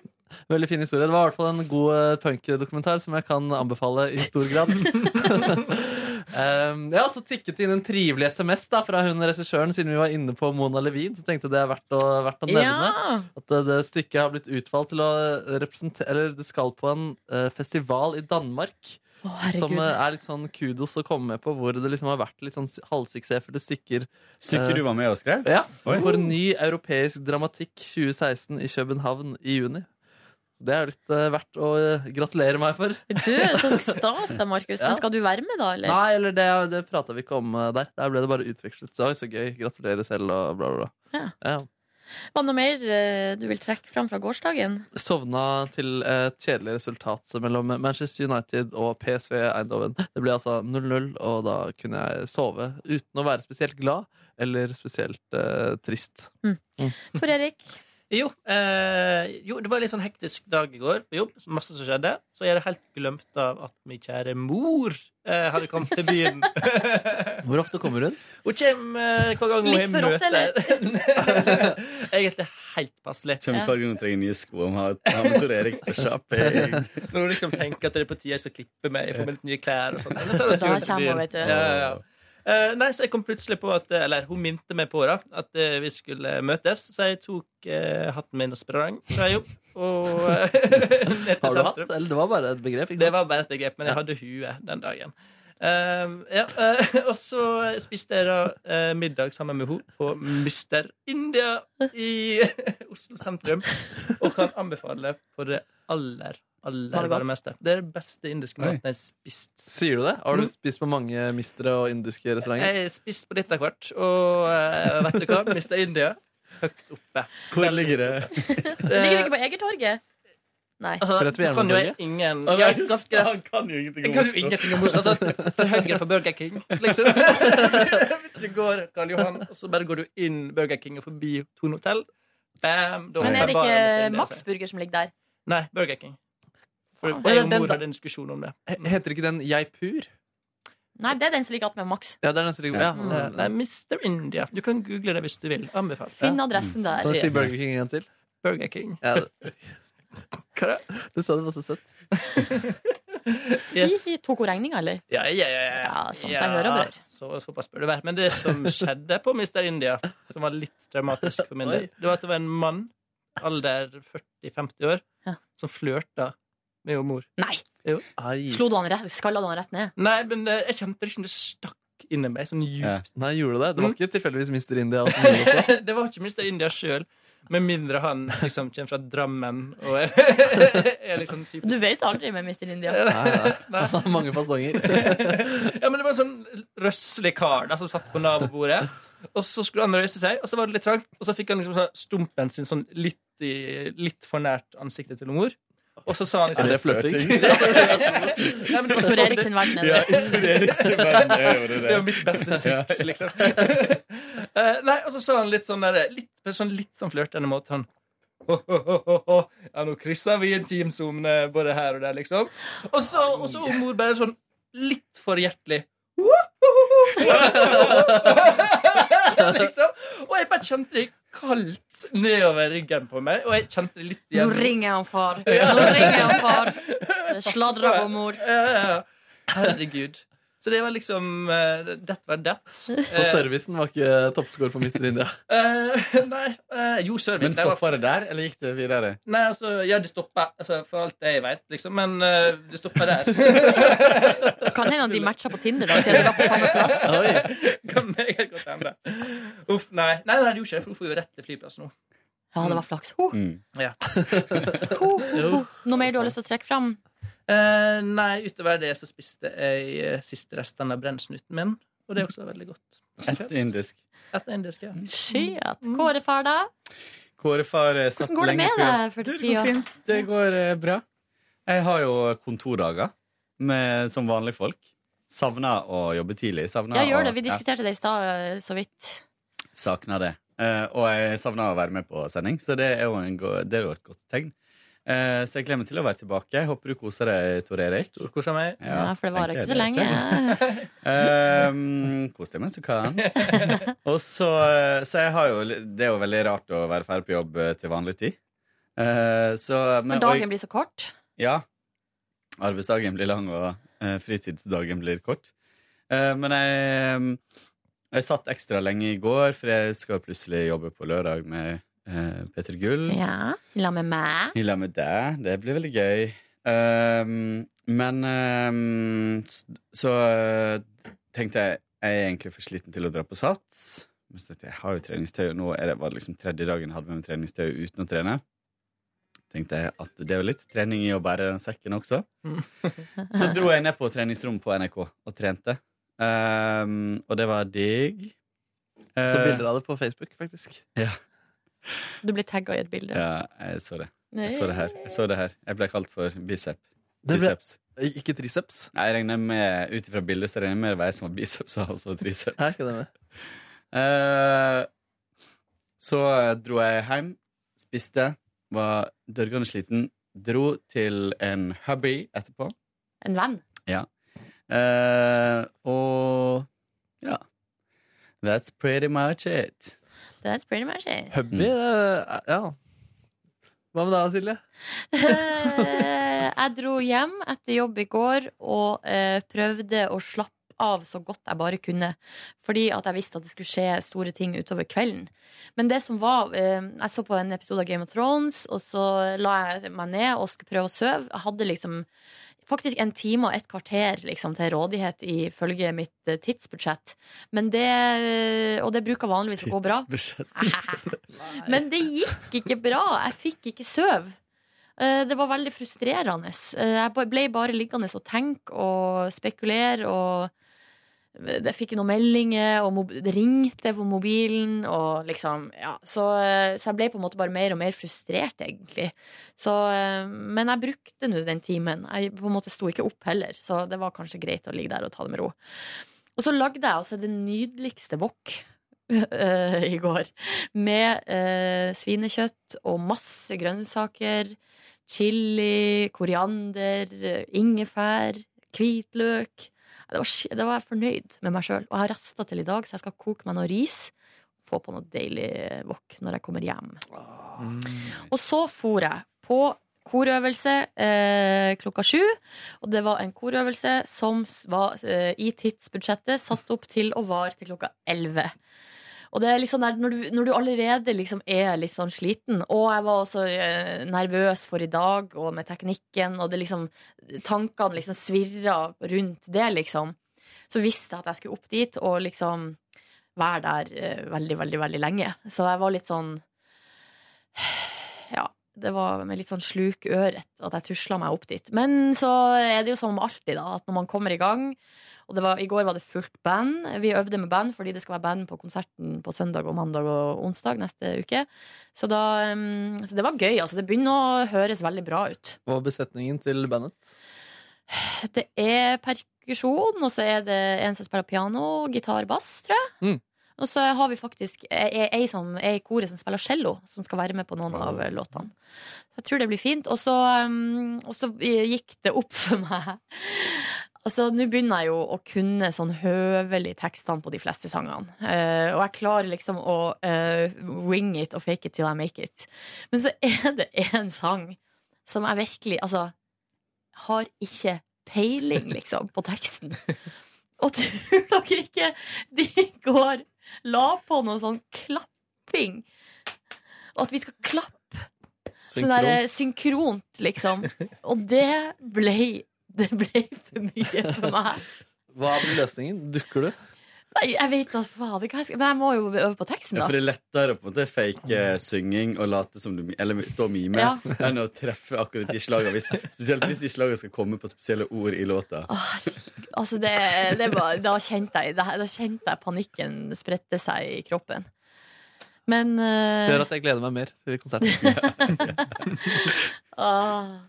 C: Veldig fin historie. Det var i hvert fall en god eh, punkdokumentar som jeg kan anbefale i stor grad. um, ja, Så tikket det inn en trivelig SMS da fra hun regissøren, siden vi var inne på Mona Levin. Så tenkte jeg det er verdt å, verdt å nevne.
B: Ja.
C: At eh, det stykket har blitt utvalgt til å representere Eller det skal på en eh, festival i Danmark.
B: Å,
C: Som
B: herregud.
C: eh, er litt sånn kudos å komme med på, hvor det liksom har vært litt sånn halvsuksessfulle stykker. eh,
J: Stykket du var med og skrev?
C: Ja,
J: Oi.
C: For ny europeisk dramatikk 2016 i København i juni. Det er litt eh, verdt å eh, gratulere meg for.
B: Du, så stas da, Markus.
C: Ja.
B: Men skal du være med, da? Eller?
C: Nei, eller det, det prata vi ikke om eh, der. Der ble det bare utvekslet. Så, oi, så gøy. Gratulerer selv, og bla, bla, bla. Ja.
B: Var det noe mer øh, du vil trekke fram fra gårsdagen?
C: Sovna til et kjedelig resultat mellom Manchester United og PSV Eindhoven. Det ble altså 0-0, og da kunne jeg sove uten å være spesielt glad eller spesielt eh, trist.
B: Tor Erik?
G: Jo, eh, jo, det var en litt sånn hektisk dag i går på jobb. Masse som skjedde. Så jeg hadde helt glemt av at min kjære mor eh, hadde kommet til byen.
C: Hvor ofte kommer hun?
G: Hun kommer eh, hver gang hun
B: Litt for ofte, eller?
G: Egentlig helt passelig.
J: Kommer hver gang hun trenger nye sko. Om har har med Tor Erik på shopping.
G: Når hun liksom tenker at det er på tide jeg skal klippe meg, jeg får meg litt nye klær og sånn. Da tar
B: Da
G: jeg turen til
B: kommer hun,
G: byen.
B: vet du.
G: Ja, ja, ja. Eh, nei, så jeg kom plutselig på at Eller hun minte meg på da at eh, vi skulle møtes, så jeg tok eh, hatten min og sprang fra jobb. Og eh, ned til
C: Har du hatt?
G: sentrum.
C: Eller det var bare et begrep? Ikke
G: Det
C: sant?
G: var bare et begrep, men jeg hadde huet den dagen. Ehm, ja, eh, og så spiste jeg da eh, middag sammen med henne på Mister India i Oslo sentrum. Og kan anbefale på det aller,
B: Var
G: aller
B: det godt?
G: varmeste. Det er den beste indiske maten jeg har spist.
C: Sier du det? Har du spist på mange mistere og indiske restauranter?
G: Jeg har spist på litt av hvert, og eh, vet du hva? Mister India høyt oppe.
J: Hvor ligger det?
B: Ligger det
G: Eh,
B: ikke på Egertorget? Nei.
G: altså,
C: Rett ved
G: nå kan jo jeg
C: Jernbanetorget?
G: ingen
J: Han,
G: ja, ganske rett.
J: kan jo ingenting
G: Jeg
J: om
G: kan jo
J: Oslo.
G: ingenting om Oslo. Altså, til høyre for Burger King, liksom. Hvis du går Karl Johan, og så bare går du inn Burger King og forbi Tone Hotell Bam! da
B: Men er det
G: bare Mr.
B: ikke
G: India, altså.
B: Max Ah. Burger som ligger der?
G: Nei, Burger King. For
B: Faen.
G: jeg og
C: Men den-
G: mor hadde en diskusjon om det.
C: Eh,
B: Mm.
C: Heter ikke den Jaipur?
B: Nei, det er den som ligger attmed Max.
C: Ja, det er nesten like ja. Mm.
G: Eh, Nei, Mr. India. Du kan google det hvis du vil. Anbefalt.
B: Finn adressen der.
C: Kan du si
G: Yes.
C: Burger King en gang til?
G: Burger King.
C: Ja,
G: Hva da?
C: du sa det var så søtt.
G: Yes.
B: Hi, hi. Tok hun regninga, eller?
G: Ja, ja, ja, ja.
B: Ja, sånn som jeg hører og rører.
G: Så, såpass bør det være. Men det som skjedde på Mr. India, som var litt dramatisk for min del, det var at det var en mann, alder 40-50 år,
B: Ja.
G: som flørta med jo mor.
B: Nei!
C: Ai.
B: Slo du han rett, skalla du han rett ned?
G: Nei, men eh, jeg kjente liksom det stakk inni meg, sånn
J: Ja.
G: djupt.
C: Nei, gjorde du det? Det var ikke tilfeldigvis Mister India? og sånn også?
G: Det var ikke Mr. India sjøl. Med mindre han liksom kommer fra Drammen og er, er liksom typisk
B: Du vet aldri med Mr. India.
C: Nei, nei. Han har mange fasonger.
G: Ja, men det var en sånn røslig kar da, som satt på nabobordet. Og så skulle han røyse seg, og så var det litt trangt. Og så fikk han liksom sånn stumpen sin sånn litt, i, litt for nært ansiktet til mor. Og så sa han
C: Er
G: liksom
C: det flørting?
G: Nei, men det var
B: Tor
G: sånn
B: Erik
G: det,
B: sin verden
J: Ja,
B: er det.
J: Tor Erik sin venn er jo det.
G: det var mitt beste tips, liksom. Eh, Nei, og så sa han litt sånn der, litt, på en sånn, litt sånn flørtende måte. Han «Ho, ho, ho, ho, ho. Ja, nå krysser vi intimsonene både her og der, liksom. Og så, og så var mor bare sånn litt for hjertelig. liksom. Og jeg bare kjente det gikk
I: kaldt nedover ryggen på meg, og jeg kjente det litt
B: Nå
I: igjen.
B: ringer jeg han far. Nå ringer jeg han far. Det Sladrer på mor.
I: Ja, ja, ja. Herregud. Så det var liksom uh,
G: eh,
I: Dett var dett.
C: Så servicen var ikke toppscore for Mr. India?
I: nei, eh, jo, service.
J: Men
I: det var-
J: stoppa det der, eller gikk det videre?
I: Nei, altså, ja, det stopper. Altså, for alt jeg vet, liksom. Men eh, det stopper der.
B: Kan hende at de matcher på Tinder, da, siden de var på samme plass.
I: kan meget godt hende. Uff, nei. Nei, nei, det gjorde ikke det, for hun får jo rett til flyplass nå.
B: Ja, det var flaks. Ho,
C: Mm.
I: Ja.
B: ho, ho, ho. Noe mer du har lyst til å trekke fram?
I: Eh, nei, utover det så spiste jeg eh, siste resten av brennsnuten min, og det er også veldig godt.
J: Ett indisk.
I: Etter indisk, ja.
B: Shit. Kåre far, da?
J: Kåre far eh, satt
B: Hvordan går det
J: lenge
B: med
J: på
B: deg
J: jobb.
B: for
J: Du, Det
B: tida?
J: går fint. Det går eh, bra. Jeg har jo kontordager med, som vanlige folk. Savner å jobbe tidlig. Savner
B: Ja, gjør
J: å-
B: det. Vi diskuterte det i stad eh, så vidt.
J: Ja, savner det. Eh, og jeg savner å være med på sending, så det er jo, en go- det er jo et godt tegn. Eh, så jeg gleder meg til å være tilbake. Håper du koser deg, Tor Erik.
I: Storkosa meg.
B: Ja, for det varer
J: tenker
B: ikke så
J: jeg det er
B: lenge.
J: Um, Kos deg mens du kan. Og så, så jeg har jo Det er jo veldig rart å være ferdig på jobb eh, til vanlig tid. Eh, så, men,
B: Men dagen blir så kort.
J: og- Ja. Arbeidsdagen blir lang, og eh, fritidsdagen blir kort. Eh, men jeg, ehm, jeg satt ekstra lenge i går, for jeg skal plutselig jobbe på lørdag med eh, Peter Gull.
B: Ja. I lag med meg.
J: I lag med deg. Det blir veldig gøy. Ehm, men ehm, s- så eh, tenkte jeg jeg er egentlig for sliten til å dra på sats. Men så tenkte jeg, jeg har jo treningstøy, og nå er det, var det liksom tredje dagen jeg hadde med meg treningstøy uten å trene. Tenkte jeg at det var litt trening i å bære den sekken også. Så dro jeg ned på treningsrommet på NRK og trente. Ehm, og det var digg.
C: Så
J: Eh,
C: bilder av det på Facebook, faktisk.
B: Du blir tagga i et bilde.
J: Ja, jeg så det. Jeg så det her. Jeg, så det her. jeg ble kalt for bicep.
C: Det ble-
J: Biceps.
C: Ikke triceps.
J: Nei, jeg regner med, ut ifra bildet, så regner jeg med det var jeg som var biceps og altså
C: Her
J: triceps.
C: skal det med.
J: Eh, så dro jeg hjem, spiste, var dørgende sliten, dro til en hubby etterpå,
B: En venn.
J: Eh, og ja. That's pretty much it. Mm.
B: That's pretty much it.
C: Hubby, det- ja. Hva med deg, Silje?
B: Eh, jeg dro hjem etter jobb i går og eh, prøvde å slappe av så godt jeg bare kunne. Fordi at jeg visste at det skulle skje store ting utover kvelden. Men det som var eh, Jeg så på en episode av Game of Thrones, og så la jeg meg ned og skulle prøve å sove. Jeg hadde liksom faktisk en time og et kvarter liksom, til rådighet ifølge mitt eh, tidsbudsjett. Men det, og det bruker vanligvis å gå bra. Men det gikk ikke bra. Jeg fikk ikke søv. Eh, Det var veldig frustrerende. Eh, Jeg ba- ble bare liggende og tenke og spekulere og eh, jeg fikk noen meldinger, og mob- det ringte på mobilen. Og liksom, ja. så, eh, så jeg ble på en måte bare mer og mer frustrert, egentlig. Så, eh, men jeg brukte nå den timen. Jeg på en måte sto ikke opp heller, så det var kanskje greit å ligge der og ta det med ro. Og så lagde jeg altså det nydeligste wok eh, i går med eh, svinekjøtt og masse grønnsaker. Chili, koriander, eh, ingefær, hvitløk. Det var, sk- det var jeg fornøyd med meg sjøl. Og jeg har rester til i dag, så jeg skal koke meg noe ris. Få på noe deilig wok når jeg kommer hjem.
C: Mm.
B: Og så for jeg på korøvelse eh, klokka sju. Og det var en korøvelse som s- var eh, i tidsbudsjettet satt opp til å vare til klokka elleve. Og det er liksom der, når, du, når du allerede liksom er litt sånn sliten, og jeg var også eh, nervøs for i dag, og med teknikken, og det liksom, tankene liksom svirra rundt det, liksom, så visste jeg at jeg skulle opp dit og liksom være der eh, veldig, veldig, veldig lenge. Så jeg var litt sånn Ja, det var med litt sånn sluk øret at jeg tusla meg opp dit. Men så er det jo som alltid, da, at når man kommer i gang, og det var, I går var det fullt band. Vi øvde med band fordi det skal være band på konserten på søndag og mandag og onsdag neste uke. Så, da, um, så det var gøy. Altså, det begynner å høres veldig bra ut.
C: Hva var besetningen til bandet?
B: Det er perkusjon, og så er det en som spiller piano, gitar, bass, tror jeg.
C: Mm.
B: Og så har vi faktisk ei, ei som er i koret som spiller cello, som skal være med på noen av låtene. Så jeg tror det blir fint. Og så, um, og så gikk det opp for meg Altså, Nå begynner jeg jo å kunne sånn høvelig tekstene på de fleste sangene. Eh, og jeg klarer liksom å eh, wing it og fake it till I make it. Men så er det en sang som jeg virkelig Altså, har ikke peiling, liksom, på teksten. Og tror dere ikke de går la på noe sånn klapping? Og at vi skal klappe sånn der eh, synkront, liksom. Og det ble det ble for mye for meg.
C: Hva blir løsningen? Dukker du?
B: Eh. Nei, Jeg vet da fader hva jeg skal Men jeg må jo øve på teksten,
J: Ja, for det
B: da.
J: er lettere å på en måte fake eh, synging og late som du Eller stå og mime
B: Ja.
J: enn å treffe akkurat de slagene. Hvis, spesielt hvis de slagene skal komme på spesielle ord i låta.
B: Altså, det, det var, da, kjente jeg, da, da kjente jeg panikken sprette seg i kroppen. Men eh,
C: Gjør at jeg gleder meg mer til konserten.
B: ah.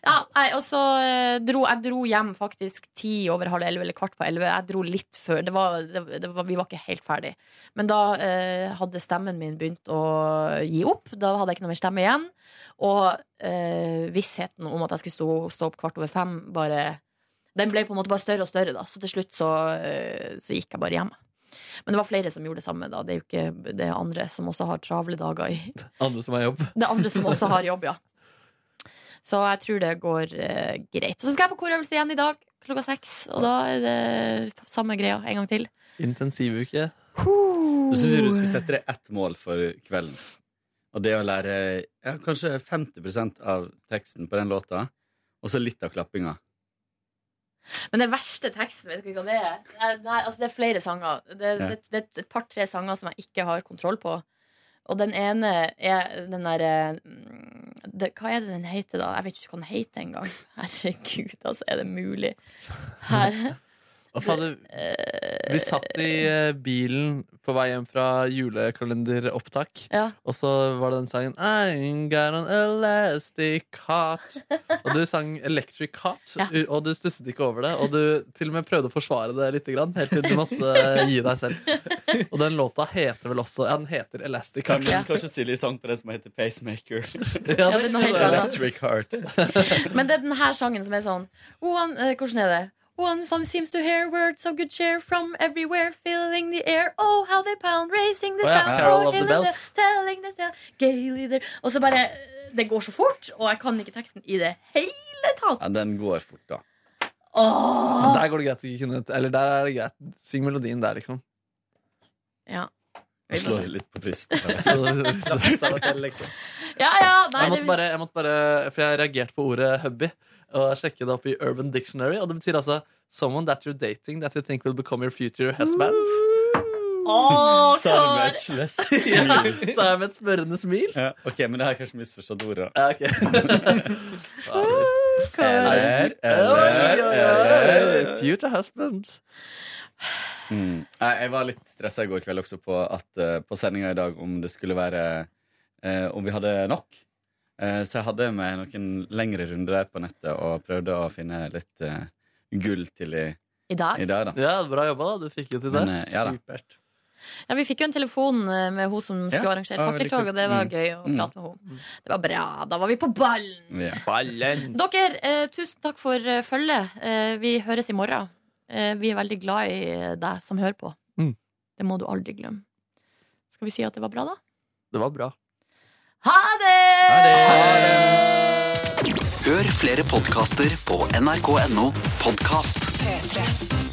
B: Ja, nei, og så eh, dro jeg dro hjem faktisk ti over halv elleve eller kvart på elleve. Jeg dro litt før. Det var, det, det var, vi var ikke helt ferdig. Men da eh, hadde stemmen min begynt å gi opp. Da hadde jeg ikke noe mer stemme igjen. Og eh, vissheten om at jeg skulle stå, stå opp kvart over fem, bare Den ble på en måte bare større og større, da. Så til slutt så, eh, så gikk jeg bare hjem. Men det var flere som gjorde det samme, da. Det er jo ikke det er andre som også har travle dager i
C: Andre som har jobb.
B: det er andre som også har jobb, ja. Så jeg tror det går eh, greit. Og så skal jeg på korøvelse igjen i dag klokka seks. Og da er det f- samme greia en gang til.
C: Intensivuke.
J: Så syns jeg du skal sette deg ett mål for kvelden. Og det å lære ja, kanskje 50 av teksten på den låta, og så litt av klappinga.
B: Men den verste teksten, vet dere hva det er? Eh, Nei, altså det er flere sanger. Det,
J: Ja.
B: det, det er et par-tre sanger som jeg ikke har kontroll på. Og den ene er den derre Hva er det den heter, da? Jeg vet ikke hva den heter engang. Herregud, altså, er det mulig? Her.
C: Å, fader, vi satt i eh, bilen på vei hjem fra julekalenderopptak,
B: Ja.
C: og så var det den sangen I'm got an elastic heart. Og du sang Electric Heart,
B: Ja.
C: u- og du stusset ikke over det. Og du til og med prøvde å forsvare det litt, grann, helt til du måtte eh, gi deg selv. Og den låta heter vel også Ja, den heter Elastic
J: Kan
C: Heart.
J: ja. kanskje Silje sang på det som heter Pacemaker.
C: Ja, det er noe helt annet.
J: Electric Heart.
B: Men det er den her sangen som er sånn one, eh, Hvordan er det? One some seems to hear words of good cheer from everywhere, filling the air. Oh, how they pound, raising the
C: Å ja,
B: sound.
C: Carol
B: oh,
C: of the
B: hailing
C: Bells.
B: telling the tale, gaily there. Og så bare eh, Det går så fort, og jeg kan ikke teksten i det hele tatt.
J: Ja, den går fort, da.
B: Åh!
C: Men der går det greit å ikke kunne Eller der er det greit. Syng melodien der, liksom.
B: Ja.
J: Jeg slår litt på pristen.
B: Ja, ja, nei,
C: jeg, måtte
B: det-
C: bare, jeg måtte bare For jeg reagerte på ordet hubby, og jeg sjekket det opp i Urban Dictionary, og det betyr altså Someone that you're dating that you think will become your future husband.
B: Åh, Kåre.
J: Savmatchless
C: Ja,
B: Mm.
J: smil.
C: Så er jeg med et spørrende smil.
J: Ja, ok, men det her er kanskje misforstått ordet.
C: Ja, ok.
J: Eller, eller,
C: Oi, oi, oi,
J: eller.
C: Future husband.
J: Mm. Jeg, jeg var litt stressa i går kveld også på, at, eh, på sendinga i dag om det skulle være eh, Om vi hadde nok. Eh, så jeg hadde med noen lengre runder der på nettet og prøvde å finne litt eh, gull til i,
B: I dag?
J: i dag, da.
C: Ja, bra jobba, da. Du fikk jo til det.
J: Men, eh, ja da.
C: Supert.
B: Ja, Vi fikk jo en telefon eh, med hun som skulle arrangere
J: det var veldig
B: fakkeltog, og
J: kult.
B: det var
J: Mm.
B: gøy å
J: Mm.
B: prate med henne. Det var bra. Da var vi på ballen!
J: Ja.
C: Ballen.
B: Dere, eh, tusen takk for eh, følget. Eh, vi høres i morgen. Eh, vi er veldig glad i eh, deg som hører på.
C: Mm.
B: Det må du aldri glemme. Skal vi si at det var bra, da?
C: Det var bra.
B: Ha det!
F: Hør flere podkaster på nrk.no podkast.
E: P3.